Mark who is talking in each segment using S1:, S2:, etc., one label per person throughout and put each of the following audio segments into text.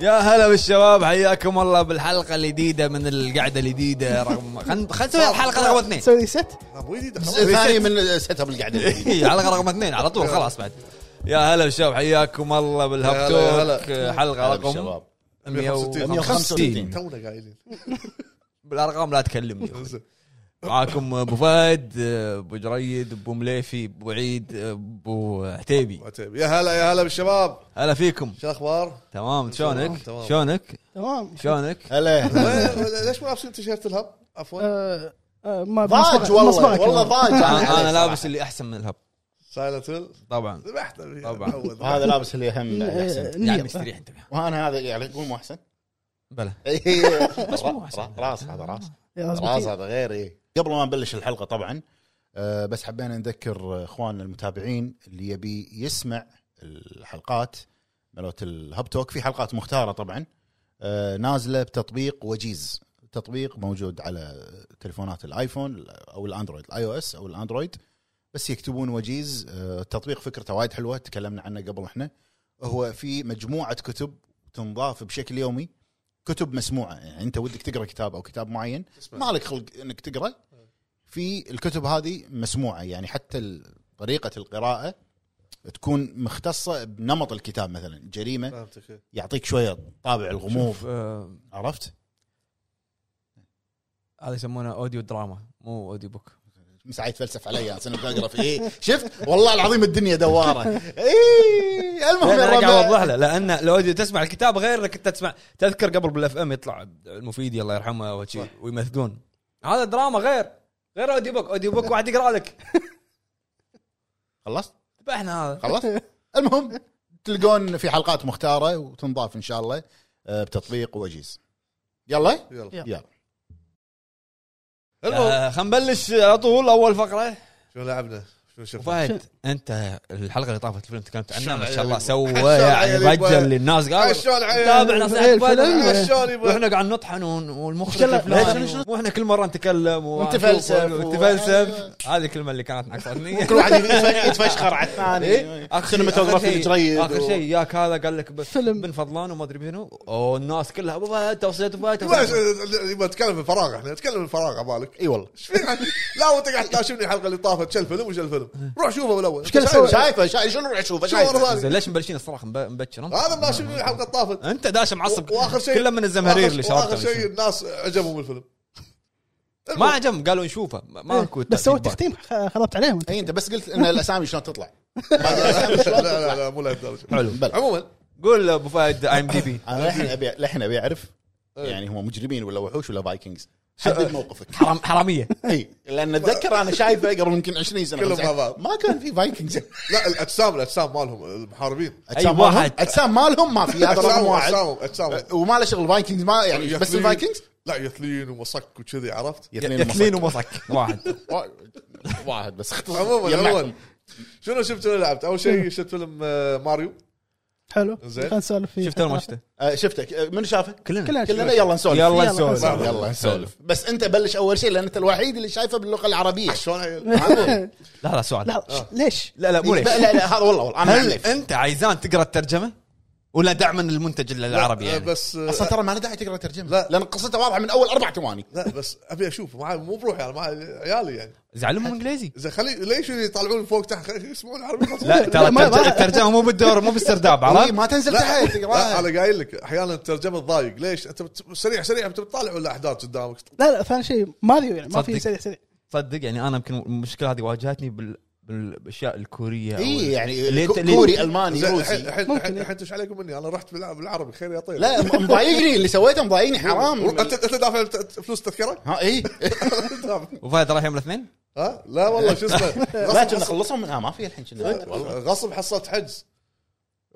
S1: يا هلا بالشباب حياكم الله بالحلقه الجديده من القعده الجديده رقم خلينا نسوي الحلقه رقم اثنين
S2: تسوي ريست
S3: ابو جديد خلاص.
S4: ثاني من سيت اب القعده الجديد.
S1: الحلقه رقم اثنين على طول خلاص بعد يا هلا بالشباب حياكم الله
S3: يا هلا،
S1: بالهبتوك حلقه
S4: هلا
S1: رقم
S4: بالشباب.
S1: 165
S3: تونا قايلين
S1: بالارقام لا تكلمني معاكم ابو فهد ابو جريد ابو مليفي ابو عيد ابو عتيبي
S3: عتيب. طيب. يا هلا يا هلا بالشباب
S1: هلا فيكم
S3: شو الاخبار؟
S1: تمام شلونك
S3: تمام.
S1: شلونك
S2: تمام
S1: شلونك
S4: هلا
S3: وين- ليش ما لابسين تيشيرت الهب؟ عفوا
S2: آه، آه، ما يعني.
S4: ضاج والله والله ضاج
S1: انا أنا لابس اللي احسن من الهب
S3: سايلنت هيل
S1: طبعا
S3: ذبحت أبي.
S1: طبعاً.
S3: أول.
S4: وهذا لابس اللي اهم
S2: آه،
S4: بعد احسن
S1: يعني مستريح انت
S4: وانا هذا يعني يقول مو احسن
S1: بلى
S4: بس مو احسن راس هذا راس راس
S2: ضاج
S4: هذا غير ايه قبل ما نبلش الحلقه طبعا آه، بس حبينا نذكر اخواننا المتابعين اللي يبي يسمع الحلقات مالت الهب توك في حلقات مختاره طبعا آه، نازله بتطبيق وجيز تطبيق موجود على تليفونات الايفون او الاندرويد الاي او اس او الاندرويد بس يكتبون وجيز آه، التطبيق فكرته وايد حلوه تكلمنا عنه قبل احنا هو في مجموعه كتب تنضاف بشكل يومي كتب مسموعه يعني انت ودك تقرا كتاب او كتاب معين
S3: اسمع.
S4: ما لك خلق انك تقرا في الكتب هذه مسموعه يعني حتى ال- طريقه القراءه تكون مختصه بنمط الكتاب مثلا جريمه
S3: فهمتك
S4: يعطيك شويه طابع الغموض
S1: شوف، آه،
S4: عرفت؟
S1: هذا يسمونه اوديو دراما مو اوديو بوك
S4: مساعد يتفلسف علي اصلا بقرا في ايه شفت والله العظيم الدنيا دواره ايه المهم
S1: لأن
S4: يا
S1: انا قاعد
S4: ربع.
S1: اوضح له لان لو أجي تسمع الكتاب غير انك انت تسمع تذكر قبل بالاف ام يطلع المفيدي الله يرحمه وشي
S3: صح.
S1: ويمثلون هذا دراما غير غير اوديو بوك اوديو بوك واحد يقرا لك
S4: خلصت؟
S1: ذبحنا هذا
S4: خلص المهم تلقون في حلقات مختاره وتنضاف ان شاء الله آه، بتطبيق وجيز يلا
S3: يلا
S2: يلا.
S4: يلا
S3: المهم
S1: آه، خلينا نبلش على طول اول فقره
S3: شو لعبنا؟ شو شفنا؟
S1: فهد انت الحلقه اللي طافت الفيلم تكلمت عنها ما شاء الله
S3: شلون
S1: سوى
S3: عيالي يبا.
S1: يعني رجل للناس قال
S3: شلون عيالي؟
S1: تابع نصيحه
S2: الفيلم.
S1: فهد
S3: شلون يبا؟
S1: واحنا قاعد نطحن ون- والمخرج
S2: شلون-
S1: الفلاني واحنا كل مره نتكلم
S4: ونتفلسف و-
S1: ونتفلسف هذه الكلمه اللي كانت ناقصتني
S4: كل واحد يتفشخر على الثاني
S1: إيه؟ آخر شيء-
S4: سينماتوغرافي
S1: آخر شيء-
S4: متريد
S1: اخر
S4: و-
S1: شيء ياك هذا قال لك ب-
S2: فيلم.
S1: بن فضلان وما ادري منو والناس كلها ابو فهد توصيت ابو فهد
S3: يبا،
S1: توصيت.
S3: ش- يبا نتكلم بالفراغ احنا نتكلم بالفراغ عبالك
S4: اي والله
S3: ايش في عندي؟ لا وانت قاعد تناشدني الحلقه اللي طافت شو الفيلم وش الفيلم روح شوفه بالاول
S2: إيش كان يسوي؟
S4: شايفه شايفه شنو روح اشوفه
S3: شوفه
S4: شايفه
S3: مره
S1: زين
S3: ثانيه
S1: ليش مبلشين الصراخ مب- مبكر أنت؟
S3: هذا مناشدني الحلقه اللي طافت
S1: انت داش معصب
S3: واخر شيء
S1: كله من الزمهرير
S3: وآخر-
S1: اللي
S3: واخر شيء
S1: شربته
S3: الناس عجبهم الفيلم
S1: ما عجبهم قالوا نشوفه ما- ما كنت
S2: بس سويت تختيم خ- خربت عليهم انت
S4: اي انت إيه، بس قلت ان الاسامي شلون تطلع
S3: لا لا لا مو لهالدرجه
S1: حلو
S4: بلى
S3: عموما
S1: قول ابو فهد اي ام دي بي
S4: انا للحين ابي للحين ابي اعرف يعني هم مجرمين ولا وحوش ولا فايكنجز حدد موقفك
S1: حرام حراميه
S4: اي لان اتذكر انا شايفه قبل يمكن 20 سنه
S3: كلهم
S4: بس
S3: مع بعض.
S4: ما كان في فايكنجز
S3: لا الاجسام الاجسام مالهم المحاربين
S4: اجسام
S1: أي واحد.
S4: مالهم اجسام مالهم ما في هذا رقم
S3: اجسامهم
S4: واحد
S3: اجسامهم اجسامهم
S4: وما له شغل فايكنجز ما يعني أه، بس
S3: يثلين-
S4: الفايكنجز
S3: لا يثلين ومصك وكذي عرفت
S1: يثلين ومصك واحد
S4: واحد بس اخت-
S3: عموما
S4: يمعكم.
S3: عموما شنو شفت ولا لعبت؟ اول شيء شفت فيلم آه، ماريو
S2: حلو
S3: زين.
S2: خلينا نسولف فيه
S1: شفته ولا ما شفته؟
S4: آه، شفتك آه، منو شافه؟
S2: كلنا
S4: كلنا يلا نسولف
S1: يلا
S2: يلا
S1: نسولف
S2: نسولف.
S4: يلا نسولف بس انت بلش اول شيء لان انت الوحيد اللي شايفه باللغه العربيه
S3: شلون عيل؟
S2: لا
S1: لا لا سؤال لا
S2: ش- ليش؟
S1: لا مو ليش
S4: لا لا هذا والله والله انا
S1: هل
S4: أعرف.
S1: انت عايزان تقرا الترجمه ولا دعما للمنتج العربي
S3: آه،
S1: يعني
S3: بس آه،
S4: اصلا ترى ما له داعي تقرا ترجمه
S3: لا.
S4: لا لان قصته واضحه من اول اربع ثواني
S3: لا بس ابي اشوفه معي مو بروحي انا معي عيالي يعني
S1: زعلهم انجليزي
S3: اذا خلي ليش يطلعون فوق تحت خلي يسمعون عربي خلاص.
S1: لا ترى
S2: لا، ما-
S1: الترج-
S2: ما-
S1: الترجمه مو بالدور مو بالسرداب
S4: إيه،
S1: عرفت؟
S4: ما تنزل تحت
S3: لا
S4: تقراها
S3: انا قايل لك احيانا الترجمه تضايق ليش انت بت- سريع سريع انت بتطالع ولا احداث قدامك
S2: لا لا ثاني شيء ماريو يعني ما في
S1: صدق.
S2: سريع سريع
S1: تصدق يعني انا يمكن المشكله هذه واجهتني بال... بالاشياء الكوريه أو
S4: اي
S1: ال-
S4: يعني
S1: اللي
S4: كو-
S1: أنت- اللي-
S4: كوري الماني
S3: زين، الحين
S4: روسي
S3: الحين
S2: ممكن.
S3: الحين- الحين ايش عليكم مني انا رحت بالع- بالعربي خير يا طيب
S4: لا م- مضايقني اللي سويته مضايقني حرام
S3: انت انت دافع الت- فلوس تذكره؟
S4: ها اي
S1: وفهد راح يوم الاثنين
S3: ها؟ لا والله شو اسمه
S4: لا
S3: غصب
S4: كنا
S3: حص-
S4: خلصهم من- آه، ما في الحين كنا
S3: غصب حصلت حجز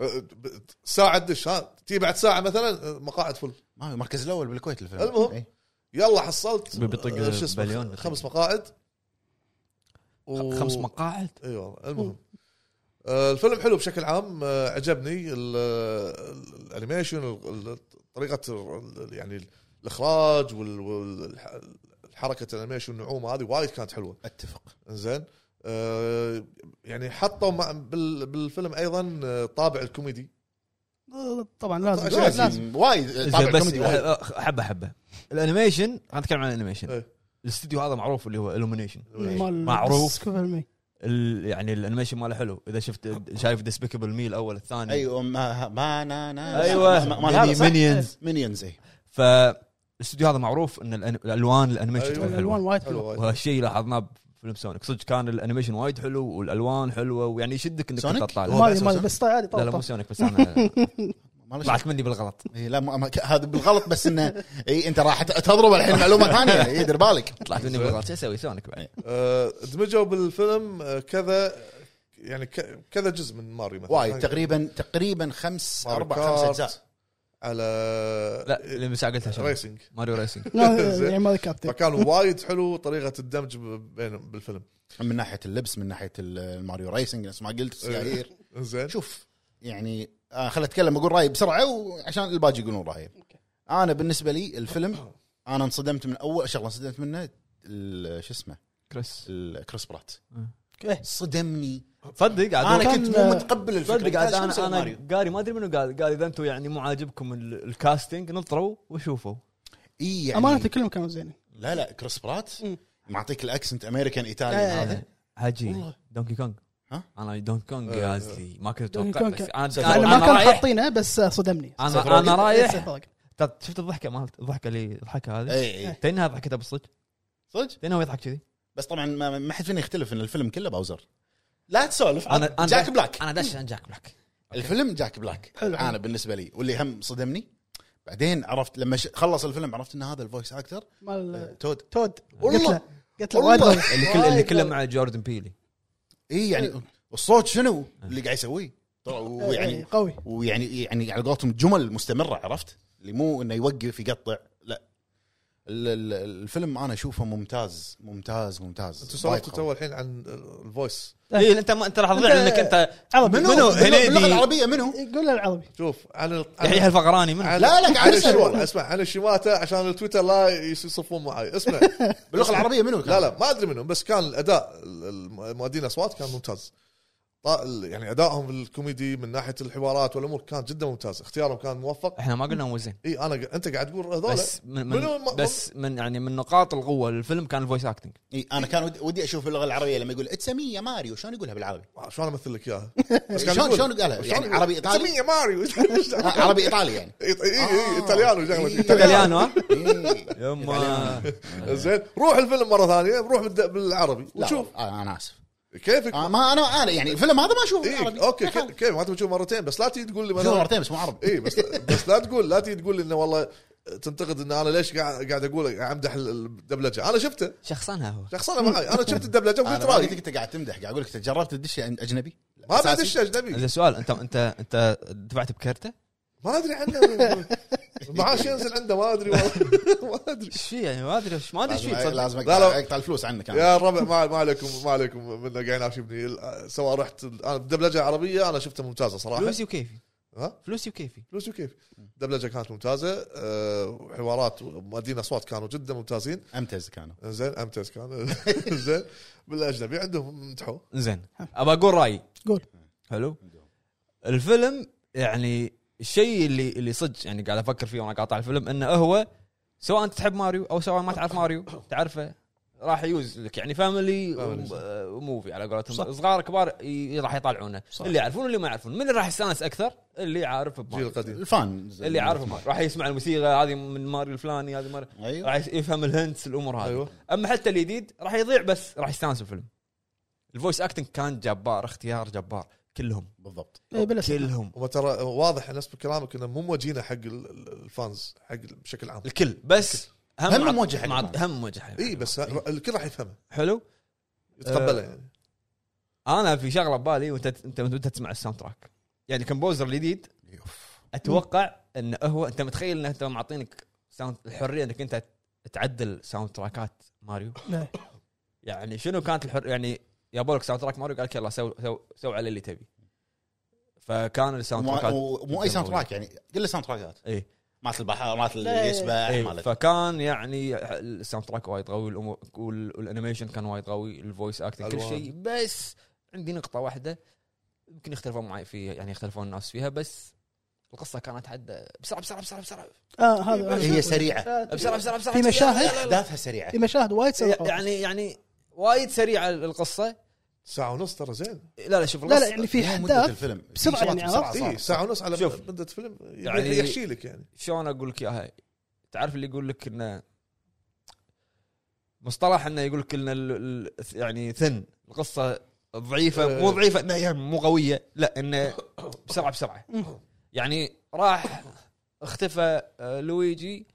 S3: أه، ب- ساعة دش ها تي بعد ساعة مثلا أه، مقاعد فل
S4: ما في المركز الاول بالكويت الفيلم
S3: المهم.
S4: إيه.
S3: يلا حصلت
S1: بيطق
S3: أه، شو اسمه،
S1: بليون.
S3: خمس مقاعد و-
S1: خمس مقاعد
S3: اي والله أيوة، المهم آه، الفيلم حلو بشكل عام آه، عجبني ال- ال- الانيميشن ال- ال- طريقه ال- ال- يعني الاخراج والحركه الانيميشن النعومه هذه وايد كانت حلوه
S4: اتفق
S3: زين يعني حطوا مع بال- بالفيلم ايضا آه، طابع آه، الكوميدي
S2: طبعا لازم
S3: طبعاً.
S2: لازم
S4: لازم وايد إيه، طابع
S1: بس أه،
S4: كوميدي وايد
S1: حبه حبه الانيميشن خلينا نتكلم عن الانيميشن
S3: إيه.
S1: الاستديو هذا معروف اللي هو الومنيشن
S2: مال
S1: معروف.
S2: سكوبر مي.
S1: ال- يعني الانيميشن ماله حلو اذا شفت شايف ديسبيكبل مي الاول الثاني
S4: ايوه ما ما نا نا
S1: ايوه
S4: ما- ما هذا صح؟
S1: مينيونز
S4: مينيونز اي
S1: فالاستوديو هذا معروف ان الأن- الالوان الانيميشن
S3: أيوة.
S1: تكون
S2: الالوان
S1: حلوه
S2: وايد
S3: حلو
S2: حلوه
S3: وايد
S1: وهالشيء لاحظناه بفيلم سونيك صدق كان الانيميشن وايد حلو والالوان حلوه ويعني يشدك انك
S4: سونيك؟
S1: انت تطالع
S3: هو
S2: ما
S3: بس-
S2: أدري- ما أدري، بس طيب عادي
S1: لا
S2: طب
S1: لا مو
S2: طب.
S1: سونيك بس انا
S4: ما له
S1: طلعت مني بالغلط
S4: إيه لا مو- ما- ك- هذا بالغلط بس انه اي انت راح ت- تضرب الحين معلومه ثانيه إيه، دير بالك
S1: طلعت مني بالغلط شو اسوي سونيك بعد
S3: آه، دمجوا بالفيلم آه، كذا يعني ك- كذا جزء من ماريو مثلا
S4: وايد تقريبا تقريبا خمس
S3: ماريو
S4: اربع
S3: كارت.
S4: خمس اجزاء
S3: على
S1: لا اللي بس قلتها شنو؟
S3: ريسنج
S1: ماريو ريسنج
S2: لا،
S3: زين.
S2: يعني ما ذكرت
S3: فكان وايد حلو طريقه الدمج ب- بين بالفيلم
S4: من ناحيه اللبس من ناحيه ال- الماريو ريسنج نفس ما قلت السيارير
S3: زين
S4: شوف يعني آه خل اتكلم اقول رايي بسرعه وعشان الباقي يقولون رايي انا بالنسبه لي الفيلم انا انصدمت من اول شغله انصدمت منه ال- شو اسمه
S1: كريس
S4: الكريس برات
S1: مم.
S2: إيه.
S4: صدمني
S1: صدق عاد
S4: انا
S2: كان-
S4: كنت مو متقبل الفكره
S1: صدق
S4: قلت
S1: عاد
S4: شو مسوي
S1: انا
S4: ماريو؟
S1: انا قاري ما ادري منو قال قال اذا انتم يعني مو عاجبكم ال- الكاستنج نطروا وشوفوا
S4: اي يعني
S2: امانه كلهم كانوا زينين
S4: لا لا كريس برات
S2: مم.
S4: معطيك الاكسنت امريكان ايطالي
S2: إيه.
S4: هذا
S1: عجيب
S4: والله.
S1: دونكي كونغ
S4: ها؟
S1: انا دونكي كونغ
S3: آه.
S1: غازلي ما كنت
S2: إيه، دونكي
S1: اتوقع
S2: كونغ
S1: بس
S2: كان-
S1: انا
S2: انا
S1: أنا
S2: ما كان
S1: رايح-
S2: حاطينه بس آه، صدمني
S1: انا انا رايح
S2: صدق.
S1: ترى شفت الضحكه مالت الضحكه اللي ضحكها هذه
S4: اي اي
S1: تنها ضحكتها بالصدق
S4: إيه، صدق
S1: تنها هو يضحك كذي
S4: بس طبعا ما, ما حد فينا يختلف ان الفيلم كله باوزر لا تسولف
S1: أنا-
S4: أنا
S1: أنا
S4: جاك
S1: داش-
S4: بلاك
S1: انا داش عن جاك بلاك
S4: الفيلم جاك بلاك
S2: حلو.
S4: انا بالنسبه لي واللي هم صدمني بعدين عرفت لما ش... خلص الفيلم عرفت ان هذا الفويس اكتر
S2: مال
S4: تود
S2: أه. تود قلت
S4: والله
S2: له قلت له وايد
S4: والله
S2: وايد.
S1: اللي كله اللي كله مع جوردن بيلي
S4: اي يعني الصوت شنو اللي قاعد يسويه ترى ويعني
S2: إيه، قوي
S4: ويعني يعني على قولتهم جمل مستمره عرفت اللي مو انه يوقف يقطع لا ال- ال- الفيلم انا اشوفه ممتاز ممتاز ممتاز
S3: انتم
S4: وايد
S3: سولفتوا
S4: قوي.
S3: تو الحين عن الفويس
S1: إيه انت ما انت راح تضيع
S2: أنت-
S1: لانك انت
S2: عربي
S4: منو
S1: منو؟
S4: منو باللغه
S1: هنيدي.
S4: العربيه منو
S2: قول له العربي
S3: شوف عن ال... عن-
S1: يحيى الفقراني منو
S3: عن-
S4: لا، لا، قاعد
S3: عن
S4: أسأل
S3: الشيوا-
S4: والله.
S3: اسمع عن الشيماتا عشان التويتر لا يس- يصفون معي اسمع
S4: باللغه العربيه منو
S3: لا لا ما ادري منهم بس كان الاداء ال- ال- مؤدين الاصوات كان ممتاز طا- ال- يعني ادائهم الكوميدي من ناحيه الحوارات والامور كان جدا ممتاز اختيارهم كان موفق
S1: احنا ما قلنا موزين
S3: اي انا ق- انت قاعد تقول هذول
S1: بس من,
S3: منو
S1: من
S3: ما-
S1: بس من يعني من نقاط القوه للفيلم كان الفويس اكتنج
S4: إي، انا كان ودي- ودي اشوف اللغه العربيه لما يقول اتس مي يا ماريو شلون يقولها بالعربي
S3: شلون امثل لك اياها
S4: شلون- شلون قالها؟ يعني عربي إيطالي؟
S3: سمية ماريو
S4: آه، عربي ايطالي يعني
S3: اي
S4: آه.
S3: اي ايطاليانو
S4: إي.
S3: شغلك
S1: ايطاليانو ها؟
S4: إي.
S1: يما
S3: زين روح الفيلم مره ثانيه روح بالد- بالعربي
S4: لا
S3: وشوف
S4: آه، انا اسف
S3: كيفك
S4: آه، ما انا انا يعني الفيلم هذا ما اشوفه
S3: اي
S4: بالعربي
S3: اوكي كي- كيف ما تبي تشوف مرتين بس لا تيجي تقول لي
S4: شوفه
S3: مثلا
S4: مرتين بس مو عربي
S3: اي بس بس لا تقول لا تيجي تقول لي انه والله تنتقد ان انا ليش قاعد قاعد اقول قاعد امدح ال- الدبلجه انا شفته
S1: شخصنها هو
S3: شخصنا معي انا شفت الدبلجه
S4: انا
S3: وقلت
S4: ما قلت
S3: رايي
S4: انت قاعد تمدح قاعد اقول لك أنت جربت تدش اجنبي
S3: ما
S4: أساسي.
S3: بدش اجنبي
S1: هذا سؤال انت انت انت دفعت بكرته؟
S3: ما ادري عنه معاش ينزل عنده ما ادري والله ما ادري
S1: ايش فيه يعني ما ادري إيش- ما ادري ايش
S4: لازم
S1: فيه تصدق.
S4: لازم
S3: لا، لا.
S4: اقطع اقطع الفلوس عنك أنا.
S3: يا الربع ما ما عليكم ما عليكم منه قاعد يناشبني ال- سواء رحت انا الدبلجه العربيه انا شفتها ممتازه صراحه
S1: فلوسي وكيفي
S3: ها؟
S1: فلوسي وكيفي
S3: فلوس وكيف الدبلجه كانت ممتازه أه حوارات ومؤدين اصوات كانوا جدا ممتازين
S4: امتز كانوا
S3: زين امتاز كان زين بالاجنبي عندهم مدحوه
S1: زين ابى اقول رايي
S2: قول.
S1: حلو الفيلم يعني الشيء اللي اللي صدق يعني قاعد افكر فيه وانا قاطع الفيلم انه هو سواء انت تحب ماريو او سواء ما تعرف ماريو تعرفه راح يوز لك يعني فاميلي
S3: فاميلي، صح.
S1: موفي على
S2: صح.
S1: قولتهم صغار كبار ي- راح يطالعونه
S2: صح.
S1: اللي يعرفون واللي ما يعرفون من اللي راح يستانس اكثر اللي عارف
S3: الجيل
S1: بماريو
S3: القديم
S4: الفان
S1: اللي عارف ماريو أيوه. راح يسمع الموسيقى هذه من ماريو الفلاني هذه ماريو
S4: ايوه
S1: راح يفهم الهنتس الامور هذه
S3: ايوه
S1: اما حتى الجديد راح يضيع بس راح يستانس الفيلم الفويس اكتنج كان جبار اختيار جبار كلهم
S4: بالضبط
S2: إيه، بلا شك.
S1: كلهم
S3: وترى واضح نسب كلامك انه مو موجهينه حق ال- ال- الفانز حق ال- بشكل عام
S1: الكل بس هم,
S4: هم
S1: مع-
S4: موجه حق
S1: مع-
S4: الفانز.
S1: هم موجه حق
S3: اي بس ه- الكل راح يفهمه
S1: حلو
S3: يتقبله
S4: آه.
S1: أه.
S3: يعني
S1: انا في شغله ببالي وانت انت وانت تسمع الساوند تراك يعني الكمبوزر الجديد اتوقع انه هو انت متخيل انه انت معطينك ساوند الحريه انك انت تعدل ساوند تراكات ماريو
S2: إيه.
S1: يعني شنو كانت الحر يعني جابوا لك ساوند تراك ماريو قال لك يلا سو سو سو على اللي تبي فكان الساوند
S4: مو-
S1: تراكات
S4: مو مو اي ساوند تراك يعني كل الساوند تراكات
S1: اي
S4: مالت البحر مالت
S2: إيه.
S4: اللي يسبح
S1: ايه
S4: مالت
S1: فكان يعني الساوند تراك وايد قوي الأمور- وال- والانيميشن كان وايد قوي الفويس اكتنج كل
S3: ألوان.
S1: شيء بس عندي نقطه واحده يمكن يختلفون معي فيها يعني يختلفون الناس فيها بس القصه كانت حد بسرعه بسرعه بسرعه بسرعه
S2: اه هذا
S4: هي سريعه
S1: بسرعه بسرعه بسرعه
S2: في
S1: بسرعة.
S2: مشاهد؟
S1: لا، لا، لا.
S4: احداثها سريعه
S2: في مشاهد وايد سرقوا
S1: يعني يعني وايد سريعه القصه
S3: ساعه ونص ترى زين
S1: لا لا شوف
S2: لا لا
S1: القصة-
S2: يعني في
S4: مو مده
S2: احداث
S4: الفيلم
S2: بسرعة
S4: في شغلات
S2: يعني
S4: بسرعة
S2: عرفت؟
S4: صارت.
S3: اي ساعه ونص على
S1: شوف.
S3: مده فيلم يعني
S1: يعني-
S3: يحشي لك يعني
S1: شلون اقول لك اياها؟ تعرف اللي يقول لك انه مصطلح انه يقول لك ان ال- ال- يعني ثن القصه ضعيفه مو
S4: أه.
S3: إيه.
S1: ضعيفه انها يعني مو قويه لا انه بسرعه بسرعه يعني راح اختفى آه، لويجي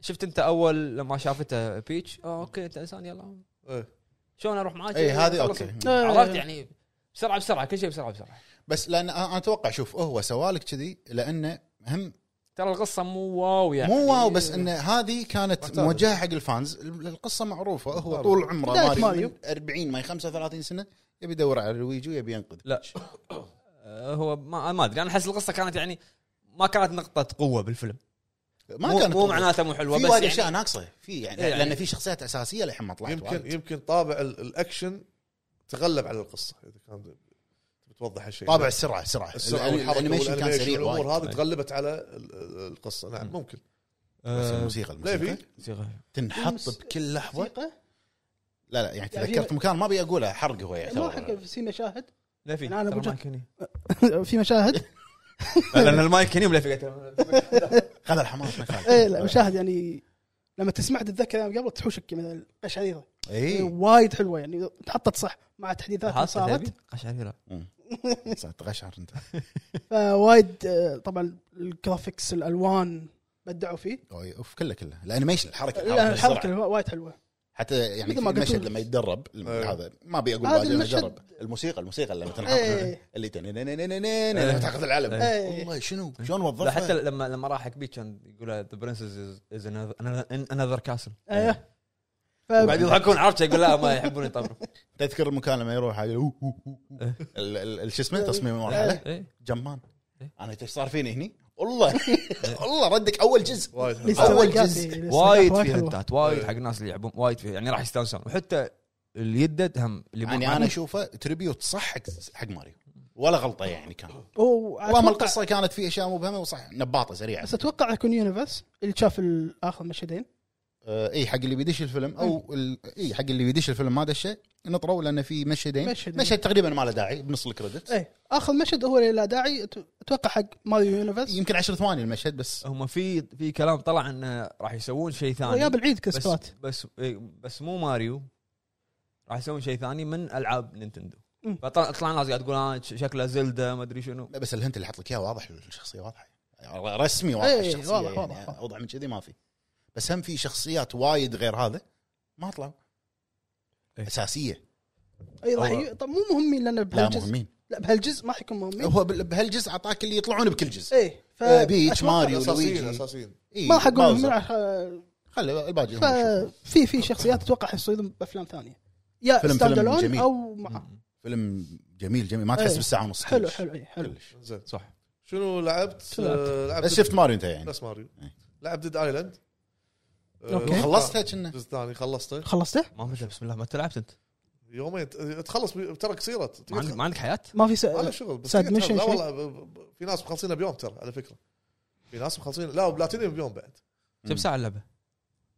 S1: شفت انت اول لما شافته بيتش اه اوكي انت انسان يلا
S3: إيه.
S1: شلون اروح معاك
S4: اي إيه، هذه
S1: خلص.
S4: اوكي
S2: آه،
S1: عرفت يعني بسرعه بسرعه كل شيء بسرعه بسرعه
S4: بس لان أ- انا اتوقع شوف هو سوالك كذي لانه هم
S1: ترى القصه مو واو يعني
S4: مو واو بس ان هذه كانت
S3: معتادة.
S4: موجهه حق الفانز ال- القصه معروفه هو
S3: معروفة.
S4: طول عمره
S2: بداية
S4: ماريو,
S2: ماريو.
S4: من 40 ما 35 سنه يبي يدور على لويجي ويبي ينقذ
S1: لا آه، هو ما ما ادري انا احس القصه كانت يعني ما كانت نقطه قوه بالفيلم
S4: ما
S1: مو-
S4: كانت
S1: مو معناته مو حلوه
S4: في
S1: بس
S4: وايد
S1: يعني
S4: اشياء ناقصه في يعني,
S1: إيه يعني.
S4: لان في شخصيات اساسيه للحين ما طلعت
S3: يمكن
S4: وايد.
S3: يمكن طابع ال- الاكشن تغلب على القصه اذا كان بتوضح هالشيء
S4: طابع السرعه السرعه
S3: السرعه
S4: الأني-
S3: والحركه
S4: الانيميشن كان سريع
S3: الامور
S4: وايد
S3: هذه تغلبت على ال- ال- القصه نعم
S1: مم.
S3: ممكن
S4: بس
S1: آه،
S4: الموسيقى الموسيقى
S3: ليفي
S1: موسيقى.
S4: تنحط
S2: المس-
S4: بكل لحظه
S2: موسيقى
S4: لا لا يعني
S2: يعني
S4: تذكرت مكان ما ابي اقوله حرق هو
S2: مو حق
S4: يعني
S2: في مشاهد
S1: لا في
S2: أنا- أنا
S1: ترى
S2: بوجه-
S1: مايك هني.
S2: في مشاهد
S1: لان المايك هني ولا في
S4: خذ الحماس ما يخالف.
S2: اي لا مشاهد يعني لما تسمع تتذكر ايام قبل تحوشك مثل قشعريره
S4: اي
S2: وايد حلوه يعني تحطت صح مع تحديثات اللي
S1: صارت
S2: صارت
S1: قشعريره
S2: إيه.
S4: تغشعر انت
S2: فوايد آه، طبعا الجرافيكس الالوان بدعوا فيه
S4: أوي، اوف كله كله الانيميشن الحركه
S2: لا، الحركه
S4: السرعة.
S2: الوا- وايد حلوه
S4: حتى يعني
S2: مثل
S4: في
S2: ما قلت
S4: مشهد
S2: لك.
S4: لما يتدرب الم-
S1: إيه.
S3: أيوة.
S4: هذا ما ابي اقول
S2: هذا
S4: بعدين
S2: المشهد- إيه.
S4: يتدرب الموسيقى الموسيقى لما تنحط
S2: اي
S4: اللي تنينينينينين لما تعقد العلم
S2: أي.
S4: والله شنو شلون
S1: لا
S4: وظفها
S1: حتى لما لما راح حق بيت كان يقول ذا برنسز از انذر كاسل
S2: ايه ف-
S1: بعد يضحكون عرفت يقول لا ما يحبون يطبلوا
S4: تذكر المكان لما يروح على أوه، أوه، أوه.
S1: إيه.
S4: ال- ال- ال- شو اسمه تصميم المرحله
S1: إيه.
S4: جمان
S1: إيه.
S4: انا ايش صار فيني هني؟ والله والله ردك اول جزء
S3: وايد
S2: ليست
S3: حلو.
S4: أول
S2: حلقات-
S4: جزء.
S2: ليست
S1: وايد
S2: حلقات
S1: في
S2: حلوة.
S1: هنتات وايد
S3: إيه.
S1: حق الناس اللي يلعبون وايد في يعني راح يستانسون وحتى اليدد هم اللي ما-
S4: يعني
S1: ما-
S4: انا اشوفه تريبيوت صح حق- حق ماريو ولا غلطه يعني كان
S2: هو
S4: والله
S2: أتوقع-
S4: القصه كانت في اشياء مبهمه وصح نباطه سريعه
S2: بس اتوقع يكون يونيفرس اللي شاف ال- اخر مشهدين
S4: آه، اي حق اللي بيدش الفيلم
S2: إيه.
S4: او ال- اي حق اللي بيدش الفيلم ما دشه نطروا لان في مشهدين
S2: مشهد.
S4: مشهد تقريبا ما له داعي بنص الكريدت
S2: ايه اخر مشهد هو اللي لا داعي أت- اتوقع حق ماريو يونيفرس
S4: يمكن 10 ثواني المشهد بس
S1: هم في في كلام طلع انه راح يسوون شيء ثاني
S2: ويا بالعيد
S1: بس
S2: كسبات
S1: بس إيه، بس مو ماريو راح يسوون شيء ثاني من العاب نينتندو
S2: مم.
S1: فطلع ناس قاعد تقول آه ش- شكله زلدا ما ادري شنو
S4: لا بس الهنت اللي حط لك اياه واضح الشخصيه واضحه رسمي واضح
S2: إيه،
S4: الشخصيه
S2: واضح،
S4: يعني
S2: واضح، واضح.
S4: اوضح من كذي ما في بس هم في شخصيات وايد غير هذا ما طلعوا
S1: إيه.
S4: اساسيه
S2: اي إيه، راح
S1: هو-
S2: ي- طب مو مهمين لان
S4: لا
S2: بهالجزء
S4: مهمين
S2: لا بهالجزء ما راح يكون مهمين
S4: هو بال- بهالجزء اعطاك اللي يطلعون بكل جزء
S2: ايه ف
S4: آه، بيتش،
S2: أتوقع
S4: ماريو.
S3: اساسيين
S4: لويجي.
S3: اساسيين
S4: إيه،
S2: ما راح اقول
S4: باوزر.
S2: مهمين عشان-
S4: خلي الباقي هم يشوفون.
S2: ففي في شخصيات اتوقع يصيدون بافلام ثانيه يا
S4: فيلم-
S2: ستاند
S4: فيلم
S2: الون
S4: جميل.
S2: او مع
S1: مم.
S4: فيلم جميل جميل ما تحس
S2: إيه.
S4: بالساعه ونص
S2: حلو
S4: كلش.
S2: حلو اي حلو
S4: كلش.
S3: زين
S1: صح
S3: شنو لعبت؟
S2: شنو لعبت؟
S3: آه، لعبت
S4: بس شفت ماريو انت يعني
S3: بس ماريو
S4: إيه.
S3: لعب ديد ايلاند آه،
S2: أوكي.
S4: خلصتها كنا
S2: آه.
S3: الجزء الثاني خلصته
S2: خلصته؟
S1: ما مدري بسم الله ما أنت لعبت انت
S3: يومين ت- تخلص بي- ترى قصيره
S1: ما عندك, ما عندك حياه
S2: ما في س...
S3: على شغل بس
S2: ساد
S3: تقدر-
S2: ميشن
S3: لا
S2: شيء؟
S3: والله ب- ب- في ناس مخلصينها بيوم ترى على فكره في ناس مخلصين لا وبلاتينيوم بيوم بعد
S1: كم ساعه اللعبه؟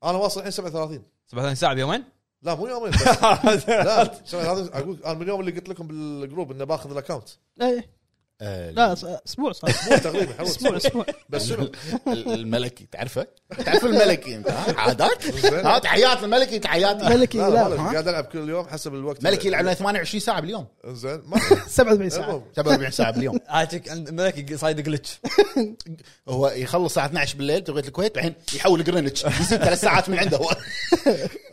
S3: انا واصل الحين 37
S1: 37 ساعه بيومين؟
S3: لا مو يومين بس
S1: آه،
S3: لا 37 اقول انا من اليوم اللي قلت لكم بالجروب انه باخذ الاكونت
S2: ايه
S4: آه،
S2: لا س- اسبوع صار
S3: مو تقريبا حول
S2: اسبوع اسبوع
S3: بس شنو
S4: ال- الملكي تعرفه؟ تعرف الملكي انت ها؟ عادات؟
S3: زين.
S4: ها تحيات الملكي تحياتي
S2: ملكي
S3: لا لا
S2: لا
S3: معلش،
S4: ها؟
S3: قاعد العب كل يوم حسب الوقت
S4: ملكي يلعب لنا 28 ساعه باليوم
S3: زين ما
S2: 47 ساعه
S3: المهم
S4: 47 ساعه باليوم
S1: عاتك عند ملك صايد جلتش
S4: هو يخلص الساعه 12 بالليل توقيت الكويت بعدين يحول جرينتش يصير ثلاث ساعات من عنده هو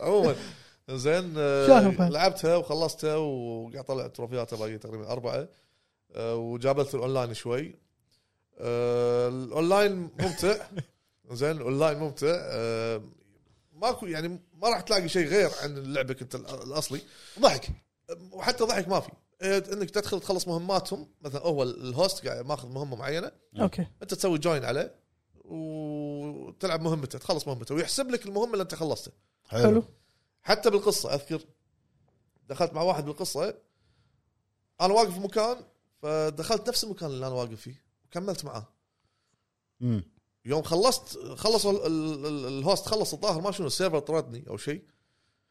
S3: عموما زين آه،
S2: شلون فهد؟
S3: لعبتها وخلصتها وقاعد اطلع تروفياتها باقي تقريبا اربعه آه، وجابلت الاونلاين شوي آه، الاونلاين ممتع زين الاونلاين ممتع آه، ماكو يعني ما راح تلاقي شيء غير عن اللعبه كنت الأ- الاصلي
S4: ضحك
S3: وحتى ضحك ما في آه، انك تدخل تخلص مهماتهم مثلا هو الهوست قاعد ماخذ مهمه معينه
S2: اوكي
S3: انت تسوي جوين عليه وتلعب مهمته تخلص مهمته ويحسب لك المهمه اللي انت خلصتها
S2: حلو
S3: حتى بالقصه اذكر دخلت مع واحد بالقصه انا واقف في مكان فدخلت نفس المكان اللي انا واقف فيه وكملت معاه
S4: مم.
S3: يوم خلصت خلص ال- ال- ال- الهوست خلص الظاهر ما شنو السيرفر طردني او شيء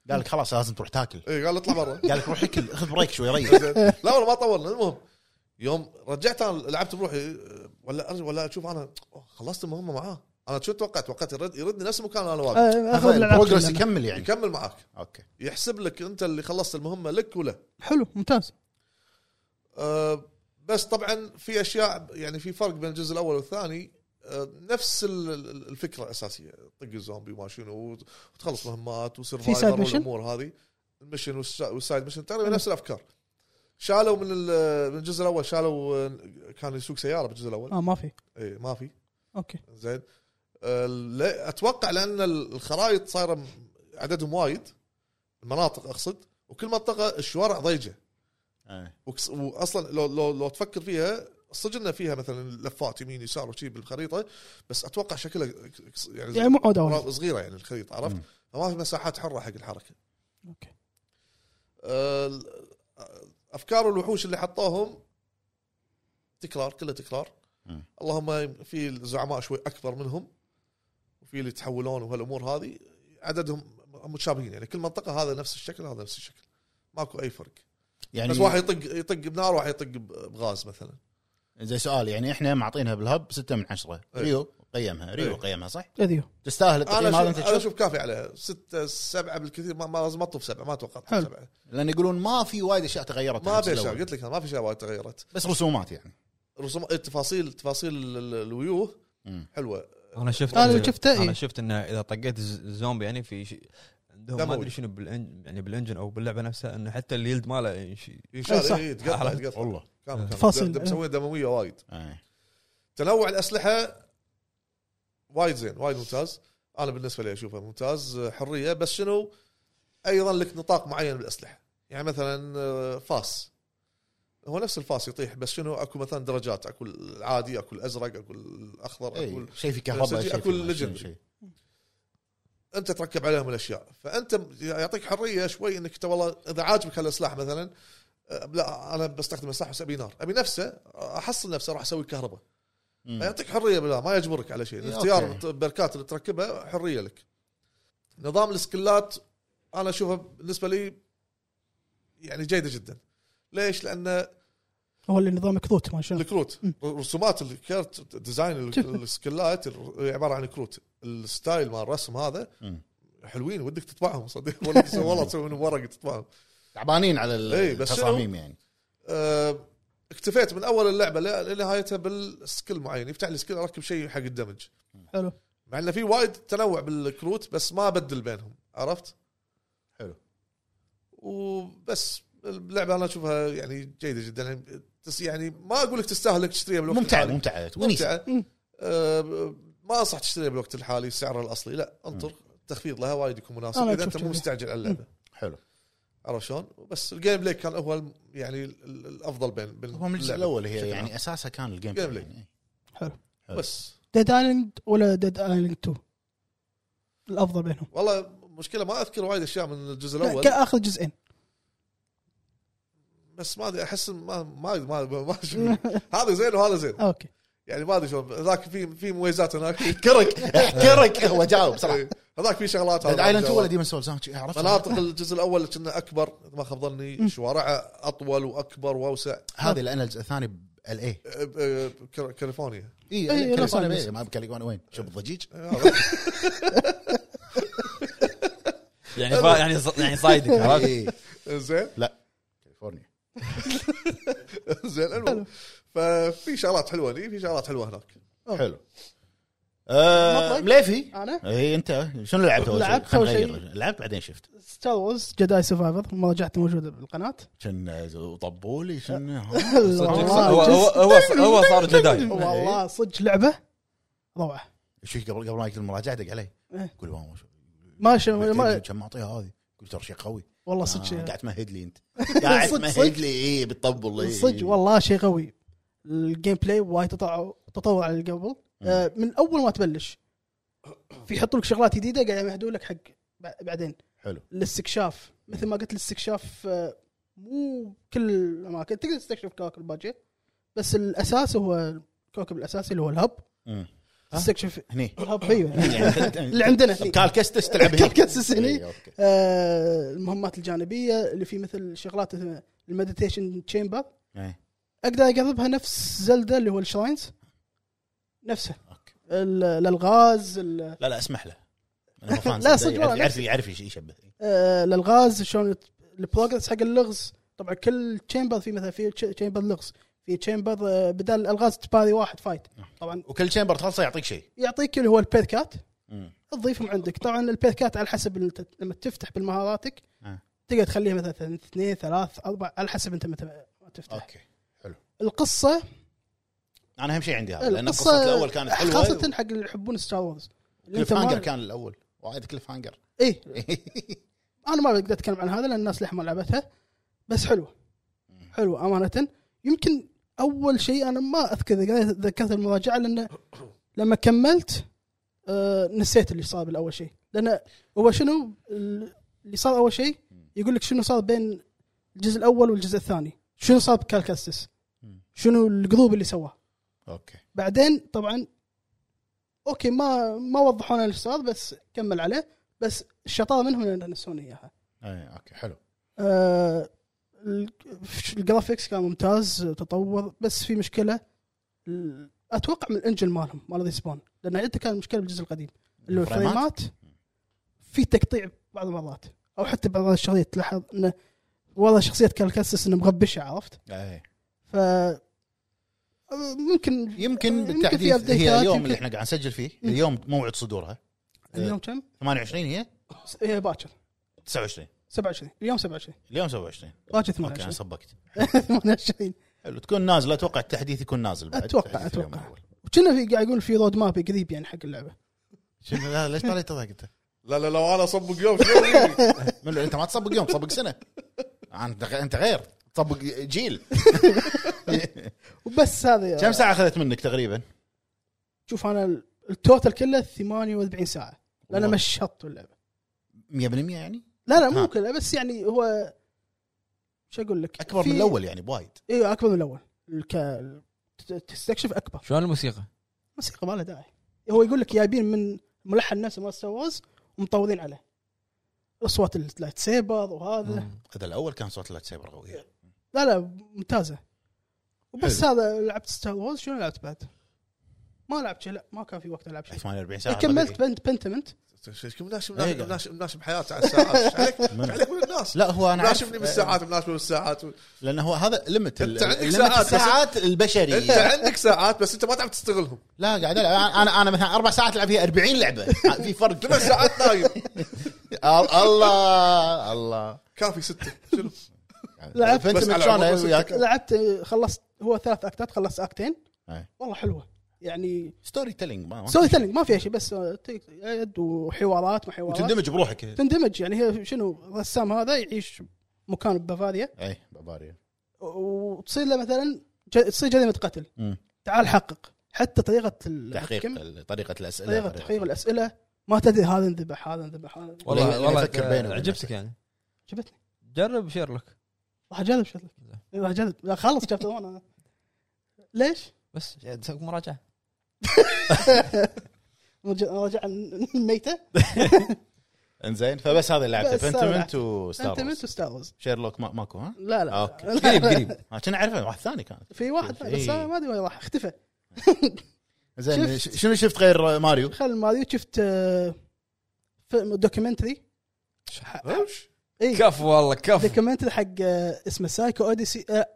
S4: قال لك خلاص لازم تروح تاكل
S3: إيه قال اطلع برا
S4: قال لك روح اكل اخذ بريك شوي ريح
S3: زين. لا والله ما طولنا المهم يوم رجعت انا لعبت بروحي ولا أرجع ولا اشوف انا أوه، خلصت المهمه معاه انا شو توقعت توقعت يرد يردني نفس المكان اللي انا واقف
S2: آه، اخذ الالعاب
S4: البروجرس
S2: كلها.
S4: يكمل يعني
S3: يكمل معاك
S4: اوكي
S3: يحسب لك انت اللي خلصت المهمه لك وله
S2: حلو ممتاز
S3: أه بس طبعا في اشياء يعني في فرق بين الجزء الاول والثاني أه نفس ال- ال- الفكره الاساسيه طق الزومبي وما شنو وت- وتخلص مهمات
S2: side
S3: وسرفايفر
S2: mission؟
S3: والامور هذه المشن والس- والسايد مشن تقريبا نفس الافكار شالوا من ال- من الجزء الاول شالوا آه، كان يسوق سياره بالجزء الاول
S2: اه ما في
S3: اي ما في
S2: اوكي
S3: زين آه، لا- اتوقع لان ال- الخرائط صايره م- عددهم وايد المناطق اقصد وكل منطقه الشوارع ضيجه
S4: آه.
S3: وكس- واصلا لو لو لو تفكر فيها صدقنا فيها مثلا لفات يمين يسار وشي بالخريطه بس اتوقع شكلها كس- يعني
S2: يعني مو عوده وايد.
S3: را- صغيره يعني الخريطه عرفت؟
S4: مم.
S3: فما في مساحات حره حق الحركه.
S2: اوكي
S3: آه، ال- آه، افكار الوحوش اللي حطوهم تكرار كله تكرار
S4: مم.
S3: اللهم في الزعماء شوي اكبر منهم وفي اللي يتحولون وهالامور هذه عددهم متشابهين يعني كل منطقه هذا نفس الشكل هذا نفس الشكل ماكو اي فرق
S4: يعني
S3: بس واحد يطق يطق بنار وواحد يطق ب- بغاز مثلا
S4: زي سؤال يعني احنا معطينها بالهب 6 من 10
S3: إيه.
S4: ريو قيمها ريو
S3: إيه.
S4: قيمها صح
S2: اذيو
S4: تستاهل
S3: انا
S4: التقييم هذا
S3: اشوف
S4: انت
S3: انا
S4: تشوف
S3: اشوف كافي عليها ستة سبعة بالكثير ما ما لازم اطلب سبعة ما اتوقع اطلب
S2: حلو.
S3: سبعة
S4: لان يقولون ما في وايد اشياء تغيرت عن
S3: ما في
S4: الجزء
S3: اشياء
S4: الأول.
S3: قلت لك أنا ما في اشياء وايد تغيرت
S4: بس رسومات يعني
S3: رسوم التفاصيل تفاصيل ال- ال- الويوه
S4: مم.
S3: حلوه
S1: انا شفت
S2: أنا شفته،
S1: انا
S2: إي.
S1: شفت انه اذا طقيت الز- الزومبي يعني في شيء عندهم ما
S3: دموي.
S1: ادري شنو بالإن... يعني بالانجن او باللعبه نفسها انه حتى اليلد ماله ينشي-
S3: ينشال
S4: أيوة،
S2: صح.
S3: إيه، تقطع
S1: عرفت.
S3: تقطع
S4: والله
S3: كامل، كامل.
S2: تفاصيل.
S3: دم-
S4: أيوة.
S3: مسوية دمويه وايد
S4: آه.
S3: تنوع الاسلحه وايد زين وايد ممتاز انا بالنسبه لي اشوفه ممتاز آه، حريه بس شنو ايضا لك نطاق معين بالاسلحه يعني مثلا آه، فاس هو نفس الفاس يطيح بس شنو اكو مثلا درجات اكو العادي اكو الازرق اكو الاخضر اكو
S4: إيه.
S3: ال-
S4: شيء في كهرباء
S3: بس
S4: شيء
S3: أكل
S4: في
S3: legend.
S4: شيء.
S3: انت تركب عليهم الاشياء فانت يعطيك حريه شوي انك انت والله اذا عاجبك هالسلاح مثلا أه، لا انا بستخدم السلاح بس ابي نار ابي نفسه احصل نفسه راح اسوي كهرباء
S4: مم.
S3: يعطيك حريه بالله ما يجبرك على شيء
S4: إيه،
S3: الاختيار
S4: أوكي.
S3: البركات اللي تركبها حريه لك نظام السكلات انا اشوفه بالنسبه لي يعني جيده جدا ليش؟ لان
S2: هو اللي نظام كذوت ما شاء الله
S3: الكروت رسومات الكرت ديزاين
S2: شوف.
S3: السكلات عباره عن كروت الستايل مال الرسم هذا
S4: مم.
S3: حلوين ودك تطبعهم صدق والله تسوي- والله تسوي منهم ورق تطبعهم
S4: تعبانين على
S3: إيه، بس
S4: التصاميم يعني
S3: أه، اكتفيت من اول اللعبه ل- لنهايتها بالسكيل معين يفتح لي سكيل اركب شيء حق الدمج
S2: حلو
S3: مع انه في وايد تنوع بالكروت بس ما بدل بينهم عرفت؟
S4: حلو.
S3: وبس اللعبه انا اشوفها يعني جيده جدا يعني تس- يعني ما اقول لك تستاهل انك تشتريها بالوقت
S4: ممتعه
S3: الحالي.
S4: ممتعه ونيسه
S3: ممتعه
S2: مم.
S3: أه، ما انصح تشتريها بالوقت الحالي سعرها الاصلي لا انطر تخفيض لها وايد يكون مناسب
S2: أنا
S3: اذا انت
S2: شفت
S3: مو
S2: كذي.
S3: مستعجل على اللعبه
S4: حلو
S3: عرفت شلون؟ بس الجيم بلاي كان هو الم- يعني ال- ال- الافضل بين بين
S4: هو من الجزء
S3: اللعبة
S4: الاول هي
S3: بشكل عام.
S4: يعني اساسها كان الجيم
S3: Game
S4: بلاي
S3: Play.
S4: يعني.
S3: بس
S2: ديد ايلاند ولا ديد ايلاند 2 الافضل بينهم
S3: والله مشكله ما اذكر وايد اشياء من الجزء
S2: لا،
S3: الاول
S2: كان اخذ جزئين
S3: بس ما ادري احس ما ما ما, ما شو- هذا زين وهذا زين
S2: اوكي
S3: يعني ما ادري شلون ذاك في في مميزات هناك
S4: احكرك احكرك هو جاوب
S3: إيه،
S4: بسرعه
S3: هذاك في شغلات
S4: ديد
S3: هذا
S4: ايلاند
S3: في
S4: 2 ولا
S3: شغلات.
S4: ديمون سولز عرفت
S3: مناطق الجزء الاول كنا اكبر إذا ما خاب ظني شوارعها اطول واكبر واوسع
S4: هذه لان الجزء الثاني بال اي
S3: أه، أه، كر- كاليفورنيا
S4: اي
S2: إي،
S4: كاليفورنيا
S2: نفس
S4: بي-
S2: الناس.
S4: إيه، ما بكاليفورنيا وين؟ شوف الضجيج
S3: إيه.
S1: يعني فا- يعني ص- يعني صايدك عرفت؟
S4: إي،
S3: زين
S4: كاليفورنيا
S3: زين المهم. ففي شغلات حلوه هني في شغلات حلوه هناك
S4: حلو آه،
S2: مطلق.
S4: مليفي
S2: انا
S4: اي انت شنو لعبت اول شيء؟
S2: طيب. لعبت
S4: خلنا
S2: أول
S4: نغير.
S2: شيء.
S4: لعبت بعدين شفت
S2: ستار وورز جداي سرفايفر ما رجعت موجوده بالقناه
S4: كان طبولي
S2: أه.
S4: شنو
S1: صدق،
S2: والله
S1: هو هو
S2: جس-
S1: هو ص- هو صار جداي
S2: والله صدق لعبه روعه
S4: شو قبل قبل ما يكتب المراجعه دق علي
S2: إيه.
S4: قول ماما شو
S2: ما شاء ما-
S4: كم معطيها هذه قلت ترى شيء قوي
S2: والله
S4: آه،
S2: صدق
S4: قاعد تمهد لي انت قاعد
S2: صدق،
S4: تمهد
S2: صدق.
S4: لي إيه، اي بتطبل إي.
S2: صدق والله شيء قوي الجيم بلاي وايد تطع- تطور على اللي قبل آه، من اول ما تبلش في يحطوا لك شغلات جديده قاعد يمهدوا لك حق بع- بعدين
S4: حلو
S2: الاستكشاف مثل ما قلت الاستكشاف آه، مو كل الاماكن تقدر تستكشف كواكب باجيه بس الاساس هو الكوكب الاساسي اللي هو الهب
S4: مم.
S2: تستكشف
S4: هني
S2: الهب ايوه اللي
S4: يعني
S2: عندنا هني.
S4: كالكس تلعب هني
S2: كالكستس هني.
S4: إي، أوكي.
S2: آه، المهمات الجانبيه اللي في مثل شغلات المديتيشن تشامبر
S4: إي،
S2: اقدر اقربها نفس زلدا اللي هو الشراينز نفسها
S4: أوكي.
S2: ال- الالغاز ال-
S4: لا لا اسمح له أنا مو فان
S2: لا،
S4: زلدة.
S2: صدق والله،
S4: يعرف يعرف يش- يشبه
S2: آه، الالغاز شلون يت- البروجرس حق اللغز طبعا كل تشامبر في مثلا في تشامبر لغز في تشامبر آه، بدال الالغاز تباري واحد فايت طبعا
S4: وكل شامبر تخلصه يعطيك شيء
S2: يعطيك اللي هو البيركات
S4: مم.
S2: تضيفهم عندك طبعا البيركات على حسب انت لما تفتح بالمهاراتك
S4: آه.
S2: تقدر تخليها مثلا اثنين ثلاث اربع على حسب انت متى ما تفتح
S4: اوكي
S2: القصه
S4: انا اهم شيء عندي هذا لان
S2: القصه
S4: قصه الاول كانت حلوه
S2: خاصه حق اللي يحبون ستار وورز اللي انت
S4: كليف
S2: ما إيه.
S4: هانجر كان الاول وايد كليف هانجر
S2: اي انا ما بقدر اتكلم عن هذا لان الناس للحين ما لعبتها بس حلوه حلوه امانه يمكن اول شيء انا ما اذكر إذا ذكرت المراجعه لان لما كملت آه نسيت اللي صار بالاول شيء لان هو شنو اللي صار اول شيء يقول لك شنو صار بين الجزء الاول والجزء الثاني شنو صار بكالكاستس شنو القروب اللي سواه
S4: اوكي
S2: بعدين طبعا اوكي ما ما وضحوا لنا ايش صار بس كمل عليه بس الشطاره منهم إنهم نسوني اياها
S4: اي اوكي حلو
S2: آه ال- الجرافيكس كان ممتاز تطور بس في مشكله ال- اتوقع من الانجن مالهم مال ريسبون لان انت كان مشكله بالجزء القديم اللي هو الفريمات
S4: الفريمات؟
S2: في تقطيع بعض المرات او حتى بعض الشخصيات تلاحظ انه والله شخصيه كالكاسس انه مغبشه عرفت
S4: اي
S2: ف ممكن
S4: يمكن
S2: يمكن
S4: بالتحديث
S2: في updateات،
S4: هي اليوم
S2: يمكن-
S4: اللي احنا قاعد نسجل فيه
S2: مم.
S4: اليوم موعد صدورها
S2: اليوم كم؟
S4: 28 هي
S2: س- إيه، باكر
S4: 29
S2: 27 اليوم 27
S4: اليوم 27
S2: باكر
S4: اوكي انا
S2: 28
S4: صبكت
S2: 28
S4: حلو تكون نازله اتوقع التحديث يكون نازل بعد
S2: أتوقع-
S4: تحديث اليوم
S2: أتوقع.
S4: الأول.
S2: وكنا في قاعد يقول في رود ماب قريب يعني حق اللعبه
S4: شنو لا ليش طالع تضحك انت؟
S3: لا لا لو انا اصبق يوم شو أبي؟
S4: من لو انت ما تصبق يوم تصبق سنه انت انت غير تصبق جيل
S2: وبس هذا
S4: كم ساعه اخذت منك تقريبا؟
S2: شوف انا ال- التوتل كله 48 ساعه لان
S4: والله.
S2: مشطت اللعبه
S4: 100% يعني
S2: لا لا
S4: ها.
S2: مو كله بس يعني هو شو اقول لك
S4: اكبر
S2: في-
S4: من الاول يعني بوايد
S2: ايوه اكبر من الاول الك... ت- تستكشف اكبر
S1: شلون الموسيقى؟
S2: موسيقى ما لها داعي هو يقول لك جايبين من ملحن نفسه مال ستار وورز ومطولين عليه اصوات اللايت سيبر وهذا
S1: مم.
S4: هذا الاول كان صوت اللايت سيبر قوي
S2: لا لا ممتازه وبس هذا لعبت ستار وورز شنو لعبت بعد؟ ما لعبت شيء لا ما كان في وقت العب شيء
S4: 48 ساعه
S2: كملت بنت بنتمنت
S3: ايش مناشم
S4: إيه.
S3: مناشم مناشم حياتي على الساعات ايش عليك
S4: من-
S3: إيش عليك من الناس
S4: لا هو انا
S3: مناشمني
S4: عارف-
S3: بالساعات مناشمني بالساعات
S4: لان هو هذا ليمت
S3: أنت عندك ساعات بس-
S4: ساعات البشري
S3: انت عندك ساعات بس انت ما تعرف تستغلهم
S4: لا قاعد العب انا انا مثلا اربع ساعات العب فيها 40 لعبه في فرق
S3: ثمان ساعات نايم
S4: الله الله
S3: كافي سته شنو
S2: لعبت
S4: فانت
S3: بس على
S4: شلون
S3: عمر
S4: أنا
S3: بس
S4: وياك
S2: لعبت آه، خلصت هو ثلاث اكتات خلصت اكتين
S4: أي.
S2: والله حلوه يعني
S4: ستوري تيلينج ما ما-
S2: سوي تلنج ما فيها شيء بس آه، تك- يد وحوارات ما حوارات
S4: وتندمج بروحك
S2: تندمج يعني هي شنو الرسام هذا يعيش مكان ببافاريا
S4: اي باباريا
S2: وتصير له مثلا ج... تصير جريمه قتل
S4: مم.
S2: تعال حقق حتى طريقه ال- الحكم،
S4: تحقيق طريقه الاسئله
S2: طريقه تحقيق الاسئله ما تدري هذا انذبح هذا انذبح هذا انذبح.
S1: والله
S4: يعني
S1: والله
S4: يفكر بينه وبين
S1: عجبتك
S4: نفسه.
S1: يعني
S2: عجبتني
S1: جرب شيرلوك
S2: راح اجرب شكلك راح اجرب لا خلص شابتر 1 انا ليش؟
S1: بس تسوي مراجعه
S2: رجع رجع الميته
S4: انزين فبس هذا اللي لعبته
S2: بس هذا
S4: بنتمنت
S2: انت
S4: وستار
S2: منت
S4: وورز.
S2: وستار وورز
S4: شيرلوك ما- ماكو ها؟
S2: لا لا
S4: أوكي.
S2: لا،
S1: قريب قريب
S4: آه، كنا اعرفه واحد ثاني كان
S2: في واحد ثاني، بس
S4: إيه.
S2: أنا ما ادري وين راح اختفى
S4: زين
S2: شفت.
S4: ش- شنو شفت غير ماريو؟
S2: خل ما ادري شفت آه، فيلم دوكيومنتري
S3: إيش؟
S2: اي
S1: كف والله كف
S2: دوكيومنتري حق آه، اسمه سايكو اوديسي آه،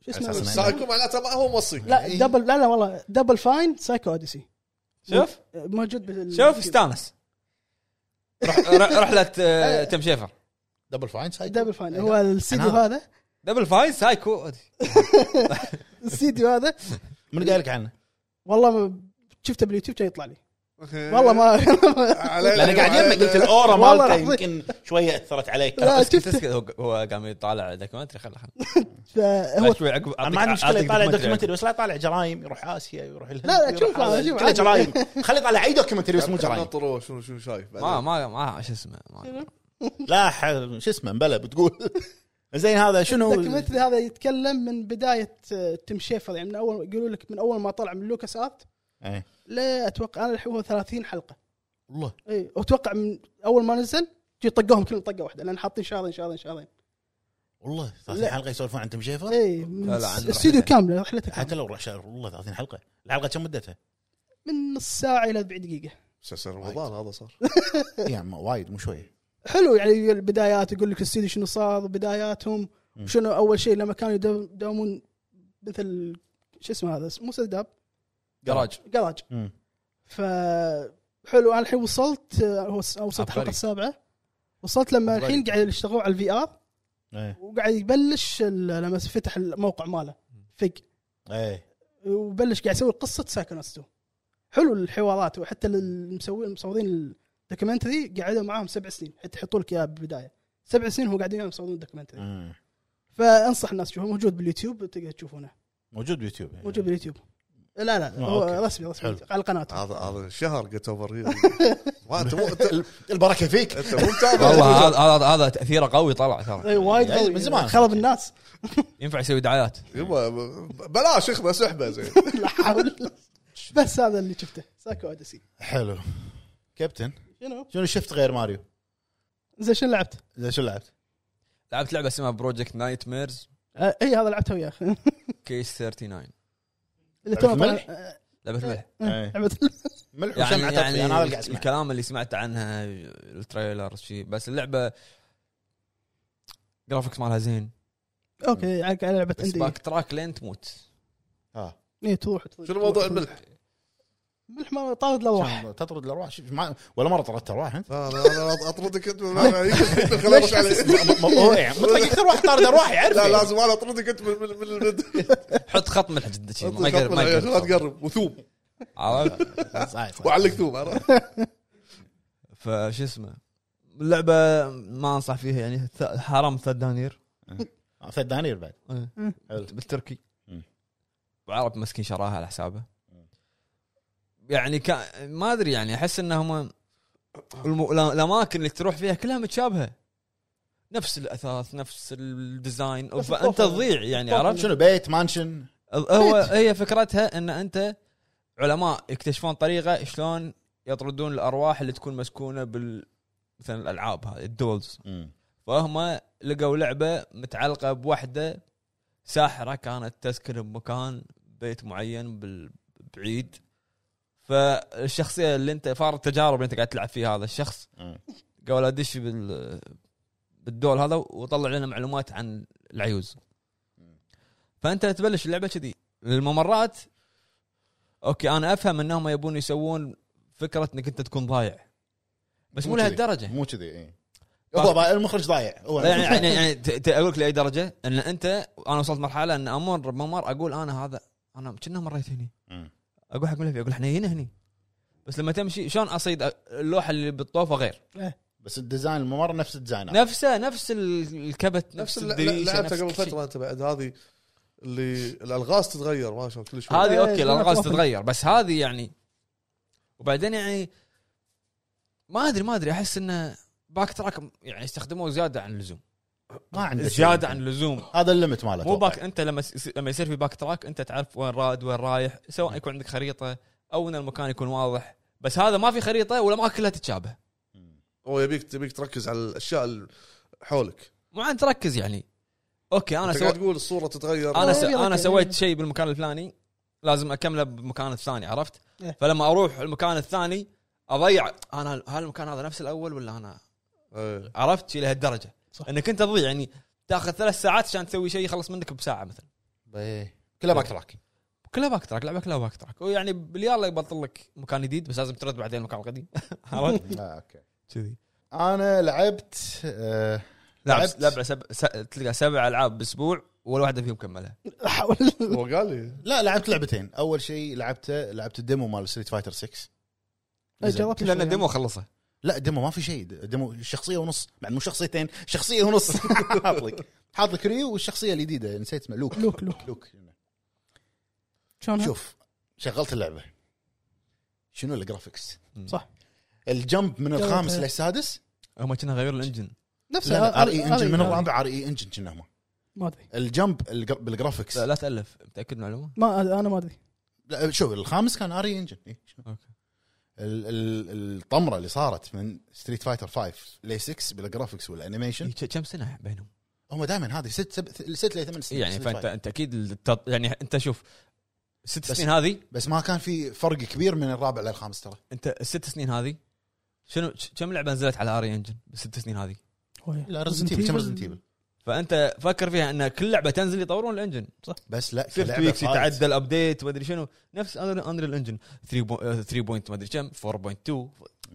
S2: شو
S4: أساساً
S2: اسمه
S4: أنا-
S3: سايكو معناته ما هو موصي
S2: لا
S4: إيه.
S2: دبل لا لا والله دبل فاين سايكو اوديسي آه،
S1: شوف
S2: موجود بال
S1: شوف استانس رح- ر- رحله آه، تم شيفر
S4: دبل فاين سايد
S2: دبل فاين هو السيديو
S4: إيه. أنا-
S2: هذا
S1: دبل فاين سايكو
S2: السيديو هذا
S4: من قال لك عنه؟
S2: والله ما- شفته باليوتيوب كان يطلع لي والله ما
S3: علينا
S4: لان قاعد
S3: وعلينا.
S4: يمك قلت الاورا
S2: والله
S4: مالته
S2: العظيم.
S4: يمكن شويه اثرت عليك
S2: لا
S1: تسكت-
S2: شفته
S1: تسكت، هو- هو قام يطالع دوكيومنتري خله خله
S2: فهو
S1: شوي عقب
S4: انا
S1: أعطيك-
S4: ما عندي مشكله
S1: أعطيك
S4: يطالع دوكيومنتري بس لا يطالع جرايم يروح اسيا يروح الهند
S2: لا، لا،
S4: يروح
S2: شوف،
S4: هذا.
S2: شوف،
S4: كله
S2: عادي.
S4: جرايم خليه يطالع اي دوكيومنتري بس مو جرايم
S3: نطروا شنو شنو شايف
S1: ما
S3: بعدين.
S1: ما ما شو اسمه ما-
S4: لا ح- شو اسمه مبلى بتقول زين هذا شنو
S2: الدوكيومنتري هذا يتكلم من بدايه آه، تيم شيفر يعني من اول يقولوا لك من اول ما طلع من لوكاس ارت
S4: اي
S2: لا اتوقع انا الحين هو 30 حلقه
S4: والله
S2: اي واتوقع من اول ما نزل جي طقوهم كلهم طقه واحده لان حاطين شاضين شاضين شاضين
S4: والله 30
S2: لا.
S4: حلقه يسولفون عن تيم شيفر
S2: اي إيه، من
S1: لا، لا، عندنا
S2: استوديو
S1: رحلة.
S2: كامله رحلته
S4: حتى
S2: كاملة.
S4: لو رح شهر والله 30 حلقه الحلقه كم مدتها؟
S2: من نص ساعه الى 40 دقيقه
S3: مسلسل رمضان هذا صار
S4: يعني وايد مو شوي
S2: حلو يعني البدايات يقول لك الاستوديو شنو صار بداياتهم
S4: مم.
S2: شنو اول شيء لما كانوا يداوم- يداومون مثل شو اسمه هذا مو سداب
S1: جراج
S2: جراج
S4: امم
S2: فحلو انا الحين وصلت آه، وص- وصلت
S1: عبقري.
S2: الحلقه السابعه وصلت لما
S1: عبقري.
S2: الحين قاعد يشتغلوا على الفي ار
S4: ايه
S2: وقاعد يبلش ال- لما فتح الموقع ماله فق
S4: ايه
S2: وبلش قاعد يسوي قصه ساكنوس 2 حلو الحوارات وحتى المسوين المصورين الدوكيومنتري قعدوا معاهم سبع سنين حتى يحطوا لك اياها بالبدايه سبع سنين هو قاعدين وياهم يصورون الدوكيومنتري
S4: مم.
S2: فانصح الناس تشوفه موجود باليوتيوب تقدر تشوفونه
S4: موجود بيوتيوب يعني.
S2: موجود باليوتيوب لا لا
S4: آه،
S2: هو
S4: أوكي.
S2: رسمي رسمي
S4: حلو. آه.
S2: على قناته
S3: هذا هذا شهر جت اوفر ما انت مو انت
S4: البركه فيك
S3: انت مو متابع
S1: والله هذا هذا هذا تاثيره قوي طلع ترى
S2: اي إيه، وايد
S4: يعني
S2: قوي
S4: من زمان.
S2: خرب الناس
S1: ينفع يسوي دعايات
S3: يبا بلاش اخبه سحبه زين
S2: لا حول بس هذا اللي شفته ساكو اوديسي
S4: حلو كابتن
S2: شنو
S4: شنو شفت غير ماريو؟
S2: زين شنو لعبت؟
S4: زين شو لعبت؟
S1: لعبت لعبه اسمها بروجكت نايت ميرز
S2: آه، اي هذا لعبته وياه
S1: كيس 39
S2: اللي
S4: لعبة
S2: تو طلع-
S4: ملح؟
S2: آه،
S1: لعبه ملح
S4: إيه.
S2: لعبة
S4: ملح
S1: يعني
S4: وشمعة تطفي
S1: يعني
S4: انا هذا اللي قاعد اسمعه
S1: الكلام اللي سمعت عنها التريلر شيء بس اللعبه جرافيكس مالها زين
S2: اوكي يعني على لعبه
S1: بس
S2: اندي
S1: باك تراك لين تموت
S4: آه.
S2: اي إيه، تروح تروح-
S3: شنو موضوع
S2: تروح-
S3: الملح؟
S2: ملح ما طارد لوح
S4: شلون تطرد الارواح شوف ما- ولا مره طردت ارواح انت
S3: انا انا اطردك انت من- يعني من الخلاص
S2: ليش
S3: علي.
S4: م- م- هو يعني مطلق اكثر واحد طارد ارواح يعرف
S3: لا
S4: يعني.
S3: لازم انا اطردك انت من من- من البد
S1: حط خط ملح جد شيء ما يقرب ما
S3: لا
S1: يقرب
S3: تقرب وثوب
S1: عرفت
S4: صحيح، صحيح.
S3: وعلق ثوب عرفت؟
S1: فشو اسمه اللعبه ما انصح فيها يعني ث- حرام ثلاث دنانير
S4: آه، ثلاث دنانير بعد
S1: إيه.
S4: حلو.
S1: بالتركي
S4: مم.
S1: وعرب مسكين شراها على حسابه
S4: مم.
S1: يعني كا ما ادري يعني احس انهم الم... لا- الاماكن اللي تروح فيها كلها متشابهه نفس الاثاث نفس الديزاين
S2: نفس
S1: فانت
S2: الطفل.
S1: تضيع يعني
S2: الطفل.
S1: عرفت
S4: شنو بيت مانشن
S1: هو هي فكرتها ان انت علماء يكتشفون طريقه شلون يطردون الارواح اللي تكون مسكونه بال مثلا الالعاب هذه الدولز فهم لقوا لعبه متعلقه بوحده ساحره كانت تسكن بمكان بيت معين بال- بعيد فالشخصيه اللي انت فار التجارب اللي انت قاعد تلعب فيها هذا الشخص قالوا له دش بال بالدول هذا وطلع لنا معلومات عن العيوز فانت تبلش اللعبه كذي الممرات اوكي انا افهم انهم يبون يسوون فكره انك انت تكون ضايع بس مو
S4: مو كذي.
S1: لهالدرجه
S4: مو كذي إيه. هو ضايع- المخرج ضايع هو
S1: لا، يعني يعني, يعني ت- ت- اقول لك لاي درجه ان انت انا وصلت مرحله ان امر بممر اقول انا هذا انا كنا مريت هني
S4: مم.
S1: اقول حق ملفي اقول احنا هنا هني بس لما تمشي شلون اصيد أ- اللوحه اللي بالطوفه غير
S4: بس الديزاين الممر نفس الديزاين
S1: نفسه نفس ال- الكبت
S3: نفس
S1: نعم. نفس
S3: اللي
S1: الدريشه نفس
S3: لعبتها قبل
S1: كل شيء.
S3: فتره انت بعد هذه اللي الالغاز تتغير ما شاء الله كل شوي
S1: هذه
S2: إيه،
S1: اوكي
S2: شلون
S1: الالغاز
S2: أتوقف؟
S1: تتغير بس هذه يعني وبعدين يعني ما ادري ما ادري احس انه باك تراك يعني استخدموه زياده عن اللزوم
S4: ما عنده شيء.
S1: زياده عن اللزوم
S4: هذا الليمت ماله
S1: مو
S4: أتوقع.
S1: باك انت لما س- لما يصير في باك تراك انت تعرف وين راد وين رايح سواء يكون عندك خريطه او ان المكان يكون واضح بس هذا ما في خريطه والاماكن كلها تتشابه
S4: مم.
S3: هو يبيك يبيك تركز على الاشياء اللي حولك
S1: مو عاد تركز يعني اوكي انا
S3: انت
S1: سو...
S3: قاعد تقول الصوره تتغير
S1: انا س...
S2: أبيض
S1: انا
S2: أبيض.
S1: سويت شيء بالمكان الفلاني لازم اكمله بالمكان الثاني عرفت؟
S2: إيه.
S1: فلما اروح المكان الثاني اضيع انا هل المكان هذا نفس الاول ولا انا
S3: إيه.
S1: عرفت شيء لهالدرجه
S2: صح.
S1: انك انت تضيع يعني تاخذ ثلاث ساعات عشان تسوي شيء يخلص منك بساعه مثلا
S4: كلها
S1: إيه.
S4: باك تراك
S1: كلها باك تراك لعبه كلها باك تراك ويعني باليار يبطل لك مكان جديد بس لازم ترد بعدين المكان القديم عرفت
S4: آه، اوكي
S1: كذي
S4: انا لعبت آه،
S1: لعبت
S4: لعبت.
S1: لعبه سب... س... تلقى سبع العاب باسبوع ولا واحده فيهم كملها
S2: حاول
S3: هو قال لي
S4: لا لعبت لعبتين اول شيء لعبته لعبت الديمو مال ستريت فايتر 6
S2: إيه، جربت شوي.
S1: لان ديمو خلصها
S4: لا ديمو ما في شيء ديمو شخصيه ونص بعد مو شخصيتين شخصيه ونص حاط لك حاط لك ريو والشخصيه الجديده نسيت اسمها لوك
S2: لوك لوك
S4: لوك
S2: شلون
S4: شوف شغلت اللعبه شنو الجرافكس
S2: صح.
S4: الجمب من
S2: جربتها.
S4: الخامس للسادس
S1: هم كنا غيروا الانجن
S2: نفسه
S4: لا ار اي
S2: هذا-
S4: انجن من
S2: هذا-
S4: الرابع ار اي انجن كنا هم
S2: ما ادري
S4: الجمب الجر- بالجرافكس
S1: لا, لا تالف متاكد من المعلومه
S2: ما انا ما ادري
S4: لا شوف الخامس كان اري انجن إيه.
S1: أوكي.
S4: ال- ال- الطمره اللي صارت من ستريت فايتر 5 ل 6 بالجرافكس والانيميشن
S1: إيه، كم سنه بينهم
S4: هم دائما هذه ست سب- ست ل ثمان سنين
S1: يعني
S4: Street
S1: فانت
S4: Fighter.
S1: انت اكيد التط... يعني انت شوف ست
S4: بس-
S1: سنين هذه
S4: بس ما كان في فرق كبير من الرابع للخامس ترى
S1: انت الست سنين هذه شنو ش- كم لعبه نزلت على اري انجن بالست سنين هذه؟
S4: لا ريزنت ايفل كم ريزنت ايفل
S1: فانت فكر فيها ان كل لعبه تنزل يطورون الانجن صح؟
S4: بس لا
S1: سيفت
S4: كلعبة
S1: ويكس
S4: فايت.
S1: يتعدى الابديت ما ادري شنو نفس انريل انجن 3 بو- آه، 3 بوينت ما ادري كم 4.2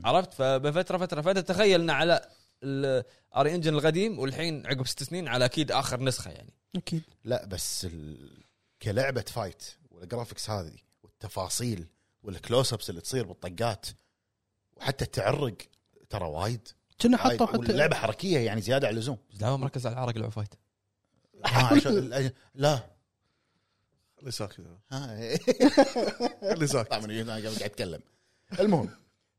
S1: عرفت فبفتره فتره فانت تخيل ان على الاري انجن القديم والحين عقب ست سنين على اكيد اخر نسخه يعني
S2: اكيد
S4: لا بس ال... كلعبه فايت والجرافكس هذه والتفاصيل والكلوز ابس اللي تصير بالطقات وحتى التعرق ترى وايد
S2: كنا حطوا
S4: وايد.
S2: حتى
S4: واللعبه حركيه يعني زياده على اللزوم
S1: لا مركز على الحركه لعب فايت
S4: آه، عشان- لا
S3: خلي ساكت
S4: ها.
S3: خلي ساكت
S4: طبعا انا قاعد اتكلم المهم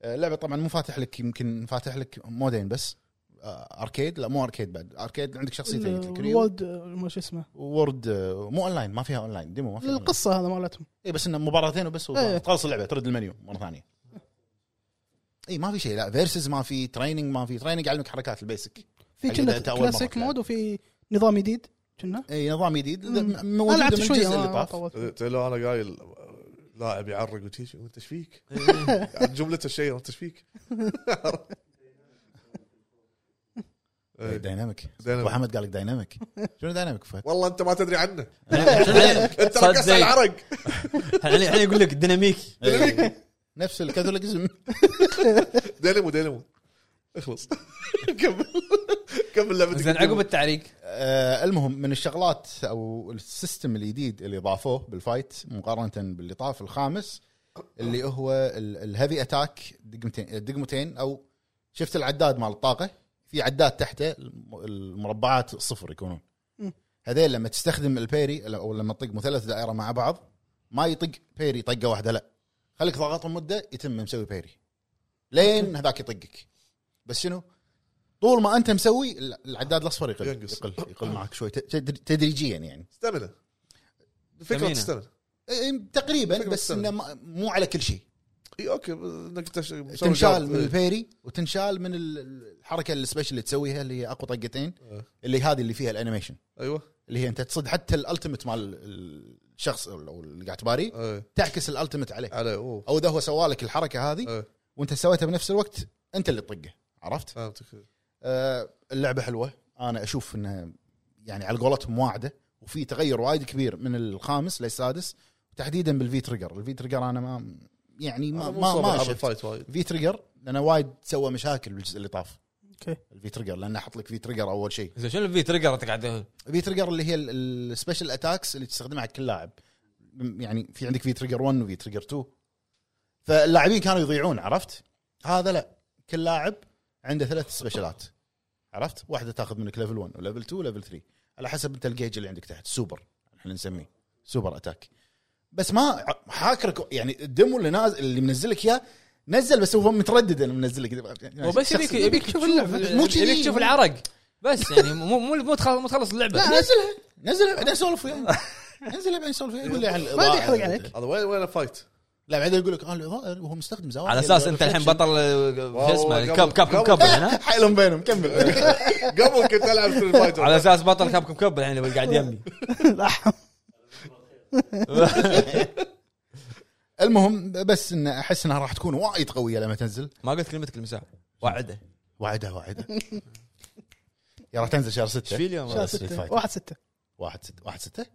S4: آه، اللعبه طبعا مو فاتح لك يمكن فاتح لك مودين بس آه، اركيد لا مو اركيد بعد اركيد عندك شخصيتين
S2: ال-
S4: الكريو
S2: الولد آه، ما شو اسمه
S4: وورد آه، مو اونلاين ما فيها اونلاين ديمو ما فيها أونلاين.
S2: القصه هذا مالتهم
S4: اي بس انه مباراتين وبس
S2: إيه.
S4: تخلص اللعبه ترد المنيو مره ثانيه اي ما في شيء لا فيرسز ما في تريننج ما في تريننج يعلمك حركات البيسك
S2: في
S4: حق
S2: كنا
S4: بدايته أول مرة
S2: كلاسيك
S4: تلعب.
S2: مود وفي نظام جديد كنا
S4: اي نظام إيه، جديد
S2: مم.
S4: م-
S2: انا
S4: موجود
S2: لعبت آه،
S4: من
S2: شويه
S4: الجزء اللي
S2: ما
S4: طاف
S2: طولت
S3: تدري لو انا قايل لاعب يعرق وتيجي وانت ايش فيك؟
S1: إيه.
S3: جملته الشيء وانت ايش فيك؟ إيه.
S4: دايناميك
S3: دايناميك.
S4: ابو حمد قال لك دايناميك شنو دايناميك فهد؟
S3: والله انت ما تدري عنه انت
S1: صد
S3: ركزت
S1: زين.
S3: على العرق
S1: الحين الحين يقول لك ديناميكي
S4: إيه. نفس الكاثوليكزم
S3: ديلمو ديلمو اخلص كمل كمل لعبتك
S1: زين عقب التعريق
S4: آه، المهم من الشغلات او السيستم الجديد اللي ضافوه بالفايت مقارنه باللي طاف الخامس اللي هو ال- الهيفي اتاك دقمتين دقمتين او شفت العداد مال الطاقه في عداد تحته الم- المربعات صفر يكونون
S2: مم.
S4: هذيل لما تستخدم البيري او لما تطق مثلث دائره مع بعض ما يطق بيري طقه واحده لا خليك ضاغطهم مده يتم مسوي بيري لين هذاك يطقك بس شنو طول ما انت مسوي ال- العداد الاصفر يقل
S3: ينقص.
S4: يقل يقل معك شوي ت- تدر- تدريجيا يعني
S3: استمنى الفكره
S1: استمنة.
S3: تستمنى
S4: إيه، تقريبا بس
S3: بالسنة.
S4: انه ما- مو على كل شيء
S3: اي اوكي انك تش- مسوي
S4: تنشال
S3: جارد.
S4: من
S3: إيه.
S4: البيري وتنشال من ال- ال- الحركه السبيشل اللي تسويها اللي هي اقوى طقتين
S3: آه.
S4: اللي هذه اللي فيها الانيميشن
S3: ايوه
S4: اللي هي انت تصد حتى الالتيميت مال الشخص او أو اللي قاعد تباري
S3: إيه.
S4: تعكس الالتيميت عليه
S3: على اوه
S4: او اذا هو سوالك الحركه هذه
S3: إيه.
S4: وانت سويتها بنفس الوقت انت اللي تطقه عرفت؟
S3: فهمتك
S4: آه، اللعبه حلوه انا اشوف انها يعني على قولتهم واعده وفي تغير وايد كبير من الخامس للسادس تحديدا بالفي تريجر الفي تريجر انا ما يعني
S3: أنا
S4: ما
S3: آه، مو
S4: ما,
S3: صابر
S4: ما
S3: ألعب
S4: شفت
S3: الفايت وايد
S4: في تريجر لانه وايد سوى مشاكل بالجزء اللي طاف
S2: اوكي
S4: الفي تريجر لانه حط لك في تريجر اول شيء
S1: زين شنو الفي تريجر انت قاعد
S4: في تريجر اللي هي السبيشل اتاكس اللي تستخدمها على كل لاعب م- يعني في عندك في تريجر 1 وفي تريجر 2 فاللاعبين كانوا يضيعون عرفت؟ هذا لا كل لاعب عنده ثلاث سبيشلات عرفت؟ واحده تاخذ منك ليفل 1 وليفل 2 وليفل 3 على حسب انت الجيج اللي عندك تحت سوبر احنا نسميه سوبر اتاك بس ما ع- حاكرك يعني الدمو اللي نازل اللي منزلك اياه نزل بس هو متردد انه منزلك يعني
S1: وبس يبيك
S4: شخصياً.
S1: يبيك تشوف اللعبه
S4: مو كذي.
S1: يبيك تشوف العرق بس يعني مو مو مو تخلص مو تخلص اللعبه
S4: لا آه، نزلها نزلها بعدين سولف وياه نزلها بعدين سولف وياه يقول لي عن الإضاءة.
S2: ما يحرق عليك.
S3: هذا وين وين الفايت؟
S4: لا بعدين يقول لك اه الاضاءه وهو مستخدم زوايا
S1: على اساس انت الحين بطل آه، شو اسمه كاب كاب كاب هنا
S4: حيلهم بينهم كمل
S3: قبل كنت العب ستريت فايتر
S1: على اساس بطل كاب كاب الحين اللي قاعد يمي
S4: المهم بس ان احس انها راح تكون وايد قويه لما تنزل
S1: ما قلت كلمتك المساحه وعده
S4: واعدها واعدها يا راح تنزل شهر 6
S1: ايش في اليوم؟
S2: شهر
S4: Street
S2: ستة
S4: Fighter.
S2: واحد ستة
S4: واحد 6 واحد 6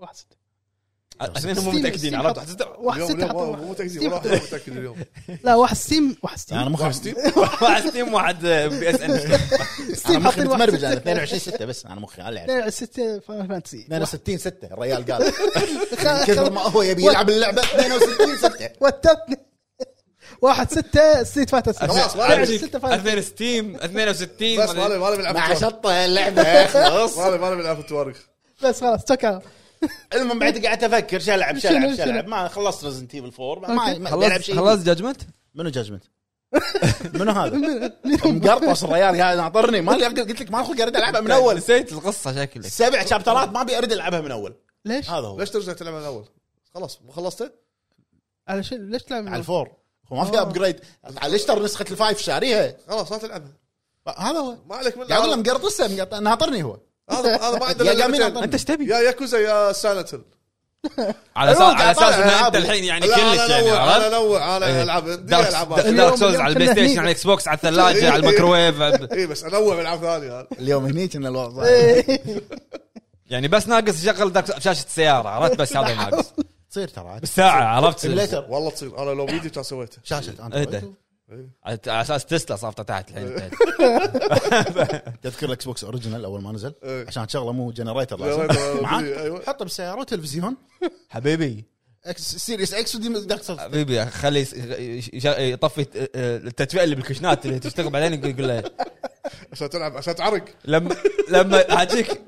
S2: واحد ستة
S1: عشان مو
S2: ستيم-
S1: متاكدين
S2: ستيم
S1: عرفت
S2: حط-
S1: حسيت-
S2: واحد
S3: اليوم-
S2: ستة
S3: اليوم
S2: حطوا
S3: مو- مو متاكد ولا واحد مو متاكد اليوم
S2: لا واحد ستيم واحد ستيم
S4: انا مخي
S3: واحد ستيم
S1: واحد ستيم واحد بي اس ان
S4: انا
S2: ستيم
S4: مخي
S2: حاطين واحد
S4: متمربج
S2: ستة.
S4: انا 22 6 بس انا مخي يعني على العب.
S2: لا، ستة فاينل فانتسي
S4: 62 6 الريال قال كثر ما هو يبي يلعب اللعبه 62 6
S2: وتتني واحد ستة ستريت فايتر ستة
S3: خلاص، ما
S2: واحد
S3: عليك.
S2: ستة فاينل
S1: اثنين ستيم 62
S3: بس ما لي ما لي بنلعب
S4: مع
S3: التوارق.
S4: شطه اللعبه خلاص
S3: ما لي ما لي بنلعب التوارق
S2: فانتسي. بس خلاص تشكر
S4: المهم بعد قعدت افكر شو العب شو
S2: شنو-
S4: العب شو
S2: شنو؟
S4: العب ما خلصت ريزنت ايفل 4
S2: أوكي.
S4: ما- ما بلعب
S1: خلص
S4: شيء
S1: خلص جاجمنت
S4: منو جاجمنت؟ منو هذا؟ مقرطص الريال قاعد ناطرني ما لي قلت لك ما خلق ارد العبها من اول
S1: نسيت القصه شكلك
S4: سبع شابترات ما ابي ارد العبها من اول
S2: ليش؟
S4: هذا هو
S3: ليش ترجع تلعب من الاول؟ خلاص مو خلصته؟
S2: على شيء ليش تلعب
S4: على الفور هو ما في
S2: آه.
S4: ابجريد ليش ترى نسخه الفايف شاريها
S3: خلاص لا تلعبها
S4: هذا هو
S3: ما عليك من
S4: قاعد اقول
S3: هذا
S4: له مقرطسه مقرط- ناطرني هو
S3: هذا- هذا ما عنده
S4: يا
S3: إلا
S4: جامين
S3: لعبتين.
S1: انت ايش تبي؟
S3: يا ياكوزا يا سايلنت هيل
S1: على اساس
S4: أيوة،
S1: على
S4: قاعد
S1: اساس
S4: أطالع
S1: ان انت
S4: ألعاب.
S1: الحين يعني
S3: لا، أنا
S1: كلش يعني
S3: أنوع، انا
S1: عرفت؟
S3: انوع انا
S1: إيه.
S3: العب دي
S1: دارك
S3: العاب
S1: دارك
S2: اليوم-
S1: سولز على
S2: اليوم
S1: البلاي
S2: كنا
S1: ستيشن
S2: هني.
S1: على الاكس بوكس على الثلاجه على الميكروويف
S3: اي إيه، بس انوع بالعاب ثانيه هذا.
S4: اليوم هنيك انه الوضع صعب.
S2: إيه.
S1: يعني بس ناقص يشغل دارك سولز شاشه السياره عرفت بس هذا ناقص
S4: تصير ترى عاد.
S1: بالساعه عرفت
S4: سيميليتر
S3: والله تصير انا لو بيدي كان سويته
S4: شاشه
S1: اهدى
S4: اندرويد
S1: على على اساس تسلا صافطه تحت الحين
S4: تذكر الاكس بوكس اوريجنال اول ما نزل
S3: إيه.
S4: عشان تشغله مو جنريتر
S3: جنريتر،
S4: لازم
S3: أيوة.
S4: معاك حطه بالسياره وتلفزيون
S1: حبيبي
S4: اكس سيريس اكس ودي دارك سولز
S1: حبيبي خلي يس- يش- يش- يطفي الت- التدفئه اللي بالكشنات اللي تشتغل بعدين يقول- يقول له
S3: عشان تلعب عشان تعرق
S1: لما لما حاجيك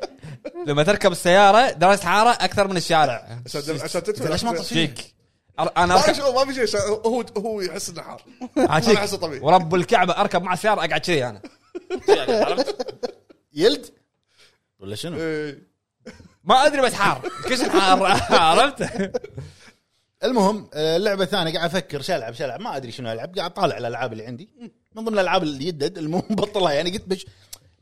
S1: لما تركب السياره درجه حراره اكثر من الشارع
S3: عشان عشان تدفع
S4: ليش ما طفي؟
S1: شيك أر- انا
S3: ما في
S1: اركب
S3: شيء ما في شيء عشان هو هو يحس انه حار
S1: حاجيك
S3: أنا أحسه طبيعي.
S1: ورب الكعبه اركب مع السياره اقعد كذي انا
S4: يلد ولا شنو؟
S3: إيه.
S1: ما ادري بس حار كش حار عرفت
S4: المهم آه، اللعبه الثانيه قاعد افكر شو العب شو العب ما ادري شنو العب قاعد اطالع الالعاب اللي عندي من ضمن الالعاب اللي يدد المهم بطلها يعني قلت بش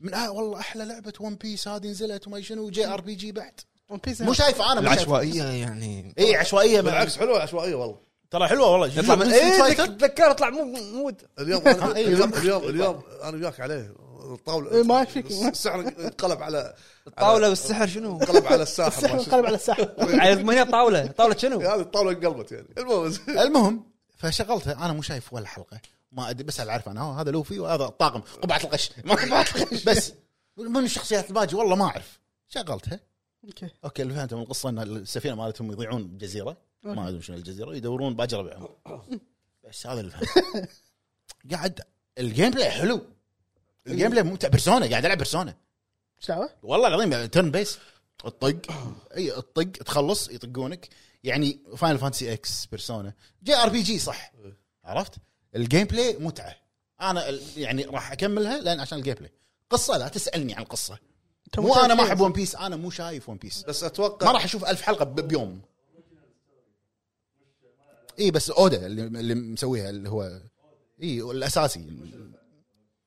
S4: من آه والله احلى لعبه ون بيس هذه نزلت وما شنو جي ار بي جي بعد
S2: ون بيس
S4: مو شايفه انا مو إيه، شايفها.
S1: يعني
S4: اي عشوائيه بالعكس
S3: بالعكس حلوه عشوائيه والله
S4: ترى حلوه والله
S1: يطلع من
S4: ستريت
S1: إيه،
S4: فايتر.
S1: تذكر اطلع مو مود
S3: اليوم أنا-
S4: إيه.
S3: اليوم اليوم اليوم انا وياك عليه الطاوله
S2: إيه، ما فيك.
S3: السعر انقلب على
S1: الطاوله والسحر شنو؟
S3: انقلب على الساحه ما شاء
S2: انقلب على الساحه
S3: الله.
S1: على ما هي طاوله طاوله شنو؟
S3: هذه الطاوله انقلبت يعني المهم
S4: المهم فشغلتها انا مو شايف ولا حلقه ما ادري بس اعرف انا آه، هذا لوفي وهذا الطاقم قبعه القش ما قبعه القش بس من الشخصيات الباقي والله ما اعرف شغلتها
S2: اوكي
S4: اوكي اللي فهمته من القصه ان السفينه مالتهم يضيعون بجزيره ما ادري شنو الجزيره يدورون باقي ربعهم بس هذا اللي فهمته قاعد الجيم بلاي حلو الجيم بلاي ممتع بيرسونا قاعد العب بيرسونا
S2: ايش دعوه؟
S4: والله العظيم يعني ترن بيس الطق اي الطق تخلص يطقونك يعني فاينل فانتسي اكس بيرسونا جي ار بي جي صح عرفت الجيم بلاي متعه انا ال- يعني راح اكملها لان عشان الجيم بلاي قصه لا تسالني عن القصه مو انا ما احب ون بيس انا مو شايف ون بيس
S3: بس
S4: ما
S3: اتوقع
S4: راح اشوف ألف حلقه ب- بيوم اي بس اودا اللي, اللي مسويها اللي هو اي الاساسي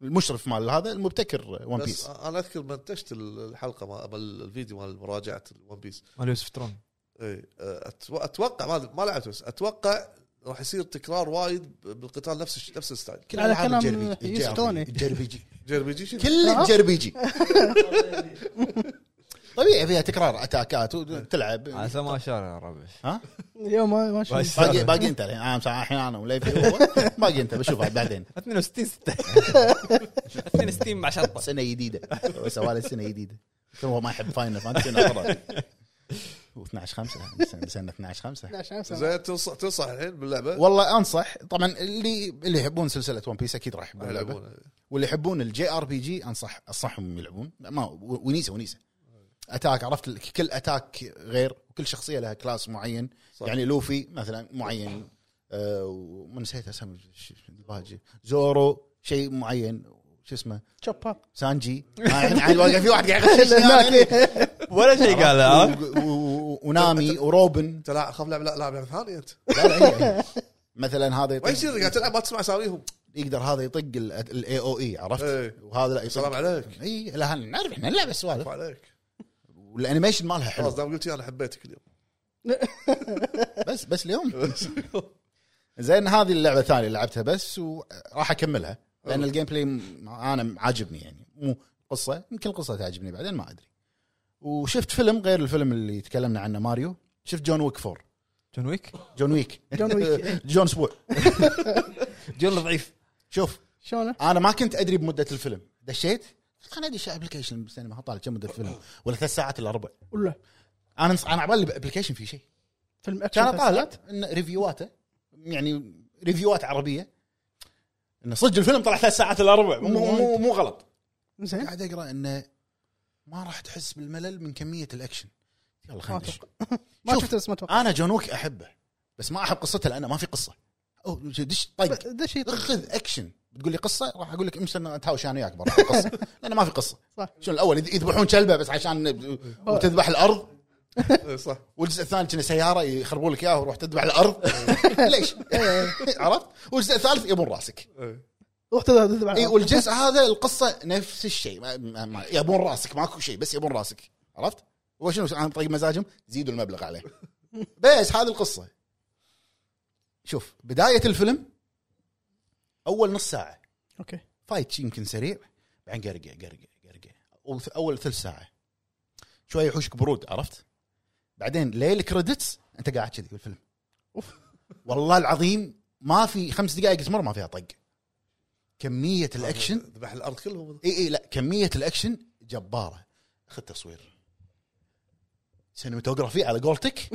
S4: المشرف مال هذا المبتكر ون
S3: بس آه،
S4: بيس
S3: انا اذكر منتجت الحلقه ما بل- الفيديو مال مراجعه ون بيس
S1: مال يوسف ترون
S3: اي اتوقع ما ما لعبت بس اتوقع راح يصير تكرار وايد بالقتال نفس الش- نفس الستايل
S4: كل
S2: على
S4: الألعاب
S2: كلام
S4: الجربيجي-
S2: يوسف
S4: الجربيجي-
S2: توني.
S4: الجربيجي
S3: جيربي جي شنو؟
S4: كل
S2: أه.
S4: الجربيجي طبيعي فيها تكرار اتاكات وتلعب
S1: عسى ما شر يا ربع
S4: ها
S2: اليوم ما ما شفت
S1: بس.
S4: باقي باقي انت الحين انا مساعد الحين انا وليفي هو باقي انت بشوفها بعدين
S1: 62 6 62 مع شطه
S4: سنه جديده هو سوالي سنه جديده كل هو ما يحب فاينل فانتسي ناطره و12 5 سنه 12 5
S3: زين تنصح تنصح الحين باللعبه
S4: والله انصح طبعا اللي اللي يحبون سلسله ون بيس اكيد راح يحبون اللعبه
S3: يلعبون
S4: واللي يحبون الجي ار بي جي انصح انصحهم يلعبون ما و- ونيسه ونيسه اتاك عرفت ال- كل اتاك غير وكل شخصيه لها كلاس معين
S3: صح.
S4: صح. يعني لوفي مثلا معين آه وما نسيت اسامي ش- ش- الباجي زورو شيء معين شو اسمه
S2: تشوبا
S4: سانجي آه، عين- عين واقع في واحد قاعد يغششني يعني.
S1: ولا شيء قال ها
S4: و- و- و- ونامي وروبن
S3: انت لا خاف لعب لا لعب ثاني انت
S4: لا، لا، هي- هي. مثلا هذا
S3: ما
S4: يطق
S3: يصير قاعد تلعب ما تسمع اساميهم
S4: يقدر هذا يطق الاي او اي E، عرفت
S3: إيه.
S4: وهذا لا يطق
S3: سلام عليك.
S4: اي لا نعرف احنا نلعب السوالف
S3: ما عليك
S4: والانيميشن مالها
S3: خلاص
S4: حلو
S3: دام قلت لي انا حبيتك اليوم
S4: بس بس اليوم زين هذه اللعبه الثانيه اللي لعبتها بس وراح اكملها لان الجيم بلاي م- انا عاجبني يعني مو قصه يمكن القصه تعجبني بعدين ما ادري وشفت فيلم غير الفيلم اللي تكلمنا عنه ماريو شفت جون ويك فور
S1: جون ويك
S4: جون ويك
S2: جون ويك.
S4: جون اسبوع
S1: جون ضعيف
S4: شوف
S2: شلونه؟
S4: انا ما كنت ادري بمده الفيلم دشيت انا ادري شو ابلكيشن بالسينما طالع كم مده الفيلم ولا ثلاث ساعات الا ربع
S2: ولا
S4: انا انا عبالي بابلكيشن في شيء
S2: فيلم اكشن
S4: كان طالع ان ريفيواته يعني ريفيوات عربيه انه صدق الفيلم طلع ثلاث ساعات الا ربع مو مو مو غلط
S2: زين
S4: قاعد اقرا انه ما راح تحس بالملل من كميه الاكشن يلا
S2: ما
S4: خلينا ندش.
S2: اتوقع ما
S4: شوف.
S2: شفته بس ما اتوقع
S4: انا جون ويك احبه بس ما احب قصته لانه ما في قصه او دش طق
S2: ده شيء طبيعي.
S4: خذ اكشن بتقول لي قصه راح اقول لك امشي أنا اتهاوش انا وياك برا قصه لانه ما في قصه
S2: صح.
S4: شنو الاول يذ- يذبحون كلبه بس عشان وتذبح الارض
S3: إيه، صح
S4: والجزء الثاني كنا سياره يخربون لك اياها وروح تدبح الارض ليش؟ عرفت؟ والجزء الثالث يبون راسك
S3: إيه.
S2: رحت تذبح
S4: اي والجزء هذا القصه نفس الشيء ما ما ما يبون راسك ماكو شيء بس يبون راسك عرفت؟ هو شنو عن طريق مزاجهم زيدوا المبلغ عليه بس هذه القصه شوف بدايه الفيلم اول نص ساعه
S2: اوكي
S4: فايت شي يمكن سريع بعدين قرقع قرقع قرقع أول- اول ثلث ساعه شوي يحوشك برود عرفت؟ بعدين ليل كريدتس انت قاعد كذي بالفيلم اوف والله العظيم ما في خمس دقائق تمر ما فيها طق كميه الاكشن
S3: ذبح الارض كلهم
S4: اي اي إيه، لا كميه الاكشن جباره خذ تصوير سينماتوجرافي على قولتك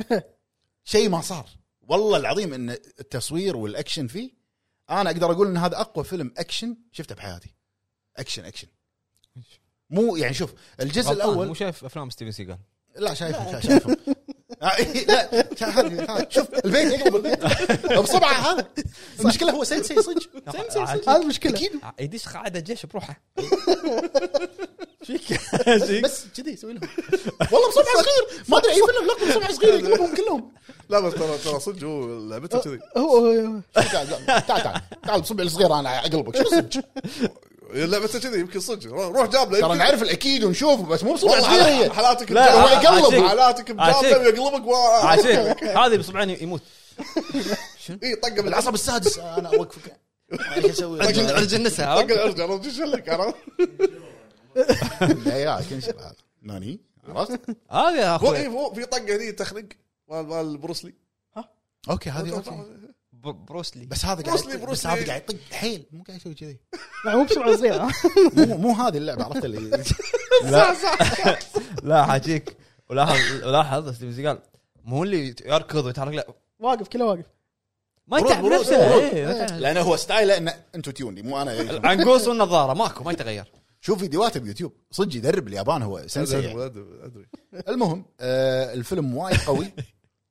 S4: شيء ما صار والله العظيم ان التصوير والاكشن فيه انا اقدر اقول ان هذا اقوى فيلم اكشن شفته بحياتي اكشن اكشن مو يعني شوف الجزء
S1: غلطان،
S4: الاول
S1: مو شايف افلام ستيفن سيجال
S4: لا شايفهم شا- شايفهم آه، إيه، لا شا- هذه- هذه، شوف البيت يقلب البيت بصبعه هذا المشكله هو سينسي صدق سينسي صدق.
S2: هذه المشكله
S4: اكيد
S1: يدش قاعده جيش بروحه
S4: بس كذي يسوي لهم والله بصبعه صغير ما ادري اي فيلم لقطه بصبعه صغير يقلبهم كلهم
S3: لا بس ترى ترى صدق هو لعبته كذي
S2: هو هو-
S4: تعال لا، تعال تعال تعال بصبعي الصغير انا اقلبك شو صدق
S3: لعبته كذي يمكن صدق روح جاب له
S4: ترى
S3: يمكن-
S4: نعرف الاكيد ونشوف بس مو بصبع
S3: والله
S4: صغير هي
S3: حلا- حالاتك
S1: لا،
S3: بجابه
S4: لا،
S3: يقلب
S1: عشيك.
S3: حالاتك
S1: عشيك.
S3: بجابه يقلبك و-
S1: عشان هذه بصبعين يموت
S3: اي طقه بالعصب
S4: العصب السادس انا اوقفك ايش اسوي؟
S5: رجل رجل نسها
S3: طقه العرج عرفت ايش لك عرفت؟
S4: لا يا كل شيء هذا. ناني عرفت؟
S1: هذا يا
S3: مو إيه،
S1: اخوي
S3: مو في طقه
S1: طيب.
S3: هني تخنق مال مال بروسلي
S4: اوكي هذه اوكي
S1: ب- بروسلي
S4: بس هذا
S3: بروسلي،
S4: قاعد بس
S3: بروسلي.
S4: هذا قاعد يطق حيل مو قاعد يسوي كذي
S2: مع مو بسرعه صغيره
S4: مو مو هذه اللعبه عرفت اللي
S1: لا حاجيك ولاحظ ولاحظ ستيفن سيجال مو اللي يركض ويتحرك لا
S2: واقف كله واقف
S1: ما يتعب
S3: برود،
S1: نفسه
S3: برود.
S1: إيه، ما يتعب.
S4: لانه هو ستايله انه انتو تيوني مو انا
S1: العنقوس والنظاره ماكو ما يتغير
S4: شوف فيديوهاته بيوتيوب صدق يدرب اليابان هو سنسي يعني.
S3: ادري
S4: المهم آه الفيلم وايد قوي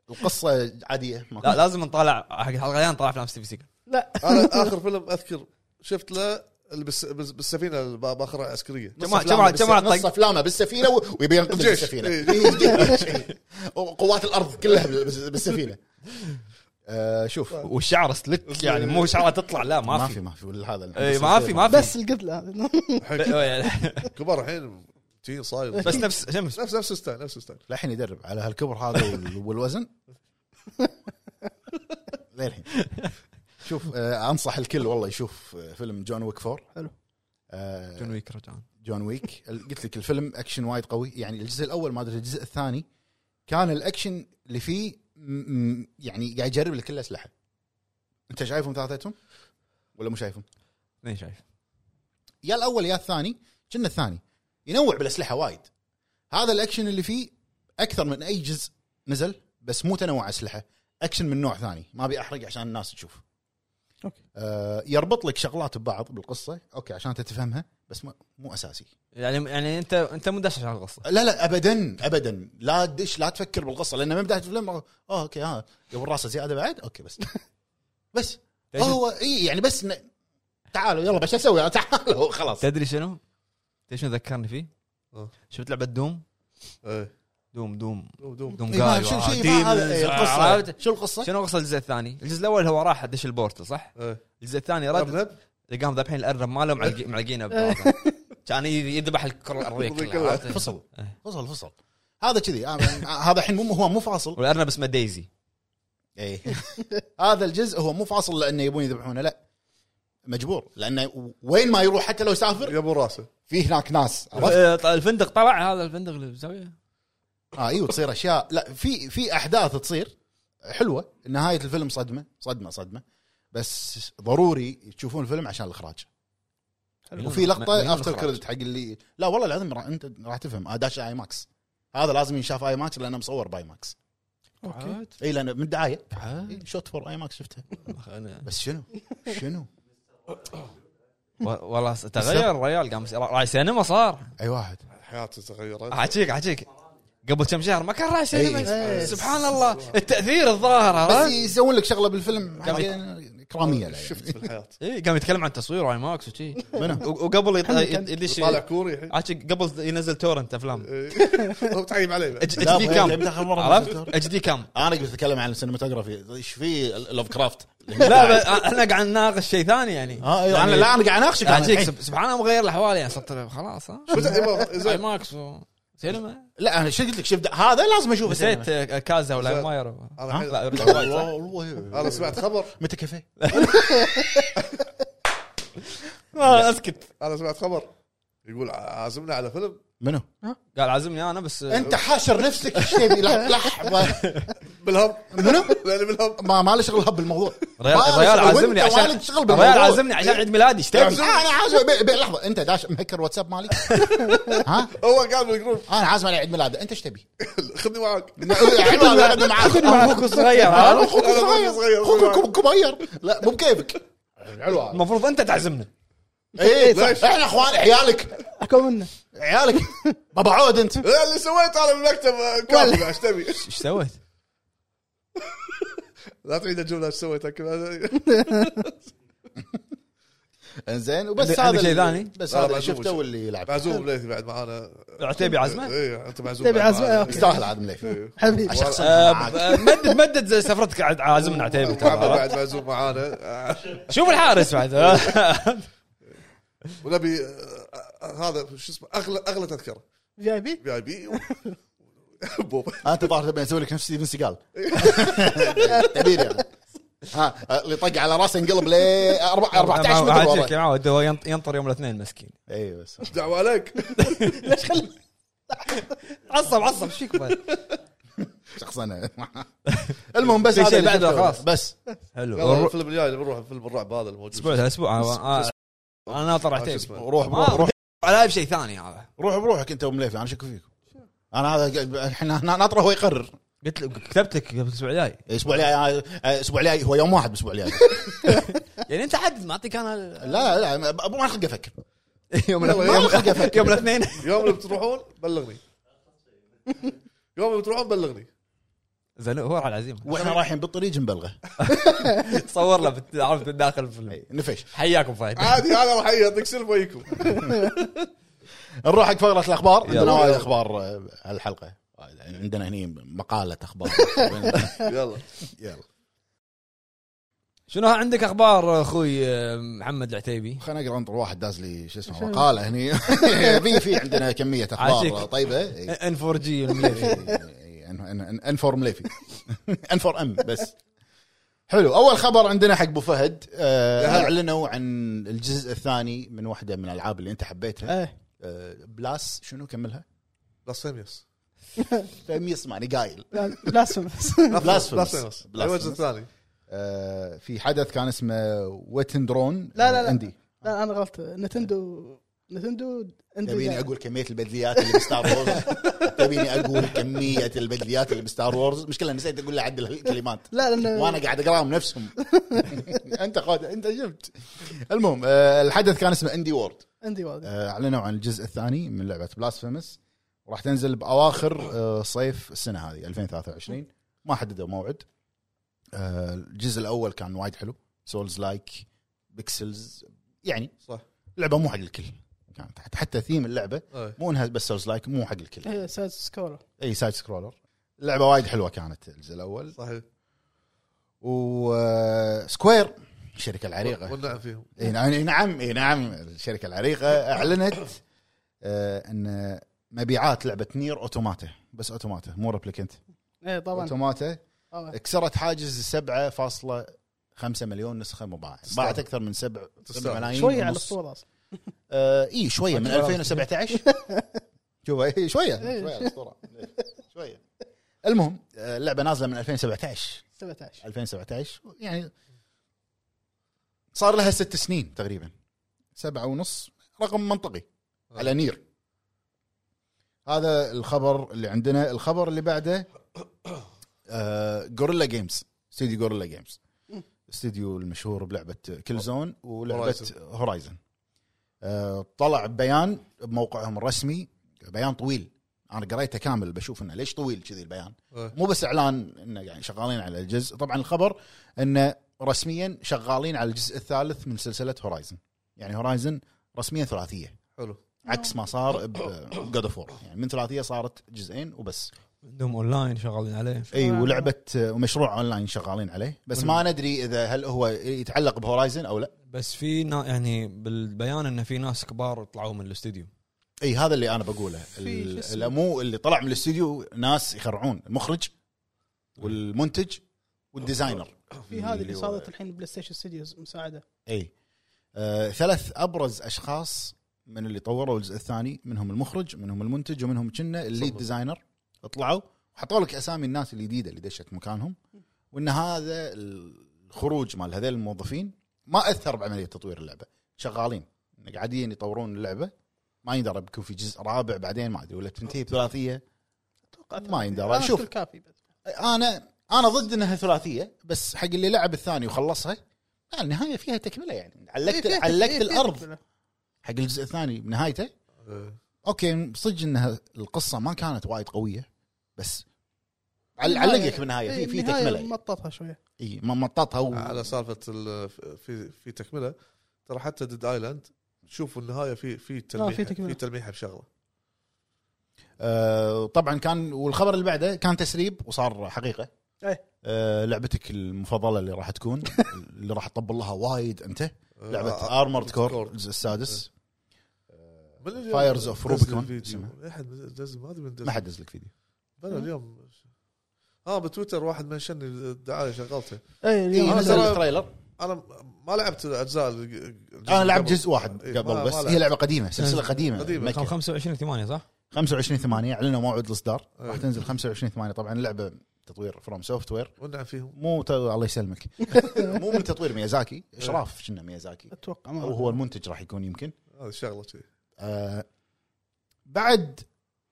S4: القصه عاديه ما
S1: لا لازم نطالع حق الحلقه الجايه نطالع افلام ستيفن سيجال
S2: لا
S3: انا اخر فيلم اذكر شفت له البس- بس- بالسفينه اللي با- باخرها عسكريه
S4: نص
S1: كم واحد- كم
S4: أفلامه
S1: واحد-
S4: بالس-
S1: كم واحد
S4: نص
S1: طق؟
S4: افلامه بالسفينه و- ويبي ينقذ
S3: الجيش.
S4: السفينه
S3: إيه.
S4: وقوات الارض كلها بال- بس- بالسفينه آه شوف
S1: والشعر سلك يعني مو شعره تطلع لا طيب. ما في
S4: ما في ولا هذا
S1: إيه، ما في ما في
S2: بس القتله هذه
S3: الحين كبار الحين تي صاير
S1: بس نفس شمس
S3: نفس نفس الستايل نفس الستايل
S4: للحين يدرب على هالكبر هذا وال- والوزن للحين شوف آه انصح الكل والله يشوف آه، فيلم جون ويك 4
S2: حلو.
S4: آه
S1: جون ويك رجعان
S4: جون ويك ال- قلت لك الفيلم اكشن وايد قوي يعني الجزء الاول ما ادري الجزء الثاني كان الاكشن اللي فيه م- م- يعني قاعد يجرب لك كل الاسلحه انت شايفهم ثلاثتهم ولا مو شايفهم
S1: مين شايف
S4: يا الاول يا الثاني كنا الثاني ينوع بالاسلحه وايد هذا الاكشن اللي فيه اكثر من اي جزء نزل بس مو تنوع اسلحه اكشن من نوع ثاني ما ابي احرق عشان الناس تشوف
S2: أوكي.
S4: آه يربط لك شغلات ببعض بالقصه اوكي عشان انت تفهمها بس ما- مو اساسي
S1: يعني يعني انت انت مو داش عشان القصه
S4: لا لا ابدا ابدا لا تدش لا تفكر بالقصه لان من بدايه الفيلم اه اوكي ها قبل راسه زياده بعد اوكي بس بس هو اي يعني بس إنه- تعالوا يلا بس شو اسوي تعالوا خلاص
S1: تدري شنو؟ تدري شنو ذكرني فيه؟
S3: آه.
S1: شفت لعبه دوم؟
S3: إيه.
S1: دوم دوم
S3: دوم دوم
S1: دوم
S4: إيه، ما-
S1: جاي
S4: شو
S1: وآه،
S4: شو ما هذا، إيه،
S1: ديمونز،
S4: القصه
S1: آه، عرفت؟
S4: شو القصه؟
S1: شنو قصه الجزء الثاني؟ الجزء الاول هو راح دش البورتل صح؟
S3: إيه.
S1: الجزء الثاني رد
S3: أبنب.
S1: قام ذابحين الارنب ماله
S4: إيه.
S1: معلق- معلقينه ببعضه. كان ي- يذبح الكره الارضيه
S3: الأرضية
S1: كلها عرفت؟
S4: فصل
S1: إيه.
S4: فصل فصل هذا كذي آه، هذا الحين مو هو مو فاصل
S1: والارنب اسمه دايزي
S4: إيه. هذا الجزء هو مو فاصل لانه يبون يذبحونه لا مجبور لانه وين ما يروح حتى لو يسافر
S3: يبون راسه
S4: في هناك ناس عرفت؟
S1: آه، الفندق طلع هذا الفندق اللي بالزاويه
S4: اه ايوه تصير اشياء لا في في احداث تصير حلوه نهايه الفيلم صدمه صدمه صدمه بس ضروري تشوفون الفيلم عشان الاخراج وفي لقطه افتر كريدت حق اللي لا والله العظيم راح انت راح تفهم آه، داش اي ماكس هذا لازم ينشاف اي ماكس لانه مصور باي ماكس
S2: اوكي
S4: اي لانه من دعايه
S1: تعال.
S4: إي، شوت فور اي ماكس شفتها بس شنو شنو
S1: و- والله س- تغير الريال قام س- راعي سينما صار
S4: اي واحد
S3: حياته تغيرت
S1: عجيك عجيك قبل كم شهر ما كان راعي سينما
S4: إيه.
S1: سبحان الله التاثير الظاهر
S4: بس
S1: عرفت؟
S4: يسوون لك شغله بالفيلم
S1: كم-
S4: بعدين اكراميه له
S3: شفت في الحياه
S1: اي إيه، قام يتكلم عن تصوير اي ماكس وشي
S4: يعني. منو؟
S1: وقبل يط-
S2: حلو كان.
S1: يدش
S3: طالع كوري الحين
S1: عاد شي- قبل ينزل تورنت افلام
S3: إيه. هو متعيب عليه بعد.
S1: اتش
S4: لا،
S1: دي
S4: أبغى
S1: كام
S4: يبدأ آخر مرة
S1: عرفت
S4: بالدور.
S1: اتش دي كام
S4: انا قلت اتكلم عن السينماتوجرافي ايش في لوف كرافت
S1: لا بس احنا قاعد نناقش شيء ثاني يعني
S4: اه يعني انا لا انا قاعد اناقشك أنا
S1: أجيك
S4: الحين.
S1: سب- سبحان الله مغير الاحوال يعني صرت خلاص ها
S3: شو تعيبه؟
S1: اي
S3: إيه، زين
S1: ماكس و- سينما
S4: لا انا شو قلت لك شوف هذا لازم اشوفه
S1: نسيت
S4: سينما.
S1: آه، كازا ولا
S3: زين.
S1: مايرو
S3: أنا
S1: ها؟
S3: الحين-
S1: لا رجع وايد، صح؟
S4: والله والله.
S3: انا سمعت خبر
S4: متى كافيه؟
S1: آه، اسكت
S3: انا سمعت خبر يقول عازمنا على فيلم
S4: منو؟
S1: قال عازمني انا بس آه،
S4: انت حاشر نفسك ايش تبي لح- لحظه
S3: بالهب
S4: منو؟
S3: يعني بالهب
S4: ما ما له شغل بالموضوع
S1: ريال
S4: ما له
S1: ريال
S4: شغل.
S1: عازمني
S4: وأنت
S1: عشان
S4: والد شغل بالموضوع.
S1: ريال عازمني عشان عيد ميلادي ايش
S4: آه،
S1: تبي؟
S4: انا عازم بي- بي- لحظه انت داش مهكر واتساب مالي ها
S3: هو قال بالجروب
S4: انا عازم على عيد ميلاده انت ايش تبي؟
S3: خذني معاك
S4: عيد معاك
S1: اخوك الصغير ها؟
S4: اخوك
S3: أنا
S4: صغير.
S3: صغير.
S4: أخوك كب- كبير لا مو بكيفك حلو هذا.
S1: المفروض انت تعزمنا
S4: ايه
S3: ليش؟
S4: صح. احنا اخوان عيالك
S2: اكون منه
S4: عيالك بابا عود انت
S3: إيه اللي سويته انا بالمكتب آه، كامل ايش تبي؟
S1: ايش سويت؟
S3: لا تعيد الجمله ايش سويت أكمل.
S4: انزين وبس
S1: عندك-
S4: هذا
S1: عندك شيء
S4: اللي-
S1: ثاني؟
S4: بس
S3: لا،
S4: هذا اللي
S3: بعزوم
S4: شفته
S3: وش-
S4: واللي لعب
S3: معزوم بليثي بعد معانا
S1: عتيبي عازمه؟
S3: ايه انت معزوم
S2: تبي
S3: بعد
S2: عازمة؟
S3: معانا.
S4: يستاهل عاد مليفي
S3: إيه.
S2: حبيبي
S4: عشان
S1: آه،
S4: معاك.
S1: ب- مدد مدد زي سفرتك عاد عازمنا عتيبي
S3: وكعبة
S1: ترى.
S3: بعد معزوم معانا آه،
S1: شوف الحارس بعد
S3: ونبي آه، آه، هذا شو اسمه اغلى اغلى تذكره
S2: في اي بي
S3: في اي بي بوب
S4: انت الظاهر تبي اسوي لك نفس ستيفن سيجال كبير يعني ها اللي طق على راسه انقلب ل 14 متر
S1: عاجلك يا
S4: ورا
S1: معود هو ينط- ينطر يوم الاثنين مسكين
S4: اي بس
S3: دعوه عليك
S2: ليش خلي
S1: عصب عصب ايش فيك بعد؟
S4: شخصنا المهم بس
S1: في شيء
S4: هذا اللي
S1: بعد
S4: شفته.
S1: خلاص.
S4: بس
S3: يلا
S1: حلو
S3: الفيلم الجاي اللي بنروح فيلم الرعب هذا الموجود
S1: اسبوع الاسبوع انا آه، أنا- انا ناطر
S3: آه، شو
S1: عتيبي
S3: اسمه؟
S4: روح بروح روح
S1: على شيء ثاني هذا
S4: روح بروحك انت ومليفي انا شكو فيك انا هذا الحين ناطره هو يقرر
S1: قلت له كتبت لك قبل الاسبوع الجاي
S4: الاسبوع الجاي الاسبوع الجاي هو يوم واحد بالاسبوع الجاي
S1: يعني انت حدد معطيك انا ال-
S4: لا لا ابو ما خلق افكر
S1: يوم
S3: يلا،
S1: الاثنين-
S3: يلا،
S4: خلق افكر
S1: يوم الاثنين
S3: يوم اللي بتروحون بلغني يوم اللي بتروحون بلغني
S1: زين هو على العزيمه
S4: واحنا رايحين بالطريق نبلغه
S1: صور له بت- عرفت داخل الفيلم
S4: نفش
S1: حياكم فهد
S3: عادي هذا راح يعطيك سلم ويكم
S4: نروح حق فقره الاخبار عندنا
S1: يلا.
S4: وايد اخبار آه، هالحلقه عندنا هني مقاله اخبار
S3: يلا
S4: يلا
S1: شنو عندك اخبار اخوي محمد العتيبي؟
S4: خلينا اقرا انطر واحد داز لي شو اسمه
S2: شنو؟
S4: مقاله هني في في عندنا كميه اخبار
S1: عاشق.
S4: طيبه إي.
S1: ان 4 جي
S4: إي، إن- إن- ان فور مليفي ان فور ام بس حلو اول خبر عندنا حق ابو فهد آه،
S3: يا هلا.
S4: اعلنوا عن الجزء الثاني من واحده من الالعاب اللي انت حبيتها
S2: ايه
S4: آه، بلاس شنو كملها؟
S3: بلاسفيميوس
S4: فميس ماني قايل
S2: بلاسفيمس
S4: Blasphemous.
S3: بلاسفيميوس
S4: Blasphemous.
S3: الوجه الثاني
S4: آه، في حدث كان اسمه ويتندرون
S2: لا، لا، لا.
S4: اندي
S2: لا انا غلطت نتندو نتندو عندي
S4: تبيني
S2: جاي.
S4: اقول كميه البدليات اللي بستار وورز تبيني اقول كميه البدليات اللي بستار وورز مشكله نسيت اقول له عدل الكلمات
S2: لا لان
S4: وانا قاعد اقراهم نفسهم انت خد انت شفت المهم آه، الحدث كان اسمه اندي وورد
S2: عندي والد
S4: آه، اعلنوا عن الجزء الثاني من لعبه بلاسفيمس وراح تنزل باواخر آه، صيف السنه هذه 2023 ما حددوا موعد آه، الجزء الاول كان وايد حلو سولز لايك بيكسلز يعني
S3: صح.
S4: لعبه مو حق الكل كانت حتى- حتى ثيم اللعبه
S3: إيه.
S4: مو انها بس سولز لايك مو حق الكل
S2: إيه، سايد سكولا
S4: اي سايد سكرولر اللعبه وايد حلوه كانت الجزء الاول
S3: صحيح
S4: آه، وسكوير الشركه العريقه
S3: والنعم فيهم
S4: اي نعم إي نعم اي نعم الشركه العريقه اعلنت آه ان مبيعات لعبه نير اوتوماتا بس اوتوماتا مو ريبليكنت
S2: ايه طبعا
S4: اوتوماتا
S2: طبعاً.
S4: كسرت حاجز 7.5 مليون نسخه مباعه
S3: تستاهل.
S4: باعت اكثر من 7
S3: تستاهل.
S4: ملايين
S2: شويه على
S4: ونص.
S2: الصوره اصلا
S4: آه اي شويه من
S1: أكثر.
S4: 2017 شوف إي، شويه شويه إيه، على الصوره شويه المهم آه، اللعبه نازله من 2017
S2: 17
S4: 2017 يعني صار لها ست سنين تقريبا سبعة ونص رقم منطقي على نير هذا الخبر اللي عندنا الخبر اللي بعده آه، غوريلا جيمز استوديو غوريلا جيمز استوديو المشهور بلعبة كل زون ولعبة
S3: Horizon.
S4: هورايزن طلع بيان بموقعهم الرسمي بيان طويل انا قريته كامل بشوف انه ليش طويل كذي البيان
S3: إيه.
S4: مو بس اعلان انه يعني شغالين على الجزء طبعا الخبر انه رسميا شغالين على الجزء الثالث من سلسله هورايزن يعني هورايزن رسميا ثلاثيه
S3: حلو
S4: عكس ما صار بجود اوف وور يعني من ثلاثيه صارت جزئين وبس
S1: عندهم اونلاين شغالين عليه
S4: اي ولعبه ومشروع اونلاين شغالين عليه بس ما ندري اذا هل هو يتعلق بهورايزن او لا
S1: بس في نا يعني بالبيان انه في ناس كبار طلعوا من الاستوديو
S4: اي هذا اللي انا بقوله
S2: في شو اسمه؟
S4: ال- مو اللي طلع من الاستوديو ناس يخرعون المخرج والمنتج والديزاينر
S2: في هذه اللي
S4: هو-
S2: صارت الحين بلاي ستيشن ستوديوز مساعده
S4: اي آه ثلاث ابرز اشخاص من اللي طوروا الجزء الثاني منهم المخرج منهم المنتج ومنهم كنا الليد
S3: تفضل.
S4: ديزاينر طلعوا وحطوا لك اسامي الناس الجديده اللي دشت مكانهم وان هذا الخروج مال هذيل الموظفين ما اثر بعمليه تطوير اللعبه شغالين إن قاعدين يطورون اللعبه ما يندرى بيكون في جزء رابع بعدين ما ادري ولا تنتهي بثلاثيه
S2: اتوقع
S4: ما يندرى.
S2: آه،
S4: شوف.
S2: كل كافي
S4: انا انا ضد انها ثلاثيه بس حق اللي لعب الثاني وخلصها لا النهايه فيها تكمله يعني علقت
S2: إيه، فيها- إيه،
S4: علقت
S2: فيها
S4: الارض
S2: تكملة.
S4: حق الجزء الثاني بنهايته
S3: إيه.
S4: اوكي صدق انها القصه ما كانت وايد قويه بس عل-
S2: النهاية-
S4: علقك بالنهايه أيوة، في في
S2: إيه، النهاية
S4: تكمله
S2: مططها شويه
S4: اي ما مططها و...
S3: إيه، على سالفه ال- في في تكمله ترى حتى ديد ايلاند شوفوا النهايه في في تلميح
S2: آه، في
S3: في,
S2: تكملة.
S3: تلميحه بشغله
S4: آه طبعا كان والخبر اللي بعده كان تسريب وصار حقيقه
S2: إيه.
S4: آه لعبتك المفضله اللي راح تكون اللي راح تطبل لها وايد انت لعبه
S3: آه،
S4: ارمورد كور
S3: Core.
S4: الجزء السادس
S3: من اليوم
S4: Fires of
S3: نزل
S4: Rubicon
S3: الفيديو.
S4: اسمه.
S3: احد دز ما ادري من دز
S4: ما حد دز لك فيديو
S3: بلا اليوم اه بتويتر واحد منشني الدعايه شغلته
S2: اي اليوم
S4: إيه،
S3: أنا
S4: نزل
S3: ترى-
S4: التريلر
S3: انا ما لعبت الاجزاء الج- الجزء
S4: انا لعبت
S3: قبل.
S4: جزء واحد
S3: إيه، ما-
S4: قبل بس
S3: ما
S4: هي
S3: لعبت. آه،
S4: لعبه قديمه سلسله قديمه
S3: قديمة.
S4: مكة.
S1: كان 25 8 صح؟
S4: 25 8 اعلنوا موعد الاصدار
S3: إيه.
S4: راح تنزل 25 8 طبعا اللعبه تطوير فروم سوفت وير
S3: ونعم فيهم
S4: مو ت... الله يسلمك مو من تطوير ميازاكي اشراف كنا ميازاكي
S2: اتوقع ما
S4: او هو المنتج راح يكون يمكن
S3: هذه شغله كذي
S4: آه بعد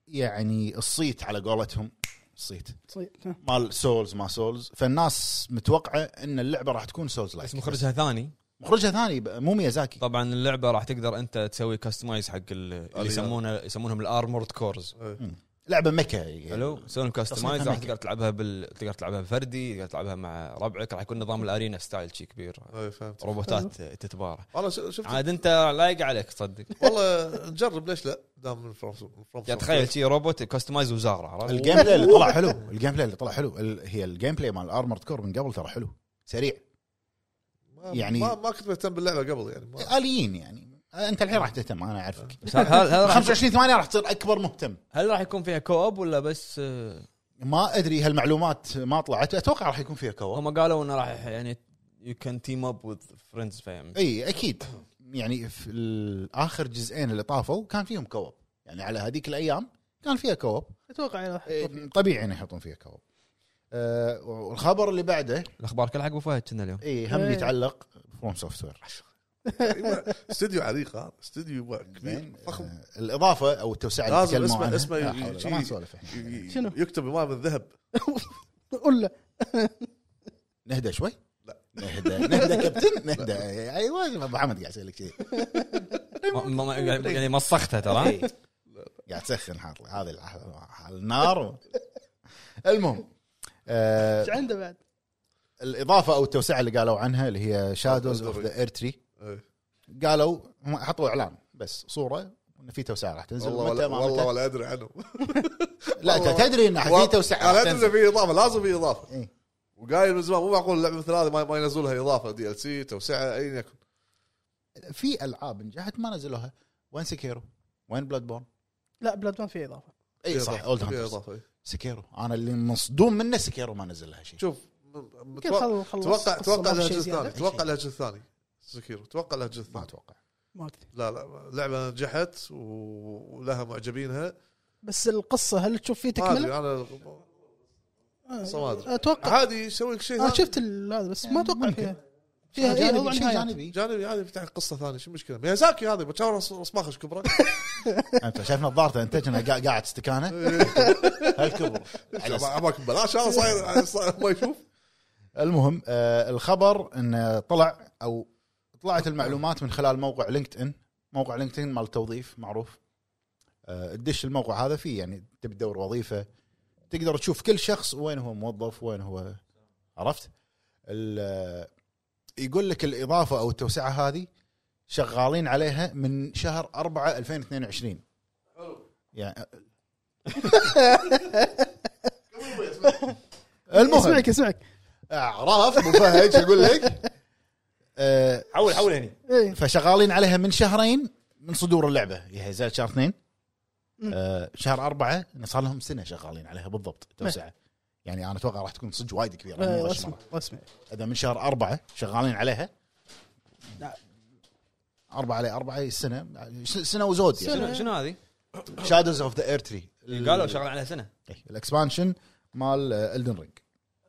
S4: يعني الصيت على قولتهم الصيت
S2: صي- ها.
S4: مال سولز ما سولز فالناس متوقعه ان اللعبه راح تكون سولز لايك
S1: بس مخرجها ثاني
S4: مخرجها ثاني ب- مو ميازاكي
S1: طبعا اللعبه راح تقدر انت تسوي كاستمايز حق ال- اللي يسمونه يسمونهم الارمورد كورز
S3: إيه،
S4: لعبه ميكا يعني.
S1: حلو تسوي كاستمايز
S4: تصنيفها
S1: راح
S4: ميكا.
S1: تقدر تلعبها بال تقدر تلعبها فردي تقدر تلعبها مع ربعك راح يكون نظام الارينا ستايل شي كبير
S3: اي إيه، فهمت
S1: روبوتات تتبارى
S3: انا ش- شفت
S1: عاد انت لايق عليك تصدق
S3: والله نجرب ليش لا دام من فروم فروم
S1: يعني تخيل شي روبوت كاستمايز وزاره عرفت؟
S4: الجيم بلاي اللي طلع حلو الجيم بلاي اللي طلع حلو ال... هي الجيم بلاي مال الارمورد كور من قبل ترى حلو سريع
S3: ما-
S4: يعني-
S3: ما, ما كنت مهتم باللعبه قبل يعني ما
S4: اليين يعني انت الحين راح تهتم انا اعرفك
S1: بس هل- هل هل راح-
S4: 25 8 راح تصير اكبر مهتم
S1: هل راح يكون فيها كوب ولا بس آه،
S4: ما ادري هالمعلومات ما طلعت اتوقع راح يكون فيها كواب
S1: هم قالوا انه راح يعني يو كان تيم اب وذ فريندز فاهم
S4: اي اكيد يعني في ال- اخر جزئين اللي طافوا كان فيهم كواب يعني على هذيك الايام كان فيها كواب
S2: اتوقع يعني راح
S4: إيه،
S2: يحطوا فيه.
S4: طبيعي انه يحطون فيها كواب أه والخبر اللي بعده
S1: الاخبار كلها حق ابو فهد كنا اليوم
S4: اي هم
S2: إيه.
S4: يتعلق فروم سوفت وير
S3: إيه، استوديو عريق هذا استوديو كبير فخم
S4: الاضافه او التوسعه اللي
S3: لازم
S4: تكلموا
S3: اسمه-
S4: عنها
S3: اسمه
S4: لا
S3: يجي-
S4: حول ولا قوة، ما نسولف احنا
S3: ي- ي-
S2: شنو؟
S3: يكتب بماء من ذهب
S2: قول له
S4: نهدى شوي
S3: لا.
S4: نهدى نهدى كابتن نهدى ايوه ابو حمد قاعد يسالك كذي
S1: إيه، ما- إيه. ما- ما- يعني مسختها ترى
S4: قاعد تسخن حاط لي هذه الح- على النار و... المهم آه
S2: ايش عنده بعد؟
S4: الاضافه او التوسعه اللي قالوا عنها اللي هي شادوز اوف ذا ايرتري
S3: إيه.
S4: قالوا هم حطوا اعلان بس صوره انه في توسعه راح تنزل
S3: والله
S4: متى
S3: ولا
S4: ما متى.
S3: والله ولا ادري عنه
S4: لا انت
S3: والله-
S4: تدري انه في
S3: والله-
S4: توسعه
S3: انا
S4: راح
S3: ادري
S4: تنزل
S3: إنه في اضافه لازم في اضافه
S4: إيه.
S3: وقايل من زمان مو معقول اللعبه مثل هذه ما, ما ينزلوا لها اضافه دي ال سي توسعه ايا يكن
S4: في العاب نجحت ما نزلوها وين سكيرو؟ وين بلاد بورن؟
S2: لا بلاد ما في اضافه
S4: اي
S3: في
S4: إيه، صح
S3: إضافة،
S4: اولد
S3: في
S4: هانترز
S3: اضافه إيه.
S4: سكيرو انا اللي مصدوم منه سكيرو ما نزل لها شيء
S3: شوف م-
S2: كيف
S3: متوقع
S2: خلص
S3: توقع توقع لها جزء ثاني
S2: ثاني
S3: توقع لها جزء ثاني سكيرو توقع لها جزء
S4: ما
S3: ثاني
S4: اتوقع
S2: ما أدري.
S3: لا لا لعبه نجحت و- ولها معجبينها
S2: بس القصه هل تشوف فيه
S3: ما
S2: تكمله؟
S3: ادري انا
S2: آه،
S3: صماد.
S2: اتوقع
S3: عادي يسوي لك شيء
S2: انا
S3: ثاني
S2: شفت ال- هذا بس ما اتوقع
S4: ممكن.
S2: فيها فيها
S4: شيء
S2: إيه، وضع
S4: جانبي شيء
S2: نهاية.
S4: جانبي
S3: جانبي عادي يفتح لك قصه ثانيه شو المشكله ميازاكي هذا بتشاور اصباخش كبرى
S4: انت شايف نظارته انت كنا قا- قاعد استكانه
S3: إيه،
S4: هالكبر على س-
S3: عماك ببلاش هذا صاير صاير يعني ما يشوف
S4: المهم آه الخبر انه طلع او طلعت المعلومات من خلال موقع لينكد ان موقع لينكد ان مال توظيف معروف آه تدش الموقع هذا فيه يعني تبي تدور وظيفه تقدر تشوف كل شخص وين هو موظف وين هو عرفت ال- آه، يقول لك الاضافه او التوسعه هذه شغالين عليها من شهر 4 2022 يعني المهم
S2: اسمعك اسمعك
S4: عرفت ابو فهد شو اقول لك آه،
S1: حول حول يعني. هني
S2: ايه
S4: فشغالين عليها من شهرين من صدور اللعبه هي زاد شهر اثنين آه شهر أربعة يعني صار لهم سنه شغالين عليها بالضبط توسعه يعني انا اتوقع راح تكون صدق وايد كبيره مو
S2: إيه،
S4: غش
S2: اسمع
S4: مرة.
S2: اسمع
S4: اذا من شهر أربعة شغالين عليها
S2: لا.
S4: أربعة على أربعة هي السنة س- سنة وزود يعني
S1: شنو شنو هذه؟
S4: شادوز اوف ذا اير تري
S1: إيه، قالوا شغال عليها سنه
S4: الاكسبانشن إيه، مال آه، الدن رينج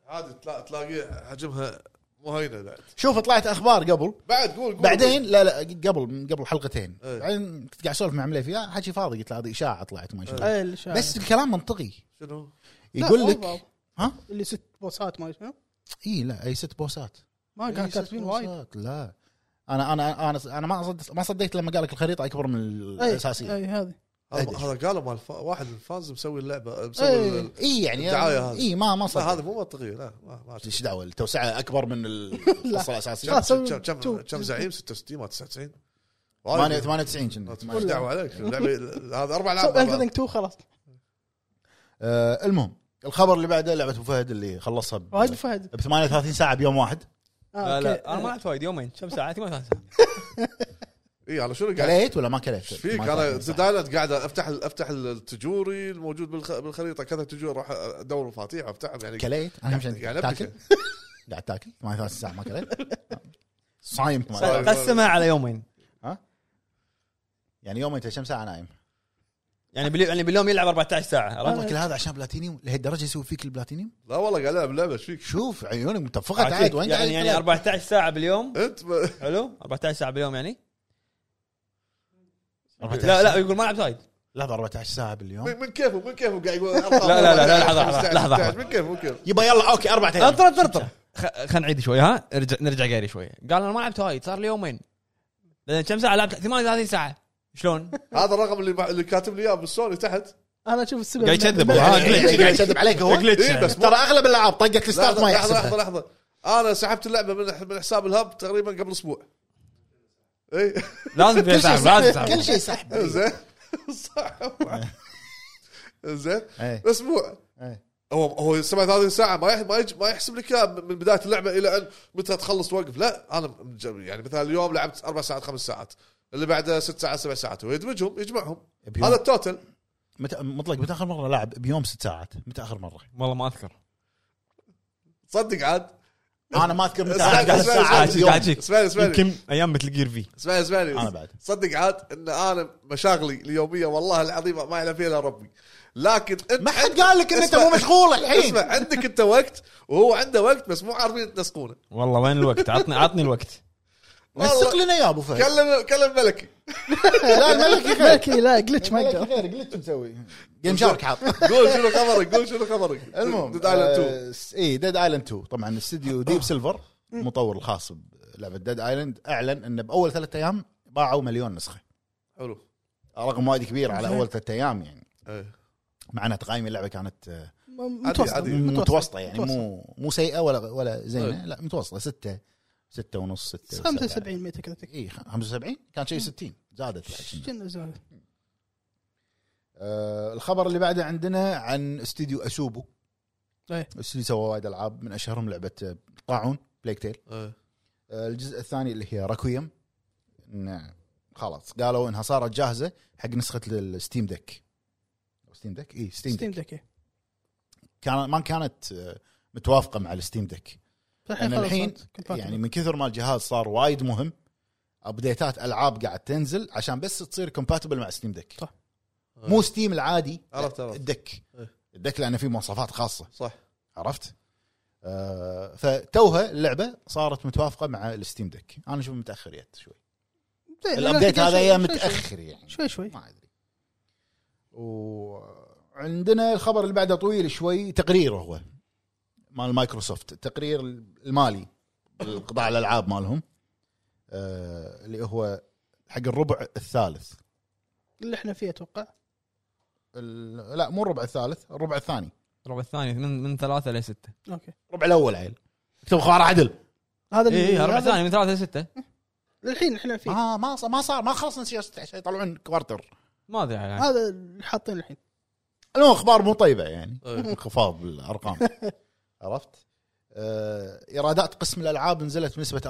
S3: عادي تلا- تلاقي حجمها مو هينه بعد
S4: شوف طلعت اخبار قبل
S3: بعد قول قول
S4: بعدين لا لا قبل من قبل حلقتين
S3: إيه.
S4: بعدين كنت قاعد اسولف مع عملي فيها حكي فاضي قلت له هذه اشاعه طلعت ما شنو
S2: ايه اللي شاف.
S4: بس الكلام منطقي
S3: شنو؟
S2: لا،
S4: يقول
S2: أوفر.
S4: لك ها
S2: اللي ست بوسات ما شنو
S4: اي إيه، لا اي ست بوسات
S2: ما
S4: إي
S2: كان
S4: إيه، ست
S2: كاتبين وايد
S4: بوسات، لا انا انا انا انا ما صدقت ما صدقت لما قال لك الخريطه اكبر من
S2: اي
S4: الاساسيه
S2: اي إيه، هذه
S3: هذا
S4: أدري.
S3: هذا قالوا مال الف- واحد من الفانز مسوي اللعبه
S2: إيه.
S3: مسوي ال-
S4: اي يعني
S3: الدعاية هذه.
S4: اي ما ما
S3: لا
S4: صدقت
S3: هذا مو منطقي لا ما ما
S4: ايش دعوه التوسعه اكبر من القصه الاساسيه
S2: لا.
S3: كم كم
S2: شو-
S3: كم كم زعيم 66 ما 99
S4: ثمانية- 98 كنا
S3: ايش دعوه عليك اللعبة- هذا اربع
S2: سو
S3: العاب مع بعض.
S2: انفذنج 2 خلاص
S4: آه، المهم الخبر اللي بعده لعبه ابو فهد اللي خلصها ب
S2: وايد فهد
S4: ب 38 ساعه بيوم واحد
S1: لا
S2: آه، أوكي.
S1: لا انا ما لعبت وايد يومين كم ساعات ما ساعات
S3: اي انا شنو قاعد
S4: كليت ولا ما كليت؟
S3: ايش فيك
S4: 38
S3: انا
S4: ساعة.
S3: دايلت قاعد افتح افتح التجوري الموجود بالخ- بالخريطه كذا تجور اروح ادور مفاتيح افتحهم يعني
S4: كليت انا مشان
S3: يعني
S4: تاكل
S3: أبكي.
S4: قاعد تاكل 38 ساعه ما كليت صايم
S3: صايم.
S4: ما-
S1: قسمها على يومين
S4: يعني يوم انت كم ساعه نايم؟
S1: يعني باليوم يعني باليوم يلعب 14 ساعه عرفت؟
S4: والله كل هذا عشان بلاتينيوم لهالدرجه يسوي فيك البلاتينيوم؟
S3: لا والله قاعد العب لعبه ايش فيك؟
S4: شوف عيوني متفقه عاد وين قاعد
S1: يعني يعني 14 ساعه باليوم
S3: انت ب...
S1: حلو 14 ساعه باليوم يعني
S4: 14
S1: لا لا يقول ما لعبت وايد
S4: لحظه 14 ساعه باليوم
S3: من من كيفه من كيفه قاعد يقول
S1: لا، لا، لا، لحظة، لحظة، لحظة، لحظة.
S3: من كيفه من كيفه
S4: يبا يلا اوكي اربع ايام
S1: انطر انطر انطر خلينا نعيد شوي ها ارجع نرجع قاري شوي قال انا ما لعبت وايد صار لي يومين بعدين كم ساعه لعبت 38 ساعه شلون؟
S3: هذا الرقم اللي اللي كاتب لي اياه بالسوني تحت
S2: انا اشوف السبب
S1: قاعد يكذب هو.
S2: لا،
S1: ها، glitch.
S4: قاعد يكذب عليك هو
S1: glitch
S3: إيه،
S1: يعني.
S3: بس مو-
S4: ترى اغلب الالعاب طقت الستارت ما
S3: لحظه لحظه
S4: يحسبها
S3: لحظه انا سحبت اللعبه من من حساب الهب تقريبا قبل اسبوع اي
S1: لازم فيها سحب لازم سحب
S4: كل شيء سحب
S2: إيه.
S3: زين صح زين
S4: إيه.
S3: اسبوع
S4: إيه.
S3: هو هو 37 ساعه ما يح- ما يج- ما يحسب لك إياها من بدايه اللعبه الى ان متى تخلص توقف لا انا مج- يعني مثلا اليوم لعبت اربع ساعات خمس ساعات اللي بعده ست ساعات سبع ساعات هو يدمجهم يجمعهم
S4: بيوم.
S3: هذا التوتل
S4: متى مطلق متى اخر مره لعب بيوم ست ساعات متى اخر مره
S1: والله ما اذكر
S3: تصدق عاد
S4: انا ما اذكر متى
S3: قاعد-
S4: عدد
S3: قاعد-
S4: الساعات
S3: قاعد-
S4: اليوم.
S1: قاعد- قاعد-
S3: اسمعني اسمعني
S1: يمكن ايام مثل جير في
S3: اسمعني اسمعني
S4: أنا بعد.
S3: صدق عاد ان انا مشاغلي اليوميه والله العظيمه ما يعلم فيها الا ربي لكن انت
S4: ما حد قال لك ان انت
S3: اسمع.
S4: مو مشغول الحين
S3: اسمع عندك انت وقت وهو عنده وقت بس مو عارفين تنسقونه
S1: والله وين الوقت عطني عطني الوقت
S4: نسق لنا يا ابو فهد
S3: كلم كلم ملكي
S4: لا الملكي غير
S2: ملكي لا جلتش ما
S4: الملكي
S2: اقدر
S4: غير جلتش مسوي جيم شارك حاط
S3: قول شنو خبرك قول شنو خبرك
S4: المهم آه، إيه،
S3: ديد ايلاند 2
S4: اي ديد ايلاند 2 طبعا استديو ديب سيلفر المطور الخاص بلعبه ديد ايلاند اعلن انه باول ثلاث ايام باعوا مليون نسخه
S3: حلو
S4: رقم وايد كبير على اول ثلاث ايام يعني
S3: إيه.
S4: مع ان تقايم اللعبه كانت آه،
S2: م-
S3: عادي.
S2: متوسطه
S4: متوسطه يعني
S2: متوسطة.
S4: مو مو سيئه ولا ولا زينه لا متوسطه سته سته ونص إيه، سته
S2: 75 ميتا كريتك
S4: اي 75 كان شيء 60 زادت بعد شنو.
S2: شنو زاوية؟
S4: آه، الخبر اللي بعده عندنا عن استديو اسوبو
S2: إيه.
S4: استديو سوى وايد العاب من اشهرهم لعبه آه، طاعون بليك تيل
S3: إيه.
S4: آه، الجزء الثاني اللي هي راكويم خلاص قالوا انها صارت جاهزه حق نسخه الستيم ديك ستيم ديك اي ستيم ديك
S2: ستيم دك
S4: كان ما كانت آه، متوافقه مع الستيم ديك أنا الحين يعني من كثر ما الجهاز صار وايد مهم ابديتات العاب قاعد تنزل عشان بس تصير كومباتبل مع ستيم ديك
S2: صح.
S4: مو ستيم العادي
S3: عرفت عرفت
S4: الدك
S3: إيه.
S4: الدك لانه فيه مواصفات خاصه
S3: صح
S4: عرفت؟ آه فتوها اللعبه صارت متوافقه مع الستيم دك انا اشوف متاخر يت شوي
S3: إيه،
S4: الابديت هذا يا متاخر يعني
S2: شوي شوي
S4: ما ادري وعندنا الخبر اللي بعده طويل شوي تقرير هو مال مايكروسوفت التقرير المالي لقطاع الالعاب مالهم آه اللي هو حق الربع الثالث
S2: اللي احنا فيه اتوقع
S4: ال- لا مو الربع الثالث الربع الثاني
S1: الربع الثاني من من ثلاثه لسته
S2: اوكي
S4: الربع الاول عيل اكتب خوار عدل
S2: هذا اللي-
S1: اي إيه، ربع
S2: هذا-
S1: ثاني من ثلاثه لسته
S2: للحين احنا فيه
S4: ما ما ص- ما صار ما خلصنا شيء عشان يطلعون كوارتر
S1: ما ادري يعني
S2: هذا اللي حاطين الحين
S4: المهم اخبار مو طيبه يعني
S3: إيه.
S4: انخفاض بالارقام عرفت؟ آه، ايرادات قسم الالعاب نزلت بنسبه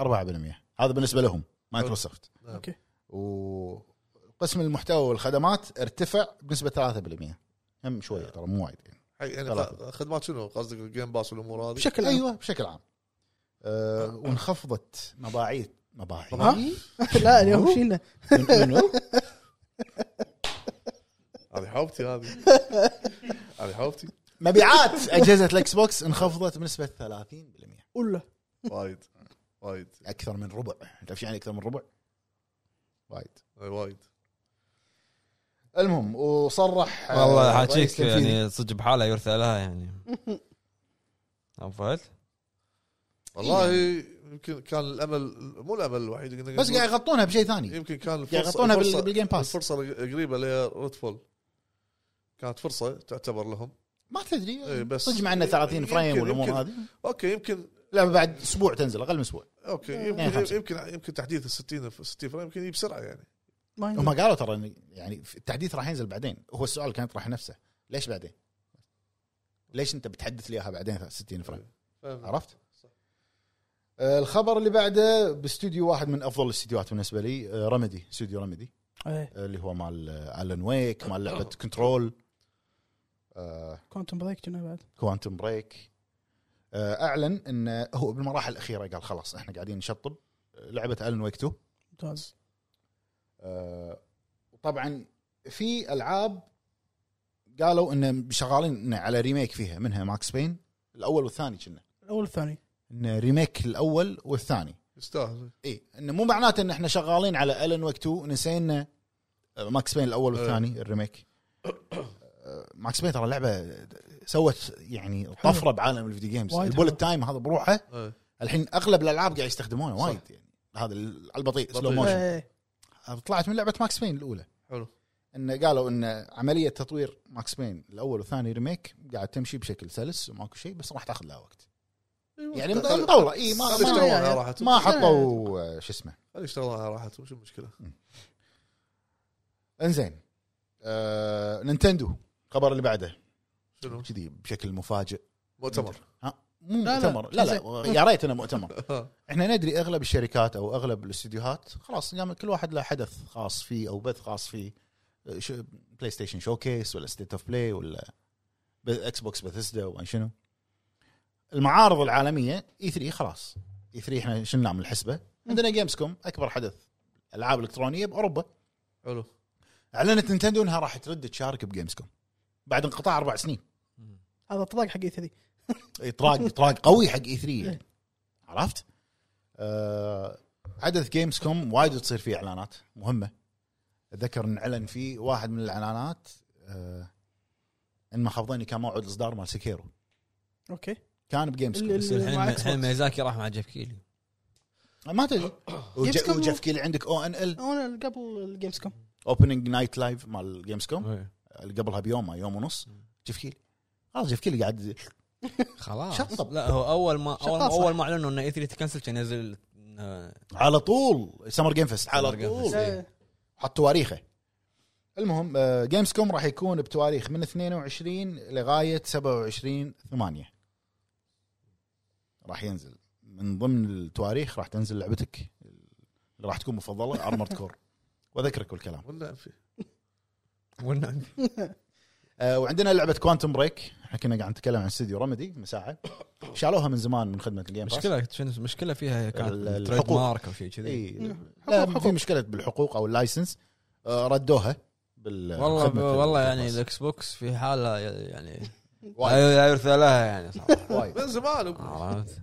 S4: 4% هذا بالنسبه لهم مايكروسوفت
S3: نعم.
S2: أوكي.
S4: وقسم المحتوى والخدمات ارتفع بنسبه 3% هم شويه ترى مو وايد يعني.
S3: يعني
S4: ثلاثة.
S3: خدمات شنو قصدك الجيم باس والامور هذه
S2: بشكل عام
S4: ايوه بشكل عام آه، وانخفضت مباعيث
S2: ها؟
S4: مباعيث
S2: لا اليوم شيلنا
S4: من- منو؟
S3: هذه حوبتي هذه هذه حوبتي
S4: مبيعات اجهزه الاكس بوكس انخفضت بنسبه 30%
S2: ولا
S3: وايد وايد
S4: اكثر من ربع تعرف شو يعني اكثر من ربع وايد
S3: إيه، وايد
S4: المهم وصرح آه،
S1: والله
S4: رئيس
S1: حاجيك
S4: تنفيذي-
S1: يعني صدق بحاله يرثى لها يعني عرفت؟
S3: والله يمكن كان الامل مو الامل الوحيد يمكن-
S4: إيه. بس قاعد يغطونها بشيء ثاني
S3: يمكن كان الفرصه
S4: يغطونها بال-
S3: الفرصة-
S4: بالجيم باس.
S3: الفرصه قريبه لريدفول كانت فرصه تعتبر لهم
S4: ما تدري
S3: إيه، بس-
S4: صدق مع انه 30 فريم
S3: يمكن-
S4: والامور
S3: يمكن.
S4: هذه
S3: اوكي يمكن
S4: لا بعد اسبوع تنزل اقل من اسبوع
S3: اوكي
S4: اثنين
S3: يمكن
S4: إيه، خمسة.
S3: يمكن يمكن تحديث ال 60 ف- 60 فريم يمكن يجي بسرعه يعني
S2: ما
S4: هم
S2: يندري.
S4: قالوا ترى إن- يعني في- التحديث راح ينزل بعدين هو السؤال كان يطرح نفسه ليش بعدين؟ ليش انت بتحدث لي اياها بعدين 60 فريم؟ عرفت؟
S3: صح.
S4: آه، الخبر اللي بعده باستوديو واحد من افضل الاستديوهات بالنسبه لي آه، رمدي استوديو رمدي
S2: ايه
S4: اللي هو مال الن ويك مال آه، لعبه كنترول
S2: كونتم بريك كنا بعد
S4: كوانتم بريك اعلن انه آه، هو بالمراحل الاخيره قال خلاص احنا قاعدين نشطب لعبه الن ويك 2
S2: ممتاز
S4: آه، وطبعا في العاب قالوا انه شغالين إنه على ريميك فيها منها ماكس بين الاول والثاني كنا
S2: الاول الثاني
S4: انه ريميك الاول والثاني
S3: يستاهل
S4: اي انه إيه، مو معناته ان احنا شغالين على الن ويك 2 نسينا آه، ماكس بين الاول
S3: إيه.
S4: والثاني الريميك آه، ماكس بين ترى لعبه سوت يعني طفره بعالم الفيديو جيمز
S2: وايد
S4: البولت
S2: حلوة.
S4: تايم هذا بروحه
S3: إيه.
S4: الحين اغلب الالعاب قاعد يستخدمونه
S3: صح.
S4: وايد يعني هذا ال- على البطيء سلو
S3: بطيء.
S4: موشن
S2: ايه
S4: طلعت من لعبه ماكس بين الاولى
S3: حلو
S4: انه قالوا ان عمليه تطوير ماكس بين الاول والثاني ريميك قاعد تمشي بشكل سلس وماكو شيء بس راح تاخذ لها وقت يعني مطوله اي ما
S3: خلي
S4: ما,
S3: يشتغلون على راحتهم
S4: ما حطوا آه، شو اسمه
S3: خلي يشتغلون على راحتهم شو المشكله
S4: انزين آه، نينتندو الخبر اللي بعده
S3: شنو
S4: كذي بشكل مفاجئ
S3: مؤتمر
S4: ها مو
S2: لا،
S4: مؤتمر لا
S2: لا،
S4: لا,
S2: زين.
S4: يا ريت انه مؤتمر
S3: آه،
S4: احنا ندري اغلب الشركات او اغلب الاستديوهات خلاص قام كل واحد له حدث خاص فيه او بث خاص فيه آه، شو- بلاي ستيشن شوكيس ولا ستيت اوف بلاي ولا ب- اكس بوكس بثسدا وما شنو المعارض العالميه اي 3 خلاص اي 3 احنا شلناه من الحسبه عندنا جيمز كوم اكبر حدث العاب الكترونيه باوروبا
S3: حلو
S4: اعلنت نينتندو انها راح ترد تشارك بجيمز كوم بعد انقطاع اربع سنين
S2: هذا طلاق حق اي 3
S4: اطراق اطراق قوي حق اي 3
S1: إيه.
S4: يعني. عرفت؟ آه حدث جيمز كوم وايد تصير فيه اعلانات مهمه اتذكر ان اعلن فيه واحد من الاعلانات آه ان محافظيني كان موعد الاصدار مال سكيرو
S2: اوكي
S4: كان بجيمز
S2: اللي-
S4: كوم
S1: بس
S2: مع
S1: الحين
S2: إكس بوكس.
S1: الحين ميزاكي راح مع جيف كيلي
S4: ما تدري
S2: جيمز
S4: وج-
S2: كوم-
S4: وجيف كيلي عندك او ان ال
S2: انا قبل الجيمز كوم
S4: اوبننج نايت لايف مال جيمز كوم
S1: إيه.
S4: اللي قبلها بيوم يوم ونص جيف كيلي خلاص جيف كيلي قاعد
S1: خلاص
S4: شطب.
S1: لا هو اول ما اول ما,
S2: شطاف.
S1: أول ما اعلنوا ان اي 3 تكنسل كان ينزل آه،
S4: على طول سمر جيم فيست على
S1: Summer Game
S4: طول
S1: Fest.
S2: إيه.
S4: حط تواريخه المهم جيمز كوم راح يكون بتواريخ من 22 لغايه 27 8 راح ينزل من ضمن التواريخ راح تنزل لعبتك اللي راح تكون مفضله ارمرد كور واذكرك بالكلام
S3: والنعم نعم فيه
S1: والنعم
S4: آه، وعندنا لعبه كوانتم بريك احنا كنا قاعد نتكلم عن استديو رمدي من ساعه شالوها من زمان من خدمه الجيم باس
S1: مشكله شنو مشكله فيها هي كانت
S4: ال-
S1: تريد
S4: الحقوق. إيه.
S1: مارك او شيء كذي
S4: اي لا
S2: حقوق-
S4: في مشكله بالحقوق او اللايسنس آه، ردوها بال
S1: والله
S4: خدمة ال
S1: والله
S4: Game
S1: يعني
S4: Pass.
S1: الإكس بوكس في حاله يعني
S4: وايد.
S1: لا- لا يرثى لها يعني صراحه
S4: وايد
S3: من زمان
S4: آه.
S1: عرفت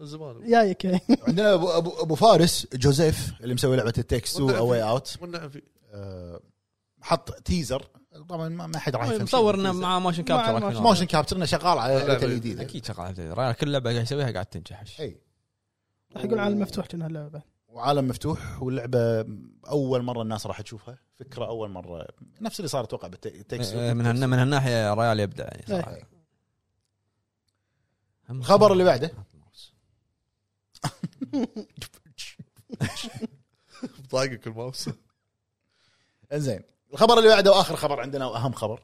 S3: من زمان
S2: جايك يعني
S4: عندنا ابو ابو ابو فارس جوزيف اللي مسوي لعبه التكس تو اواي اوت
S3: والنعم نعم فيه
S4: آه، حط تيزر طبعا ما ما حد راح يفهم
S1: مصور
S4: شيء
S1: انه
S4: بالتيزر.
S1: طيب، مع موشن
S2: مع
S1: كابتشر
S2: motion-
S1: أكيد.
S4: موشن كابتشر انه شغال على لعبه
S3: لعبة
S4: الجديده
S1: اكيد شغال تدري. كل لعبه قاعد يسويها قاعد تنجح
S4: اي
S2: راح يقول عالم مفتوح كنا اللعبه
S4: وعالم مفتوح واللعبه اول مره الناس راح تشوفها فكره اول مره نفس اللي صار اتوقع بالتكس
S1: آه، من هالنا- من هالناحيه ريال يبدع يعني
S4: إيه.
S1: صراحه
S4: الخبر اللي بعده.
S3: ضايقك الماوس
S4: انزين الخبر اللي بعده واخر خبر عندنا واهم خبر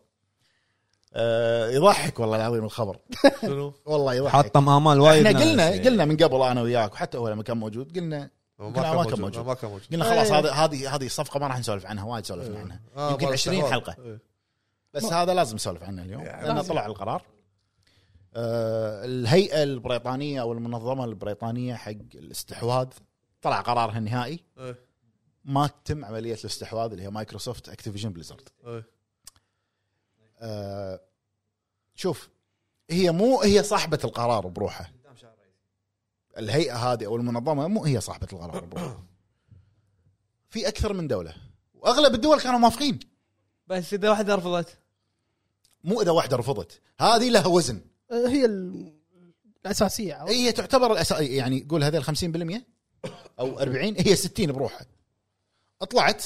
S4: آه يضحك والله العظيم الخبر
S3: شنو؟
S4: والله يضحك
S1: حطم امال وايد
S4: احنا قلنا
S1: ناس.
S4: قلنا من قبل انا وياك وحتى هو لما كان موجود قلنا
S3: ما
S4: لا، ما كان موجود.
S3: ما كان موجود
S4: قلنا خلاص
S2: إيه.
S4: هذه هذه هذه الصفقه ما راح نسولف عنها وايد سولفنا عنها
S3: آه،
S4: يمكن
S3: ما
S4: 20
S3: استحواذ.
S4: حلقة.
S3: إيه.
S4: بس هذا لازم نسولف عنه اليوم
S3: يعني
S4: لانه
S2: لازم.
S4: طلع القرار آه الهيئه البريطانيه او المنظمه البريطانيه حق الاستحواذ طلع قرارها النهائي
S3: إيه.
S4: ما تتم عمليه الاستحواذ اللي هي مايكروسوفت اكتيفيجن بليزرد
S3: إيه.
S4: آه شوف هي مو هي صاحبه القرار بروحها الهيئه هذه او المنظمه مو هي صاحبه القرار بروحها في اكثر من دوله واغلب الدول كانوا موافقين
S1: بس اذا واحده رفضت
S4: مو اذا واحده رفضت هذه لها وزن
S2: آه، هي ال- الاساسيه عرفت؟
S4: هي تعتبر الأس... يعني قول هذا 50% او 40 هي 60 بروحها طلعت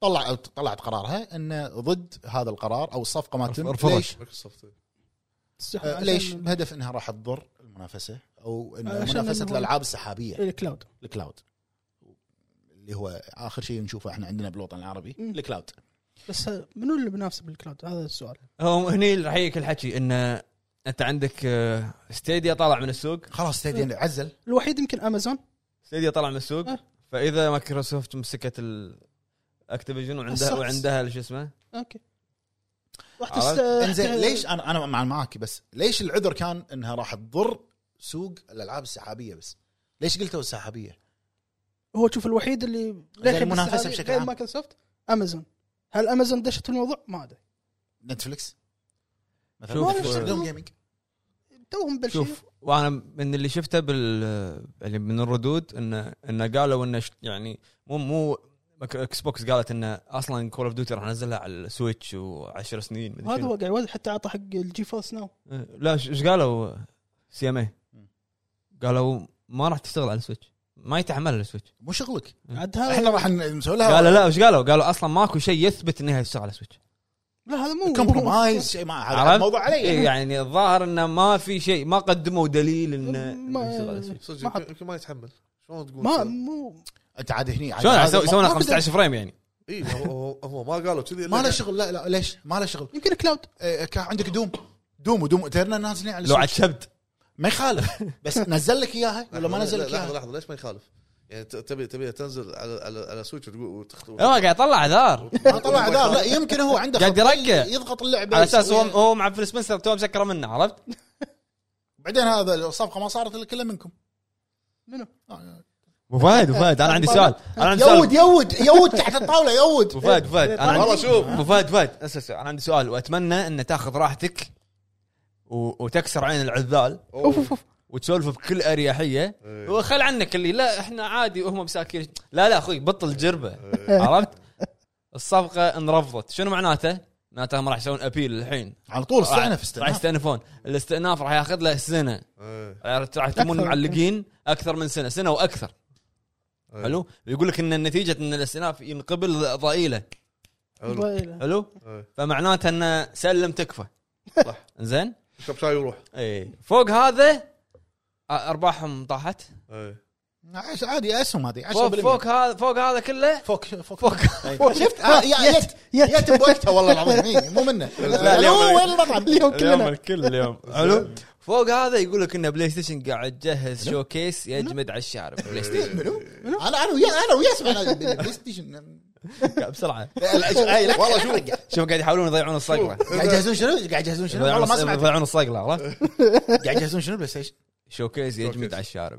S4: طلع طلعت قرارها انه ضد هذا القرار او الصفقه ما تتم
S1: رفضت.
S4: ليش؟
S3: مايكروسوفت إيه.
S2: السحب
S4: آه
S2: عشان
S4: ليش؟ بهدف انها راح تضر المنافسه او إن
S2: عشان إيه.
S4: منافسه
S2: إنه-
S4: الالعاب السحابيه
S2: الكلاود
S4: الكلاود اللي هو اخر شيء نشوفه احنا عندنا بالوطن العربي
S2: مم.
S4: الكلاود
S2: بس آه، منو اللي بينافس بالكلاود هذا السؤال
S1: هو هني راح يجيك الحكي انه انت عندك آه، ستيديا طالع من السوق
S4: خلاص ستيديا عزل
S2: الوحيد يمكن امازون
S1: ستيديا طالع من السوق
S2: أه.
S1: فاذا مايكروسوفت مسكت الاكتيفيجن وعندها
S2: الصفص.
S1: وعندها شو اسمه
S2: اوكي رحت
S1: عرفت؟
S2: است-
S4: انزين
S2: رحت-
S4: ليش انا انا مع- معاك بس ليش العذر كان انها راح تضر سوق الالعاب السحابيه بس؟ ليش قلتوا السحابيه؟
S2: هو شوف الوحيد اللي
S4: زي المنافسة
S2: بس هذه
S4: بشكل
S2: غير
S4: عام.
S2: مايكروسوفت امازون هل امازون دشت في الموضوع؟ ما ادري
S4: نتفلكس مثلا
S1: شوف،
S4: نتفلكس
S1: آه،
S4: عندهم جيمنج
S2: توهم بلشوا
S1: شوف وانا من اللي شفته بال اللي من الردود انه انه قالوا انه ش- يعني مو مو مك- اكس بوكس قالت انه اصلا كول اوف ديوتي راح ننزلها على السويتش وعشر سنين مدري
S2: هذا
S1: شنو.
S2: هو قاعد يوزع، حتى اعطى حق الجي فورس ناو
S1: إيه، لا ش- ايش قالوا سي ام اي قالوا ما راح تشتغل على السويتش ما يتحمل السويتش
S4: مو شغلك
S2: عاد هذا
S4: احنا راح نسوي لها
S1: قالوا لا ايش قالوا قالوا اصلا ماكو شيء يثبت انها تشتغل على السويتش
S2: لا هذا مو
S4: كومبرومايز شيء ما هذا
S1: عرفت؟
S4: الموضوع
S1: إيه،
S4: علي
S1: يعني الظاهر انه ما في شيء ما قدموا دليل انه
S2: ما-
S1: إنه يشتغل على السويتش
S3: صدق
S2: ما حط-
S3: يمكن- يمكن ما يتحمل شلون تقول
S2: ما
S3: كذا؟
S2: مو
S4: انت عاد هني عاد
S1: شلون
S4: هذا
S1: يسوي- يسوون
S4: ما-
S1: 15 فريم يعني
S3: اي إيه، هو- هو هو ما قالوا كذي
S4: ما له شغل لا لا ليش ما له شغل
S2: يمكن كلاود
S4: إيه، كان عندك دوم دوم ودوم ايترنال نازلين على
S1: لو
S4: السويتش.
S1: عتشبت
S4: ما يخالف بس نزل لك اياها ولا ما نزل لك
S3: لحظه
S4: اياها
S3: لحظه ليش ما يخالف؟ يعني ت- تبي تبي تنزل على على على سويتش وتقول وتخت-
S1: إيه، هو قاعد يطلع اعذار
S4: ما طلع عذاب لا يمكن هو عنده
S1: قاعد
S4: خطية
S1: يرقع.
S4: يضغط اللعبه
S1: على اساس هو
S4: يسويها.
S1: هو مع فيل سبنسر تو مسكره منه عرفت؟
S4: بعدين هذا الصفقه ما صارت الا كلها منكم آه،
S2: منو؟
S1: ابو فهد ابو فهد انا عندي سؤال انا عندي
S4: يود
S1: سؤال
S4: يود يود تحت الطاوله
S1: ابو
S4: يود
S1: فهد أبو فهد انا
S3: والله
S1: عندي-
S3: شوف
S1: ابو فهد فهد أسأل سؤال. انا عندي سؤال واتمنى ان تاخذ راحتك و... وتكسر عين العذال
S2: اوف اوف اوف
S1: وتسولف بكل اريحيه
S3: إيه.
S1: وخل عنك اللي لا احنا عادي وهم مساكين لا لا اخوي بطل جربه
S3: إيه.
S1: عرفت؟ الصفقه انرفضت شنو معناته؟ معناته هم راح يسوون ابيل الحين
S4: على طول استعنف
S1: راح
S4: استعنف
S1: يستأنفون الاستئناف راح ياخذ له سنه
S3: إيه.
S1: راح تكون
S2: أكثر.
S1: معلقين اكثر من سنه سنه واكثر
S3: إيه.
S1: حلو يقول لك ان نتيجه ان الاستئناف ينقبل ضئيله
S4: طيب.
S3: حلو
S1: حلو
S3: إيه.
S1: فمعناته انه سلم تكفى
S3: صح
S1: زين
S3: يشرب شاي ويروح
S1: اي فوق هذا أ- ارباحهم طاحت
S3: إيه.
S4: عش- عادي اسهم هذه 10%
S1: فوق فوق هذا فوق هذا كله
S4: فوق فوق
S1: فوق
S4: فوق شفت آه، يا- يت يت بوقتها والله العظيم إي، مو منه
S1: لا،
S4: لا
S1: اليوم-
S4: هو وين المطعم
S2: اليوم كلنا
S1: الكل اليوم حلو فوق هذا يقول لك ان بلاي ستيشن قاعد تجهز شوكيس يجمد على الشارع بلاي ستيشن
S4: منو؟ انا انا ويا انا ويا اسمع أنا بالبلاي ستيشن
S1: قاعد بسرعه
S4: والله شوف
S1: شوف قاعد يحاولون يضيعون الصقله
S4: قاعد يجهزون شنو؟ قاعد يجهزون شنو؟ والله ما سمعت
S1: يضيعون الصقله عرفت
S4: قاعد يجهزون شنو بلاي ستيشن؟
S1: شوكيس يجمد
S3: شوكيس.
S1: على الشارع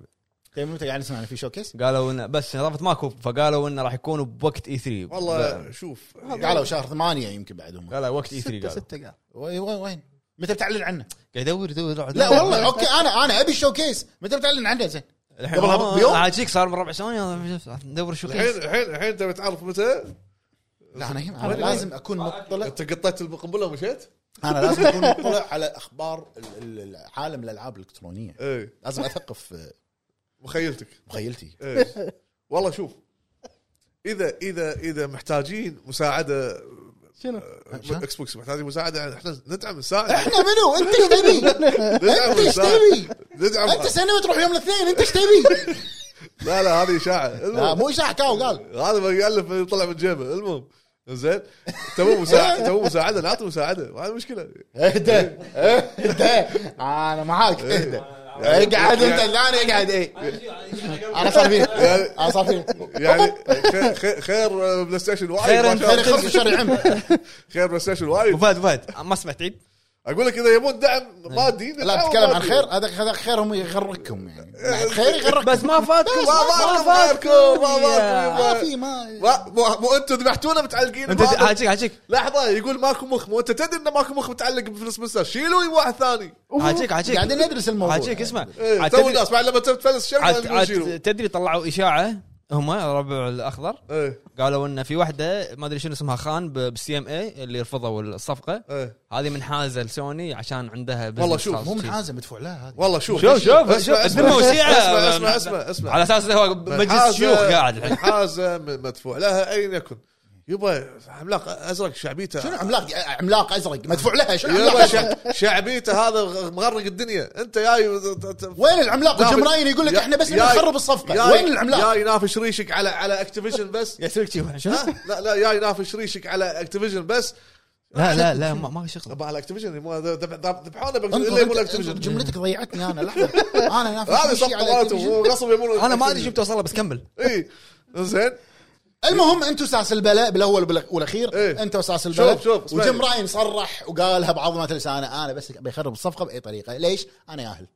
S4: طيب متى قاعد نسمع إنه في شوكيس؟
S1: قالوا انه بس رابط ماكو فقالوا انه راح يكون بوقت E اي 3
S3: والله شوف يعني
S4: قالوا شهر ثمانية يمكن بعد هم
S1: قالوا وقت اي 3
S2: ستة
S1: قالوا
S2: ستة قال
S4: وي- وين وين؟ متى بتعلن عنه؟
S1: قاعد يدور يدور يدور.
S4: لا والله اوكي انا انا ابي الشوكيس متى بتعلن عنه زين؟
S1: الحين
S4: قبلها
S1: والله
S4: بيوم؟
S1: عاجيك صار من ربع ثانيه ندور شو
S3: الحين الحين الحين تبي تعرف متى
S4: لا انا أنا لازم اكون مطلع
S3: انت قطيت القنبله ومشيت؟
S4: انا لازم اكون مطلع على اخبار ال- ال- عالم الالعاب الالكترونيه
S3: ايه
S4: لازم اثقف آه،
S3: مخيلتك
S4: مخيلتي
S3: إيه. والله شوف اذا اذا اذا محتاجين مساعده
S2: شنو؟
S4: شلون؟
S3: اكس بوكس محتاجين مساعده احنا ندعم نساعد
S4: احنا منو انت ايش تبي؟
S3: ندعم
S4: إيش
S3: نساعد
S4: تبي؟
S3: ندعم
S4: انت سنه تروح يوم الاثنين انت ايش تبي؟
S3: لا لا هذه اشاعه
S4: لا
S3: المهم.
S4: مو اشاعه كاو قال
S3: هذا ما يالف يطلع من جيبه المهم زين تبون مساعده تبون مساعده نعطي مساعده ما عندي مشكله
S4: اهدى اهدى انا معاك اهدى اقعد انت لا انا اقعد اي انا صار فيه انا صار فيه
S3: يعني خير- خير- خير بلاي ستيشن وايد
S1: خير
S3: ما
S1: أنت.
S3: شاء الله.
S4: خلص شر عم
S3: خير بلاي ستيشن وايد
S1: وفهد وفهد ما سمعت عيد
S3: اقول لك اذا يبون دعم مادي
S4: لا تتكلم عن خير هذا هذا خيرهم يغركم يعني خير يغركم
S1: بس ما فاتكم
S3: ما فاتكم، ما فاتكم، ما فاتكم.
S2: آه،
S4: ما في ما
S3: ما- مو- مو انتم ذبحتونا متعلقين
S1: انت
S3: بهذا.
S1: هاجيك هاجيك
S3: لحظه يقول ماكو مخ مو انت تدري ان ماكو مخ متعلق بفلوس مستر شيلوا واحد ثاني
S1: هاجيك هاجيك
S4: قاعدين ندرس الموضوع
S1: هاجيك اسمع
S3: إيه،
S1: عاد
S3: تو
S1: تدري-
S3: الناس بعد لما تفلس
S1: عاد-
S3: الشركه
S1: عاد
S3: شيلوا
S1: تدري طلعوا اشاعه هم ربع الاخضر
S3: ايه
S1: قالوا ان في واحده ما ادري شنو اسمها خان بالسي ام اي اللي رفضوا الصفقه
S3: ايه
S1: هذه منحازه لسوني عشان عندها business
S3: والله شوف،
S1: خاص
S4: مو
S1: فيه.
S4: منحازه مدفوع لها هذه
S3: والله شوف
S1: شوف شوف
S3: اسمع-
S1: شوف
S3: إيه، اسمع-
S1: الذمه وسيعه
S3: اسمع اسمع اسمع اسمع
S1: على اساس هو مجلس
S3: منحازة-
S1: شيوخ قاعد الحين
S3: منحازه م- مدفوع لها ايا يكن يبا عملاق ازرق شعبيته
S4: شنو عملاق عملاق ازرق مدفوع لها شنو عملاق
S3: يبا
S4: أزرق؟
S3: شع- شعبيته هذا غ- مغرق الدنيا انت جاي ت- ت-
S4: وين العملاق
S3: نافش-
S4: والجمراين يقول لك
S3: يا-
S4: احنا بس
S3: يا-
S4: نخرب الصفقه
S3: جاي-
S4: وين العملاق
S3: جاي ينافش ريشك على على اكتيفيشن بس
S1: يسلك شيء شنو؟
S2: آه،
S3: ها؟ لا لا جاي ينافش ريشك على اكتيفيجن بس
S1: لا لا لا ما ما في شغل
S3: ابا على اكتيفيجن مو- ذب- ذب- ذبحونا بأكت-
S4: انظر
S3: الا يبون
S4: انت- انظر
S3: اكتيفيجن
S4: جملتك ضيعتني انا لحظه انا نافش
S3: هذه
S4: كل شيء
S3: صفقه
S4: على
S3: مالتهم
S4: Activision.
S3: هو غصب يبون
S1: انا ما ادري شو بتوصل له بس كمل
S3: اي زين
S4: المهم انتم ساس البلاء بالاول وبالأخ- والاخير
S3: إيه.
S4: انتم ساس البلاء
S3: شوف- شوف، اسمعني.
S4: وجيم راين صرح وقالها بعظمه لسانه انا بس بيخرب الصفقه باي طريقه ليش؟ انا ياهل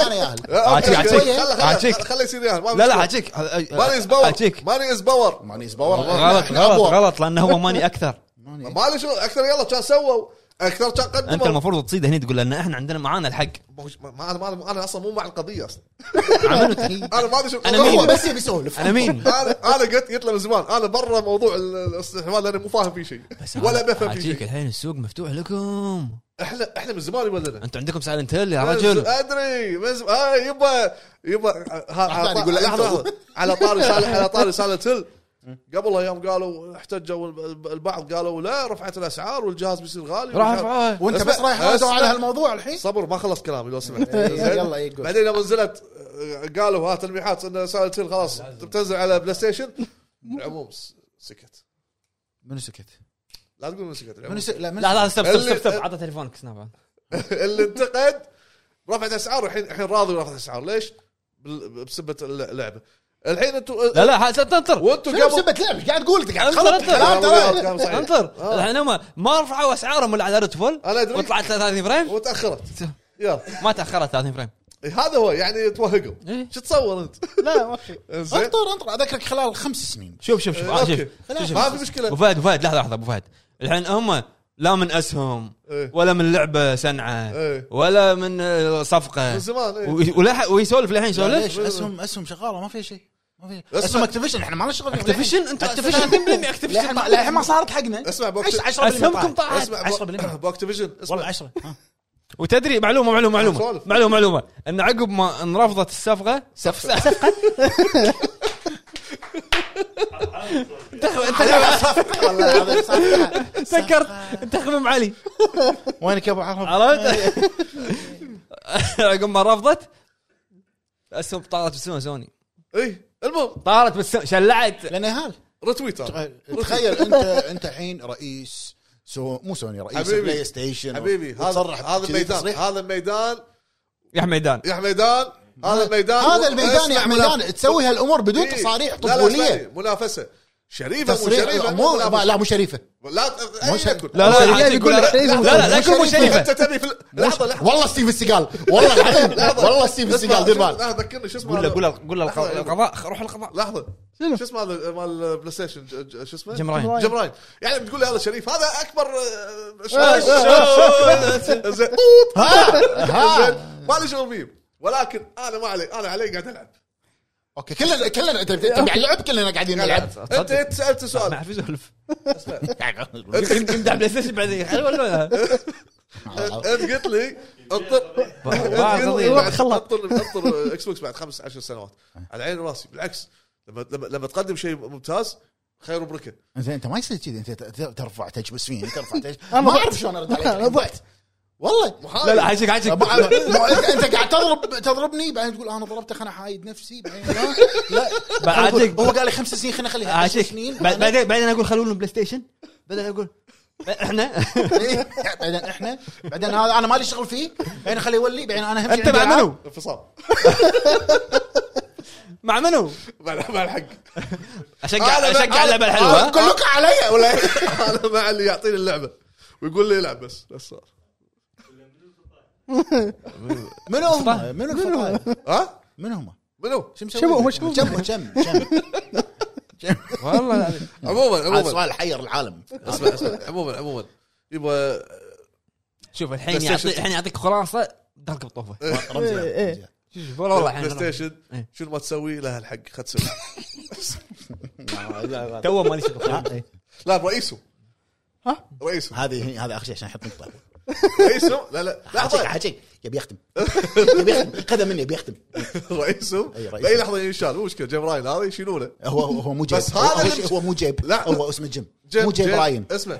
S4: انا ياهل
S1: عاجيك، عاجيك، عاجيك.
S3: خله يصير ياهل ما في
S1: لا أه، لا
S3: مشكلة.
S1: حاجيك
S3: ماني از باور
S1: حاجيك
S3: ماني از باور
S4: ماني زبور
S1: غلط غلط غلط لانه هو ماني اكثر
S3: مالي شغل اكثر يلا كان سووا اكثر كان
S1: انت
S3: قدموا
S1: المفروض تصيد هني تقول لان احنا عندنا معانا الحق
S3: ما- ما انا ما انا اصلا مو مع القضيه اصلا
S4: غلط
S3: انا ما ادري شو
S1: أنا
S4: هو
S1: مين؟
S4: بس يبي يسولف
S1: انا مين؟
S3: انا انا قلت قلت له من زمان انا برا موضوع ال- الاستحواذ لاني مو فاهم فيه شيء
S1: بس
S3: ولا
S1: أنا
S3: بفهم فيه
S1: حاجيك
S3: شيء
S1: الحين السوق مفتوح لكم
S3: احنا احنا من زمان يولدنا
S1: انتم عندكم سايلنت هيل يا رجل
S3: ادري بس آه يبا يبا ها-
S4: أحمد
S3: على
S4: يقول له أنت.
S3: لحظة، على طاري سال- على طاري سالت هيل قبل ايام قالوا احتجوا الب- البعض قالوا لا رفعت الاسعار والجهاز بيصير غالي
S1: راح أفعل.
S4: وانت بس رايح
S3: اسمع.
S4: على هالموضوع الحين
S3: صبر ما خلص كلامي لو سمحت
S4: إيه، يلا يقول.
S3: بعدين لما نزلت آه، قالوا ها تلميحات ان سالت هيل خلاص بتنزل على بلاي ستيشن العموم س- سكت
S4: منو سكت؟
S3: لا تقول من سكت العموم
S4: منو سكت؟ لا منو
S1: لا لا استب
S3: اللي-
S1: استب استب عطى تليفونك سناب
S3: اللي انتقد رفعت اسعار الحين الحين راضي رفعت اسعار ليش؟ بال- بسبه اللعبه الحين انتم
S1: لا لا ح- انطر
S3: وانتم
S4: شنو
S3: قبل
S4: بسبة لعب إيش قاعد تقول قاعد
S1: انطر
S4: تخلط كلام
S3: والله
S4: ترى
S3: كلام صحيح.
S1: انطر
S3: آه.
S1: الحين هم ما رفعوا اسعارهم اللي على ريد فول
S3: أنا أدري.
S1: وطلعت 30 فريم
S3: وتاخرت يلا
S1: ما تاخرت 30 فريم
S3: هذا هو يعني توهقوا
S1: إيه.
S3: شو تصور انت؟
S2: لا ما في
S3: زين
S4: انطر انطر اذكرك خلال خمس سنين
S1: شوف شوف شوف آه، شوف
S3: أوكي.
S1: شوف، شوف.
S3: ما في مشكله
S1: ابو فهد ابو فهد لحظه لحظه ابو فهد الحين هم لا من اسهم
S3: إيه.
S1: ولا من لعبه سنعه
S3: إيه.
S1: ولا من آه، صفقه
S3: من زمان، إيه.
S1: وي- ولح- ويسولف للحين يسولف
S4: ليش اسهم اسهم شغاله ما فيها شيء ما فيها
S3: اسمع.
S4: اسهم اكتيفيشن احنا ما لنا شغل فيهم.
S1: اكتيفيشن انت
S4: Activision.
S1: 30%
S4: للحين
S1: اكتيفيشن
S4: ما- للحين ما صارت حقنا
S3: اسمع بوكس-
S4: 10
S1: اسهمكم طاحت
S3: اسمع
S4: 10%
S3: باكتيفيجن
S4: والله
S3: اسمع
S4: 10
S1: وتدري معلومه معلومه معلومه
S3: سولف.
S1: معلومه معلومه ان عقب ما انرفضت الصفقه صفقه سكرت تخمم علي
S4: وينك يا ابو عرب؟
S1: عرفت عقب ما رفضت الاسهم طارت بالسما سوني
S3: اي إيه. المهم
S1: طارت بالسما شلعت
S4: لان هال
S3: رتويت أنا.
S4: تخيل انت انت الحين رئيس سو مو سوني رئيس
S3: حبيبي.
S4: بلاي ستيشن
S3: حبيبي هذا
S4: وتصرح
S3: هذا
S4: كذي
S3: الميدان
S4: تصريح.
S3: هذا الميدان
S1: يا حميدان
S3: يا حميدان هذا الميدان
S4: هذا الميدان يا
S3: اسمع
S4: حميدان
S3: مناف-
S4: تسوي هالامور بدون
S3: إيه.
S4: تصاريح
S3: لا لا، اسمعني،
S4: طفوليه
S3: منافسه شريفه مو
S4: تصريح
S3: شريفه
S4: مو
S3: منافسة.
S4: لا مو شريفه
S3: لا
S4: مو
S3: أي
S4: شريف.
S3: يكن.
S1: لا لا لا
S2: يقول لك شريفة
S1: لا لا لا يقول مو شريفه
S3: انت تبي في ال- لحظه لحظه
S4: والله ستيفن سيجال والله العظيم والله ستيفن
S3: اسمع،
S4: سيجال دير بالك
S3: لا ذكرني شو اسمه
S1: قول له
S3: هذا؟
S1: قول له قول له
S3: لحظة،
S1: الق- القضاء روح القضاء
S3: لحظه
S2: شنو؟
S3: شو اسمه هذا مال البلاي ستيشن ج- ج- شو اسمه؟
S1: جيم راين.
S3: جيم راين يعني بتقول لي هذا شريف هذا اكبر آه، شغل. زين زين، ما لي شغل فيه ولكن انا ما علي انا علي قاعد العب
S4: اوكي كلنا كلنا انت تبي اللعب كلنا قاعدين نلعب
S3: انت انت سالت
S1: ما
S3: سؤال
S1: اعرف يسولف يمدع بلاي ستيشن بعدين يخرب ولا
S3: انت قلت لي انطر
S1: باع قضية.
S3: خلط انطر اكس بوكس بعد خمس عشر سنوات على عيني وراسي بالعكس لما لما لما تقدم شيء ممتاز خير وبركه
S4: زين انت ما يصير كذي انت ت- ت- ترفع تجبس فيني ترفع تجبس ما اعرف شلون ارد عليك
S2: أنا
S4: ضعت والله
S1: لا لا حاجك حاجك
S4: أبو- أبو- أبو- انت قاعد تضرب تضربني بعدين تقول انا ضربتك انا حايد نفسي بعدين لا لا
S1: بعدك-
S4: هو قال لي خمس سنين خلينا نخليها عشر
S1: حاجك
S4: سنين
S1: آه، بعد- بعدين بعدين اقول خلونا بلاي ستيشن بعدين اقول احنا
S4: بعدين احنا بعدين هذا انا مالي شغل فيه بعدين خليه يولي بعدين انا همشي
S1: انت
S4: عندي
S1: مع
S4: ألعاب.
S1: منو؟
S3: انفصام
S1: مع منو؟
S3: مع مع الحق
S1: اشجع
S3: أنا-
S1: اشجع
S3: أنا-
S1: اللعبه
S3: أنا
S1: الحلوه
S3: كلكم علي ولا انا مع اللي يعطيني اللعبه ويقول لي العب بس بس صار
S4: منو هم؟ منو الفضائل؟
S3: ها
S4: منو هم؟
S3: منو؟
S4: شو
S2: شبو- هو
S4: مسوي؟
S2: شبو.
S4: كم كم كم
S1: والله العظيم.
S3: عموما
S4: هذا
S3: عموما
S4: سؤال حير العالم
S3: اسمع اسمع عموما عموما يبغى
S1: شوف الحين
S3: بلاي
S1: يعطي
S3: ستيشن.
S1: الحين يعطيك خلاصه دخلك بالطوفه
S4: رمزي
S2: إيه.
S4: رمزي.
S1: شوف والله والله
S3: بلاي
S1: الحين
S3: ستيشن
S1: إيه.
S3: شنو ما تسوي لها الحق خد سلعه
S1: تو مالي شغل
S3: لا رئيسه
S2: ها؟
S3: رئيسه
S4: هذه هي- هذا اخر شيء عشان احط نقطه
S3: رئيسه لا لا
S4: حاجي
S3: لحظه
S4: حاجي يبي يختم يبي يختم خذها مني يبي يختم
S3: رئيسه
S4: أي رئيسه.
S3: باي لحظه ينشال مو مشكله جيم راين هذا يشيلونه
S4: هو هو مو جيب
S3: بس هذا
S4: هو-
S3: اللي-
S4: هو مو جيب
S3: لا.
S4: هو اسمه جيم مو جيب راين
S3: اسمع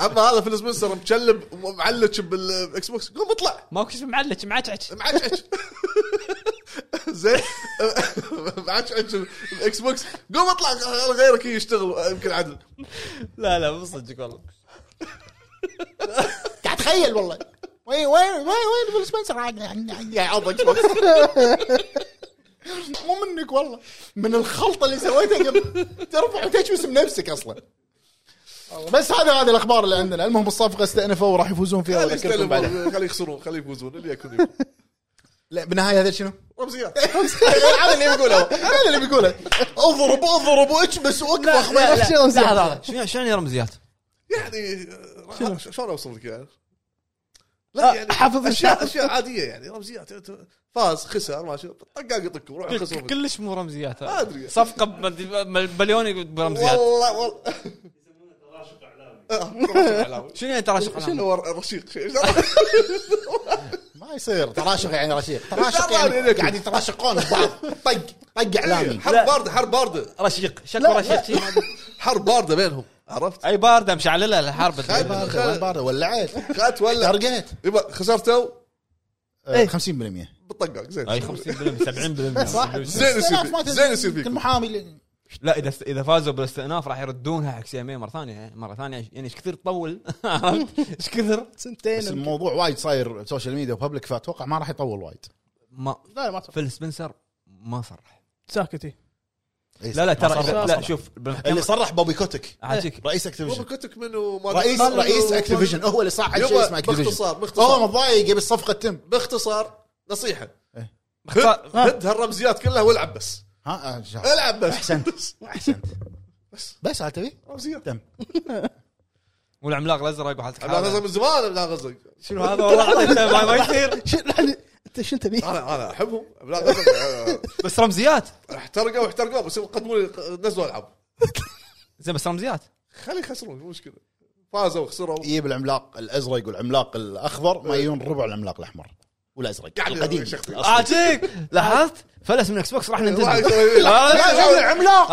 S3: اما هذا فيل سبنسر مكلب ومعلج بالاكس بوكس قوم اطلع
S1: ماكو شيء معلج معجعج
S3: معجعج زين معجعج الاكس بوكس قوم اطلع غيرك يشتغل يمكن عدل
S1: لا لا مو صدق والله
S4: قاعد اتخيل والله وين وين وين وين فيل سبنسر يعض اكس بوكس مو منك والله من الخلطه اللي سويتها قبل ترفع وتشمس بنفسك اصلا بس هذا هذه الاخبار اللي عندنا المهم الصفقه استأنفوا وراح يفوزون فيها
S3: خليه
S4: واذكركم بعدها
S3: يستلمون، خليه يخسرون خليه يفوزون اللي يكون يفوز.
S4: لا بالنهايه هذا شنو؟
S3: رمزيات
S4: هذا اللي بيقوله هذا اللي بيقوله اضرب اضرب واكبس واكبخ
S2: لا، لا.
S1: لحظه
S2: رمزيات.
S1: لحظه شنو شنو يعني رمزيات؟
S3: يعني آه، شلون اوصل لك يعني؟
S2: آه،
S3: لا يعني
S2: حافظ
S3: اشياء
S2: الشعر.
S3: اشياء عاديه يعني رمزيات أنت فاز خسر ما شاء طقاق يطقكم روح خسر منك.
S1: كلش مو رمزيات
S3: ما أدري.
S1: صفقه بمليون برمزيات
S3: والله والله يسمونه تراشق اعلامي
S1: شنو يعني تراشق
S3: شنو
S1: شنو
S3: هو رشيق
S4: ما يصير تراشق يعني رشيق تراشق
S3: الله
S4: يعني
S3: يعينك.
S4: قاعد يتراشقون بعض طق طق اعلامي
S3: يعني حرب بارده حرب بارده
S1: رشيق شكو رشيق شي ما أدري.
S3: حرب بارده بينهم عرفت؟
S1: اي بارده مشعلله الحرب
S3: خيبة.
S4: بارده وين بارده ولعت
S3: خات ولا
S4: ترقيت
S3: يبا خسرتوا
S1: إيه.
S4: آه، 50%
S3: بالطقاق زين
S1: اي 50% 70%
S4: صح
S3: زين يصير فيك، زين يصير فيك.
S4: المحامي اللي-
S1: لا اذا اذا فازوا بالاستئناف راح يردونها حق سي ام اي مره ثانيه مره ثانيه يعني ايش كثر تطول عرفت؟ ايش كثر
S4: بس
S2: سنتين
S4: الموضوع وايد صاير سوشيال ميديا وببليك فاتوقع ما راح يطول وايد
S1: ما
S2: لا ما صار
S1: فيل سبنسر ما صرح
S2: ساكتي
S4: إيه،
S1: لا لا
S4: ما صرح، ما
S1: ترى لا
S4: صرح.
S1: شوف
S4: اللي صرح إيه. بوبي كوتك
S1: عاجيك
S4: رئيس
S3: هو
S4: اكتيفيشن
S3: كتك منو ما
S4: رئيس
S3: منو-
S4: رئيس اكتيفيشن هو اللي صعد شيء
S3: يبا،
S4: اسمه اكتيفيشن
S3: باختصار باختصار
S4: هو متضايق يبي الصفقه تتم
S3: باختصار نصيحه
S4: إيه.
S1: اختصار-
S3: هد هد هالرمزيات كلها والعب بس
S4: ها آه، شا-
S3: العب بس
S4: احسنت احسنت
S3: بس
S4: بس هذا تبي
S3: رمزيات
S4: تم
S1: والعملاق الازرق وحالتك
S3: انا غزل من زمان انا غزل
S1: شنو هذا والله عطيته، ما- ما يصير
S2: شو لحظة، انت شو تبي؟
S3: انا انا احبهم لا غزل
S1: بس رمزيات
S3: احترقوا احترقوا بس قدموا لي نزلوا العاب
S1: زين بس رمزيات
S3: خلي يخسرون مو مشكله فازوا خسروا
S4: يجيب العملاق الازرق والعملاق الاخضر ما يجون ربع العملاق الاحمر والازرق
S3: قاعد
S4: القديم
S3: يشخصن.
S4: الأصلي.
S1: عاجيك لاحظت فلس من اكس بوكس راح ننتدب
S3: واحد يسوي- لا، لا، لا، لا.
S4: عملاق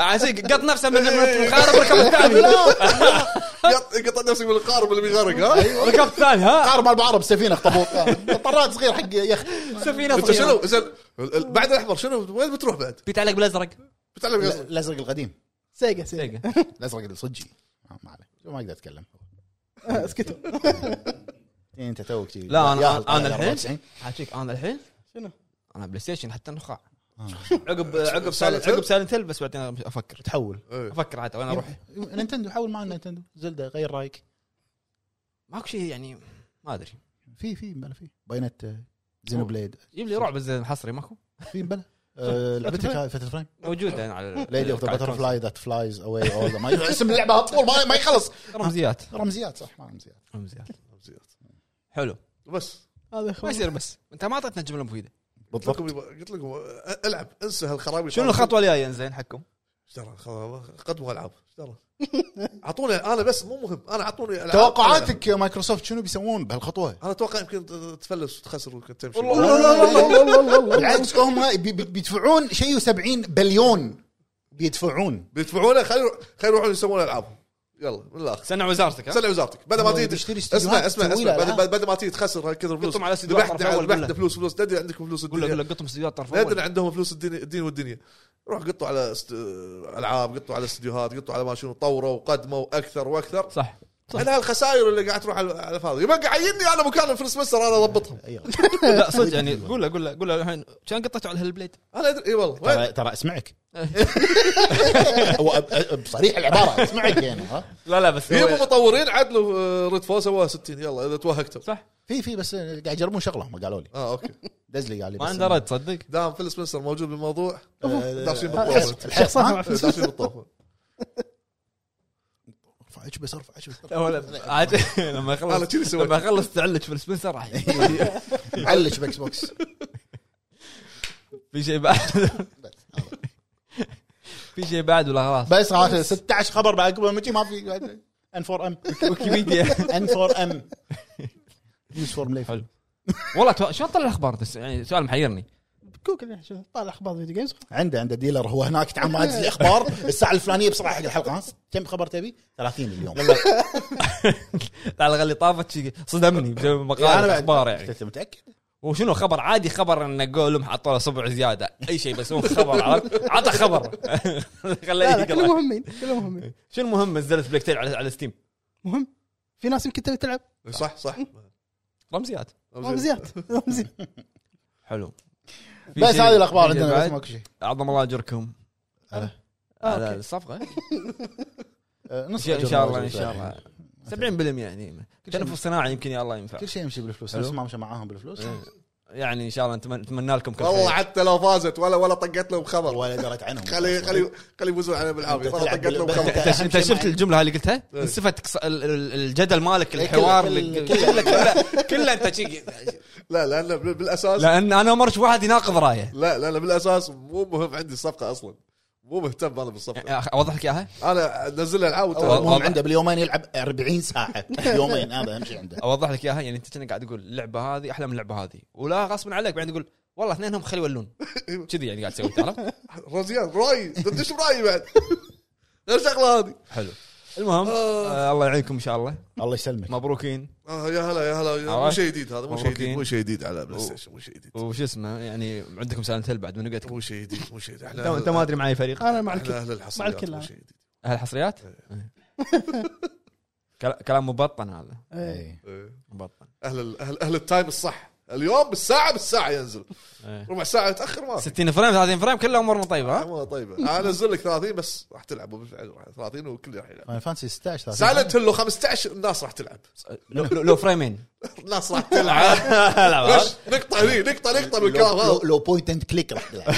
S1: عاجيك عاجيك قط نفسه من
S4: إيه.
S1: من الخارب ركب الثاني
S3: يط- يقطع نفسك من القارب اللي بيغرق ها
S4: أيوة.
S1: ركب الثاني ها
S4: عقارب العرب سفينه اخطبوط طراد صغير حق يخت
S1: سفينه
S4: أيوة.
S3: انت
S1: صغيره
S3: شنو زين ال- ال- بعد الاحمر شنو وين بتروح بعد؟
S1: بيتعلق بالازرق
S4: إيه.
S3: بتعلم
S4: لا،
S3: غزل
S4: الازرق القديم
S2: سيجا سيجا
S1: دقيقه
S4: الازرق الصجي آه، ما عليه ما اقدر اتكلم
S2: آه، اسكتوا
S4: انت توك شي.
S1: لا
S4: ياهل
S1: انا
S4: طالع
S1: انا
S4: 94.
S1: الحين عاجيك انا الحين
S2: شنو؟
S1: انا بلاي ستيشن حتى النخاع
S4: آه.
S1: عقب عقب
S3: Silent
S1: سايلنت
S3: Hill؟
S1: عقب سايلنت هيل بس بعدين افكر
S4: تحول
S3: إيه.
S1: افكر عاد وين اروح
S4: نينتندو حول معنا نينتندو زلدة غير رايك
S1: ماكو شيء يعني ما ادري
S4: في في بلا في باينت زينو بليد
S1: جيب لي رعب زين حصري ماكو
S4: في بلا آه، لعبتك هاي فتل فريم
S1: موجوده يعني على
S4: ليدي اوف ذا باتر فلاي ذات فلايز اواي اول ما اسم اللعبه طول ما ما يخلص
S1: رمزيات
S4: رمزيات صح ما رمزيات
S1: رمزيات
S3: رمزيات.
S1: حلو
S3: بس
S2: هذا
S1: ما
S2: خبر.
S1: يصير بس انت ما اعطيتنا جمله مفيده
S3: قلت لكم يبا- قلت لكم أ- العب انسى هالخرابيط
S1: شنو الخطوه الجايه زين حقكم؟
S3: ايش ترى خلاص، قدموا العاب ايش ترى اعطوني انا بس مو مهم انا اعطوني ألعاب.
S4: توقعاتك مايكروسوفت شنو بيسوون بهالخطوه؟
S3: انا اتوقع يمكن ت- تفلس وتخسر ويمكن تمشي
S1: والله.
S4: بالعكس هم بي- بي- بيدفعون شيء و70 بليون بيدفعونه
S3: بيدفعونه خلي خلي يروحون يسوون العابهم يلا من الاخر
S1: سنع وزارتك ها
S3: سلع وزارتك بدل ما
S5: هو
S3: تيجي
S5: بيشتري
S3: اسمع
S5: استديوهات
S3: اسمع
S5: تسوي له
S3: اسمع بدل-
S5: ألعاب.
S3: بدل ما تيجي تخسر هالكثر فلوس
S1: قطم على سيدي
S3: ذبحت نعم،
S1: طرف أول
S3: ذبحت
S1: كله.
S3: فلوس فلوس تدري عندكم فلوس
S1: قول له
S3: الدنيا
S1: قول له قطهم استديوهات طرف أول.
S3: نادر عندهم فلوس الدين الدين والدنيا روح قطوا على است... العاب قطوا على استديوهات قطوا على ما شنو طوروا وقدموا اكثر واكثر
S1: صح
S3: من هالخسائر يعني اللي قاعد تروح على على الفاضي يبقى عيني انا مكان الفلوس مستر انا اضبطهم
S4: أيوة.
S1: لا صدق يعني قول له قول له قول له الحين كان قطعته على هالبليد
S3: انا ادري اي والله وين؟
S4: ترى ترى اسمعك هو أب- أ- بصريح العباره اسمعك يعني ها
S1: لا لا بس
S3: يبوا مطورين عدلوا آه، ريد فول سووها 60 يلا اذا توهقتوا
S1: صح
S4: في في بس قاعد يجربون شغله هم قالوا لي
S3: اه اوكي
S4: دز لي قال لي
S1: ما
S4: بس
S1: اندرد تصدق
S3: دام فيل سبنسر موجود بالموضوع
S4: آه،
S3: داشين بالطوفه
S2: أحس- شخصيا مع فلوس.
S3: داشين بالطوفه
S4: ارفع ايش بس ارفع ايش بس
S1: لا ولا عاد لما
S3: انا
S1: يخلص
S3: كذي سويت
S1: لما يخلص تعلج في السبنسر راح
S4: علش باكس بوكس
S1: في شيء بعد في شيء بعد ولا خلاص
S4: بس راح 16 خبر بعد قبل ما تجي ما في ان 4 ام
S1: ويكيبيديا
S4: ان 4 ام يوز فور مليف
S1: حلو. والله تو- شلون طلع الاخبار بس يعني سؤال محيرني
S2: جوجل يعني شوف، طالع اخبار فيديو جيمز
S4: عنده عنده ديلر هو هناك تعال ما أدز لي اخبار الساعه الفلانيه بسرعه حق الحلقه ها كم خبر تبي؟ 30 اليوم
S1: على الاقل طافت شي صدمني بسبب
S4: يعني
S1: مقال
S4: بعد-
S1: اخبار يعني
S4: أنت متاكد؟
S1: وشنو خبر عادي خبر ان جولم حطوا له صبع زياده اي شيء بس هو خبر عرفت عطى خبر خليه
S2: لا لا كلهم
S1: يقرا
S2: مهمين كلهم مهمين
S1: شنو المهم نزلت بلاك تيل على على ستيم
S2: مهم في ناس يمكن تبي تلعب
S3: إيه، صح صح
S1: رمزيات
S2: رمزيات رمزيات
S1: حلو في
S4: بس
S1: شيء-
S4: هذه الاخبار
S1: في شيء
S4: عندنا بس
S1: بعد؟
S4: ماكو شيء
S1: عظم الله اجركم
S4: على-
S1: على
S2: أوكي.
S1: الصفقه
S4: آه،
S1: ان
S4: نص
S1: شاء
S4: أجر
S1: إن شاء الله
S4: موجود
S1: ان شاء
S4: الحين.
S1: الله 70% يعني تنفس صناعي يمكن يا الله ينفع
S4: كل شيء يمشي بالفلوس
S1: حلو.
S4: نفس ما مشى معاهم بالفلوس
S1: يعني ان شاء الله نتمنى نتمنى لكم كل
S3: والله
S1: خير
S3: حتى لو فازت ولا ولا طقت لهم خبر
S4: ولا درت عنهم
S3: خلي خلي خلي يفوزون علينا بالعافيه
S4: أنت
S3: والله
S4: تلعب
S3: طقت لهم
S4: بال-
S3: خبر
S1: انت
S4: أهم
S1: انت
S4: شيء
S1: شفت
S4: معي.
S1: الجمله هذه قلتها؟
S3: إيه.
S1: انسفت كس- ال- ال- الجدل مالك
S4: إيه، كله-
S1: الحوار
S4: كله-
S1: اللي-
S4: كله-
S1: كله كله كله انت شي-
S3: لا لان بال- بالاساس
S1: لان انا مره اشوف واحد يناقض رايه
S3: لا لا لا بالاساس مو مهم عندي الصفقه اصلا مو مهتم انا بالصفقه
S1: يعني اوضح لك اياها؟
S3: انا نزل العاب
S1: أول-
S3: وتعال.
S4: المهم عنده باليومين يلعب 40 ساعه يومين هذا اهم شيء عنده
S1: اوضح لك اياها يعني انت كأنك قاعد تقول اللعبه هذه احلى من اللعبه هذه ولا غصبا عليك بعدين تقول والله اثنينهم خلي يولون كذي يعني قاعد تسوي أنت عرفت؟
S3: رزيان رايي دردش برايي بعد غير الشغله هذه
S1: حلو المهم آه الله يعينكم ان شاء الله
S4: الله يسلمك
S1: مبروكين
S3: آه يا هلا يا هلا يا- مو
S1: عرفت؟
S3: شيء جديد هذا مو شيء جديد
S1: مبروكين.
S3: مو شيء جديد على بلاي ستيشن مو شيء جديد
S1: وش اسمه يعني عندكم سالنت هيل بعد من قلت
S3: مو شيء جديد مو شيء جديد احنا
S1: انت ما ادري معي فريق
S2: انا مع
S3: احنا
S1: آه.
S2: الكل مع الكل
S3: اهل الحصريات مو
S2: أنا.
S3: شيء جديد
S1: اهل حصريات؟
S3: إيه.
S1: كلا- كلام مبطن هذا
S2: إيه.
S4: إيه.
S3: إيه.
S1: مبطن
S3: اهل ال- اهل اهل التايم الصح اليوم بالساعه بالساعه ينزل
S1: إيه.
S3: ربع ساعه يتاخر ما في
S1: 60 فريم 30 فريم كلها امورنا طيبه ها؟
S3: أمورها طيبه انا انزل لك 30 بس راح تلعب بالفعل راح- 30 والكل راح يلعب
S4: فاينل فانسي 16
S3: سايلنت هيل 15 الناس راح تلعب
S1: لو, لو- لو فريمين
S3: الناس راح تلعب
S1: عرفت؟
S3: بس نقطه هني نقطه نقطه بالكلام
S4: لو, لو,
S3: هذا
S4: لو بوينت اند كليك راح تلعب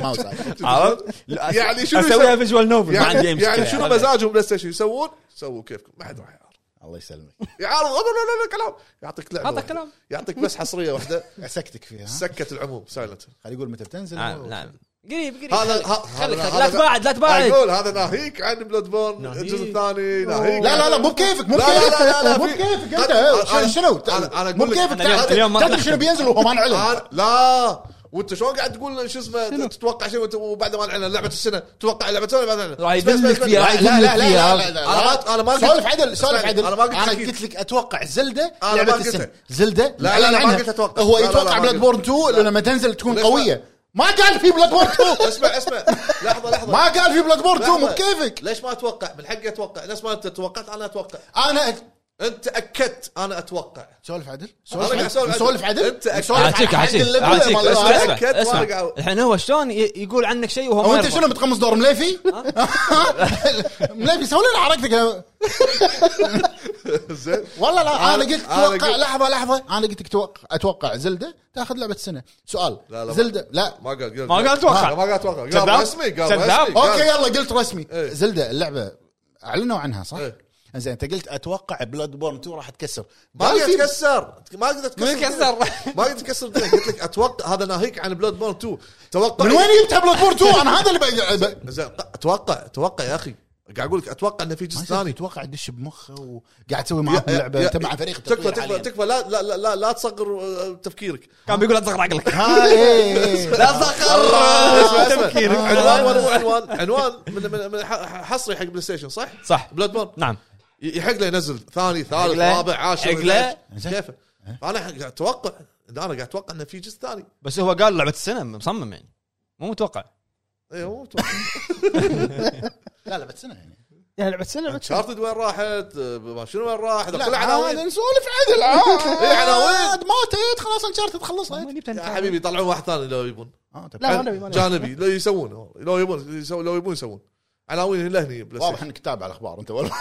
S4: ماوس عادي.
S1: لا، أس-
S3: يعني شنو
S1: اسويها
S3: يسوي؟
S1: فيجوال نوفل ما عندي أي
S3: يعني,
S1: مشكلة.
S3: يعني شنو مزاجهم بلاي ستيشن يسوون؟ سووا كيفكم ما حد راح يعرف
S4: الله يسلمك
S3: يعارض لا لا لا كلام يعطيك لعبه
S1: هذا
S3: واحدة.
S1: كلام
S3: يعطيك بس حصريه واحده
S4: سكتك فيها ها؟
S3: سكت العموم سايلنت
S4: خلي يقول متى بتنزل
S1: نعم نعم قريب قريب
S3: هذا-
S1: خليك-
S3: ه-
S1: خليك
S3: هذا-
S1: خليك لا
S3: هذا-
S1: تباعد لا تباعد
S3: اقول هذا ناهيك عن بلاد بورن
S1: ناهيك.
S3: الجزء الثاني ناهيك
S4: لا لا لا مو بكيفك مو
S3: لا، لا،
S4: بكيفك
S3: لا، لا،
S4: مو
S3: في-
S4: بكيفك
S3: أنا-
S4: انت
S3: أنا-
S4: شنو- شنو
S3: أنا- أنا
S4: مو
S3: أقول لك-
S4: بكيفك
S1: أنا اليوم-
S4: تدري-
S1: اليوم ما
S4: تدري
S1: أختم.
S4: شنو بينزل وهو ما نعلن
S3: أنا- لا وانت شلون قاعد تقول شو اسمه تتوقع شيء وأنت- وبعد ما نعلن لعبه السنه تتوقع لعبه السنه بعد ما نعلن.
S1: راح
S3: اسمع، اسمع،
S1: يدلك
S3: اسمع.
S1: فيها راح يدلك فيها
S3: أنا ما- أنا ما قلت-
S4: سولف عدل سولف
S3: اسمعني،
S4: عدل
S3: أنا ما قلت
S4: انا
S3: أكيد.
S4: قلت لك اتوقع زلده
S3: ما
S4: لعبه
S3: قلت
S4: السنه
S3: لك.
S4: زلده
S3: لا،
S4: نعلن
S3: لا، ما
S4: عنها.
S3: قلت أتوقع.
S4: هو
S3: لا، لا، لا،
S4: يتوقع
S3: ما
S4: بلاد
S3: قلت.
S4: بورن 2
S3: لا.
S4: لما تنزل تكون
S3: ليش ما-
S4: قويه ما قال في بلاد بورن 2
S3: اسمع اسمع لحظه لحظه
S4: ما قال في بلاد بورن 2 مو
S3: لحظة.
S4: بكيفك
S3: ليش ما اتوقع؟ من حقي اتوقع، نفس ما انت توقعت انا اتوقع،
S4: انا
S3: انت اكدت انا اتوقع.
S4: سولف عدل
S3: أنا قاعد
S4: سولف
S3: أسولف
S4: عدل
S3: عدل.
S4: سولف
S3: أنت
S4: عدل
S3: أكيد.
S4: سولف
S1: اعطيك اعطيك
S4: عدل
S1: اعطيك
S4: لما-
S1: اسمع
S4: لما-
S1: اسمع
S3: أكد
S1: اسمع
S3: وأرجع.
S1: الحين هو شلون ي- يقول عنك شيء وهو
S4: هو
S1: ما
S4: انت
S1: يرضى.
S4: شنو بتقمص دور مليفي؟ مليفي سوي لنا حركتك
S3: زين؟
S4: والله لا انا
S3: أنا-
S4: قلت
S3: أنا
S4: اتوقع
S3: قلت-
S4: لحظه لحظه انا قلت لك توقع اتوقع زلده تاخذ لعبه السنه سؤال
S3: لا، لا، ما-
S4: زلده لا
S3: ما قال
S1: ما قال أتوقع.
S3: ما قال اتوقع
S1: كذاب؟
S3: قال رسمي قال
S1: كذاب؟
S3: رسمي
S4: اوكي
S3: قال-
S4: يلا قلت رسمي
S3: إيه.
S4: زلده اللعبه اعلنوا عنها صح؟
S3: إيه.
S4: زين انت قلت اتوقع بلاد بورن 2 راح تكسر
S3: ما
S4: قال
S3: قدرت
S4: في-
S3: تكسر ما قدرت
S1: من
S3: تكسر
S1: كسر
S3: ما قدرت تكسر الدنيا. قلت لك اتوقع هذا ناهيك عن بلاد بورن 2 توقع طيب. إيه؟
S4: من وين جبتها بلاد بورن 2 انا هذا اللي ب- ب-
S3: زين، اتوقع اتوقع يا اخي قاعد اقول لك اتوقع انه في جزء ثاني
S4: اتوقع تدش بمخه وقاعد تسوي معاهم لعبه
S3: يا-
S4: انت مع فريق
S3: تكفى
S4: التطوير
S3: تكفى
S4: حاليا.
S3: تكفى لا لا لا لا, لا تصغر آه، تفكيرك
S1: كان بيقول لا تصغر عقلك
S4: ها إيه، إيه.
S1: لا تصغر
S3: والله، اسمع اسمع
S1: تفكيرك.
S3: عنوان عنوان- عنوان عنوان من من- من ح- حصري حق بلاي ستيشن صح؟
S1: صح
S3: بلاد بورن
S1: نعم
S3: ي- يحق له ينزل ثاني ثالث
S1: له.
S3: رابع عاشر
S1: حق له.
S3: 11. كيفه انا قاعد اتوقع انا قاعد اتوقع انه في جزء ثاني
S1: بس هو قال لعبه السنه مصمم يعني مو متوقع
S3: اي هو متوقع
S4: لا لا بس سنه يعني
S2: يعني لعبه سنه لعبة سنة.
S3: شارتد وين راحت ما شنو وين راحت كل
S4: لا
S3: عناوين
S4: عاد نسولف عدل عاد
S3: إيه، عناوين.
S4: ماتت خلاص انشارتد خلصت
S3: يا حبيبي يطلعون واحد ثاني لو يبون
S4: آه، طيب.
S2: لا ما نبي ما نبي.
S3: جانبي لو يسوون لو يبون يسوون لو يبون يسوون عناوين لهني بلاي
S4: واضح
S3: ستيشن
S4: انك تتابع الاخبار انت والله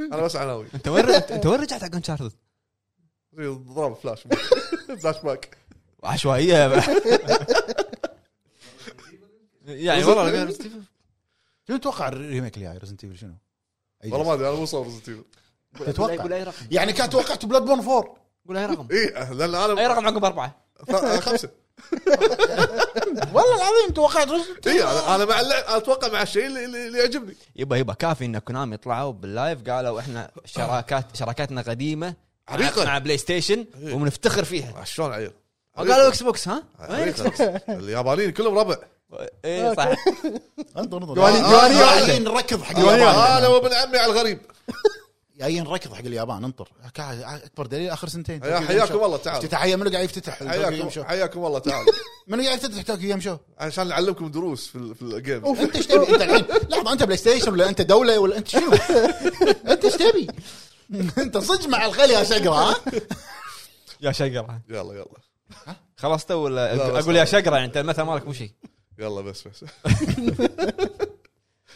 S3: انا بس عناوين
S1: انت وين انت وين رجعت حق انشارتد؟
S3: ضرب فلاش فلاش باك
S1: عشوائيه يعني والله
S4: شنو تتوقع الريميك الجاي ريزنت ايفل شنو؟ أي
S3: والله
S4: جزء؟
S3: ما ادري انا مو صور ريزنت
S1: قول
S4: تتوقع
S1: اي رقم
S4: يعني كان توقعت بلاد بورن 4
S1: قول اي رقم
S3: اي لان انا
S1: اي رقم عقب اربعه
S3: إيه، ف- خمسه
S4: والله العظيم توقعت
S3: اي انا إيه، أنا مع اللع- اتوقع مع الشيء اللي, اللي اللي يعجبني
S1: يبا يبا كافي ان كونامي طلعوا باللايف قالوا احنا شراكات شراكاتنا قديمه مع-
S3: عريقة.
S1: مع بلاي ستيشن وبنفتخر فيها
S3: شلون عيل
S1: قالوا اكس بوكس ها؟ وين اكس بوكس؟
S3: عريقة. اليابانيين كلهم ربع
S1: ايه صح
S4: انظر انظر
S3: جواني-
S4: آه،
S3: جواني
S4: آه،
S3: واحدة.
S4: جايين نركض حق
S3: انا
S4: اليابان
S3: وابن عمي على الغريب
S4: جايين نركض حق اليابان انطر كا- اكبر دليل اخر سنتين
S3: يا حياكم الله تعال
S4: افتتاح منو قاعد يفتتح توكيو جيم شو
S3: حياكم حياكم الله تعال
S4: منو قاعد يفتتح توكيو جيم شو
S3: عشان نعلمكم دروس في ال- في الجيم
S4: انت ايش تبي انت الحين لحظه انت بلاي ستيشن ولا انت دوله ولا انت شنو انت ايش تبي انت صج مع الخلي يا شقره ها
S1: يا شقره
S3: يلا يلا
S1: خلصت ولا
S3: لا، بس
S1: اقول يا شقره يعني انت المثل مالك مو شيء
S3: يلا بس بس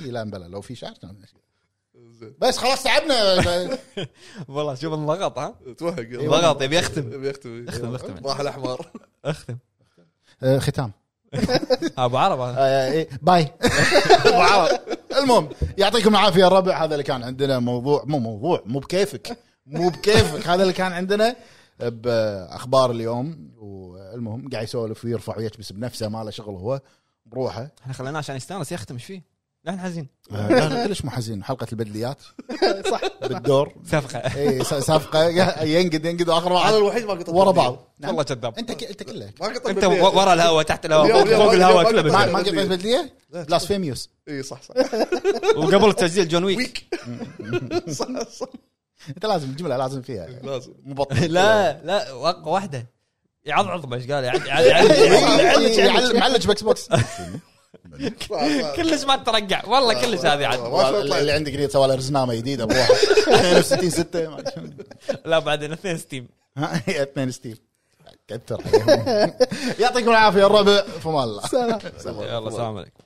S4: إي لا بلا لو في شعر كان ماشي.
S3: زين.
S4: بس خلاص تعبنا
S1: والله شوف انضغط ها
S3: توهق يلا.
S1: ضغط يبي يختم
S3: يبي يختم
S1: اختم، اختم.
S3: راح الاحمر
S1: اختم
S4: آه، ختام
S1: ابو عرب هذا.
S4: آه، إيه، باي أبو عرب. المهم يعطيكم العافيه يا الربع هذا اللي كان عندنا موضوع مو موضوع مو بكيفك مو بكيفك هذا اللي كان عندنا باخبار اليوم والمهم قاعد يسولف ويرفع ويكبس بنفسه ما له شغل هو بروحه
S1: احنا خليناه عشان يستانس يختم ايش فيه؟ لا احنا حزين
S4: آه، لا، كلش مو حزين حلقه البدليات
S2: صح
S4: بالدور
S1: صفقه
S4: اي س- صفقه ينقد ينقد واخر
S3: انا
S4: واحد
S3: الوحيد ما قطعت
S4: ورا بعض
S1: والله كذاب
S4: انت ك- انت كله
S3: ما قطعت
S1: انت و- ورا الهواء تحت الهواء
S3: اليوم-
S1: فوق-
S3: اليوم-
S1: فوق
S3: اليوم
S1: الهواء
S3: ما
S1: كله
S3: قطعت.
S4: ما
S1: بالبداية.
S4: ما قطعت بدليه بلاسفيميوس
S3: اي صح صح
S1: وقبل التسجيل جون ويك
S3: ويك صح صح
S4: انت لازم الجمله لازم فيها
S3: لازم
S4: مبطل
S1: لا لا وقفه واحده يعضعض ايش قال يعني- يعد- يعد-
S4: إيه،
S1: يعد- يعد- يعد-
S4: معلج معلج باكس بوكس
S1: كلش ما ترجع والله كلش هذه عاد
S4: اللي عندك اللي سوى له رزنامه جديده بروحه 62 6 ما أدري شنو.
S1: لا بعدين اثنين ستيم
S4: ها، هي اثنين ستيف كثر عليهم. يعطيكم العافيه الربع فما الله
S2: سلام
S1: يلا سلام عليكم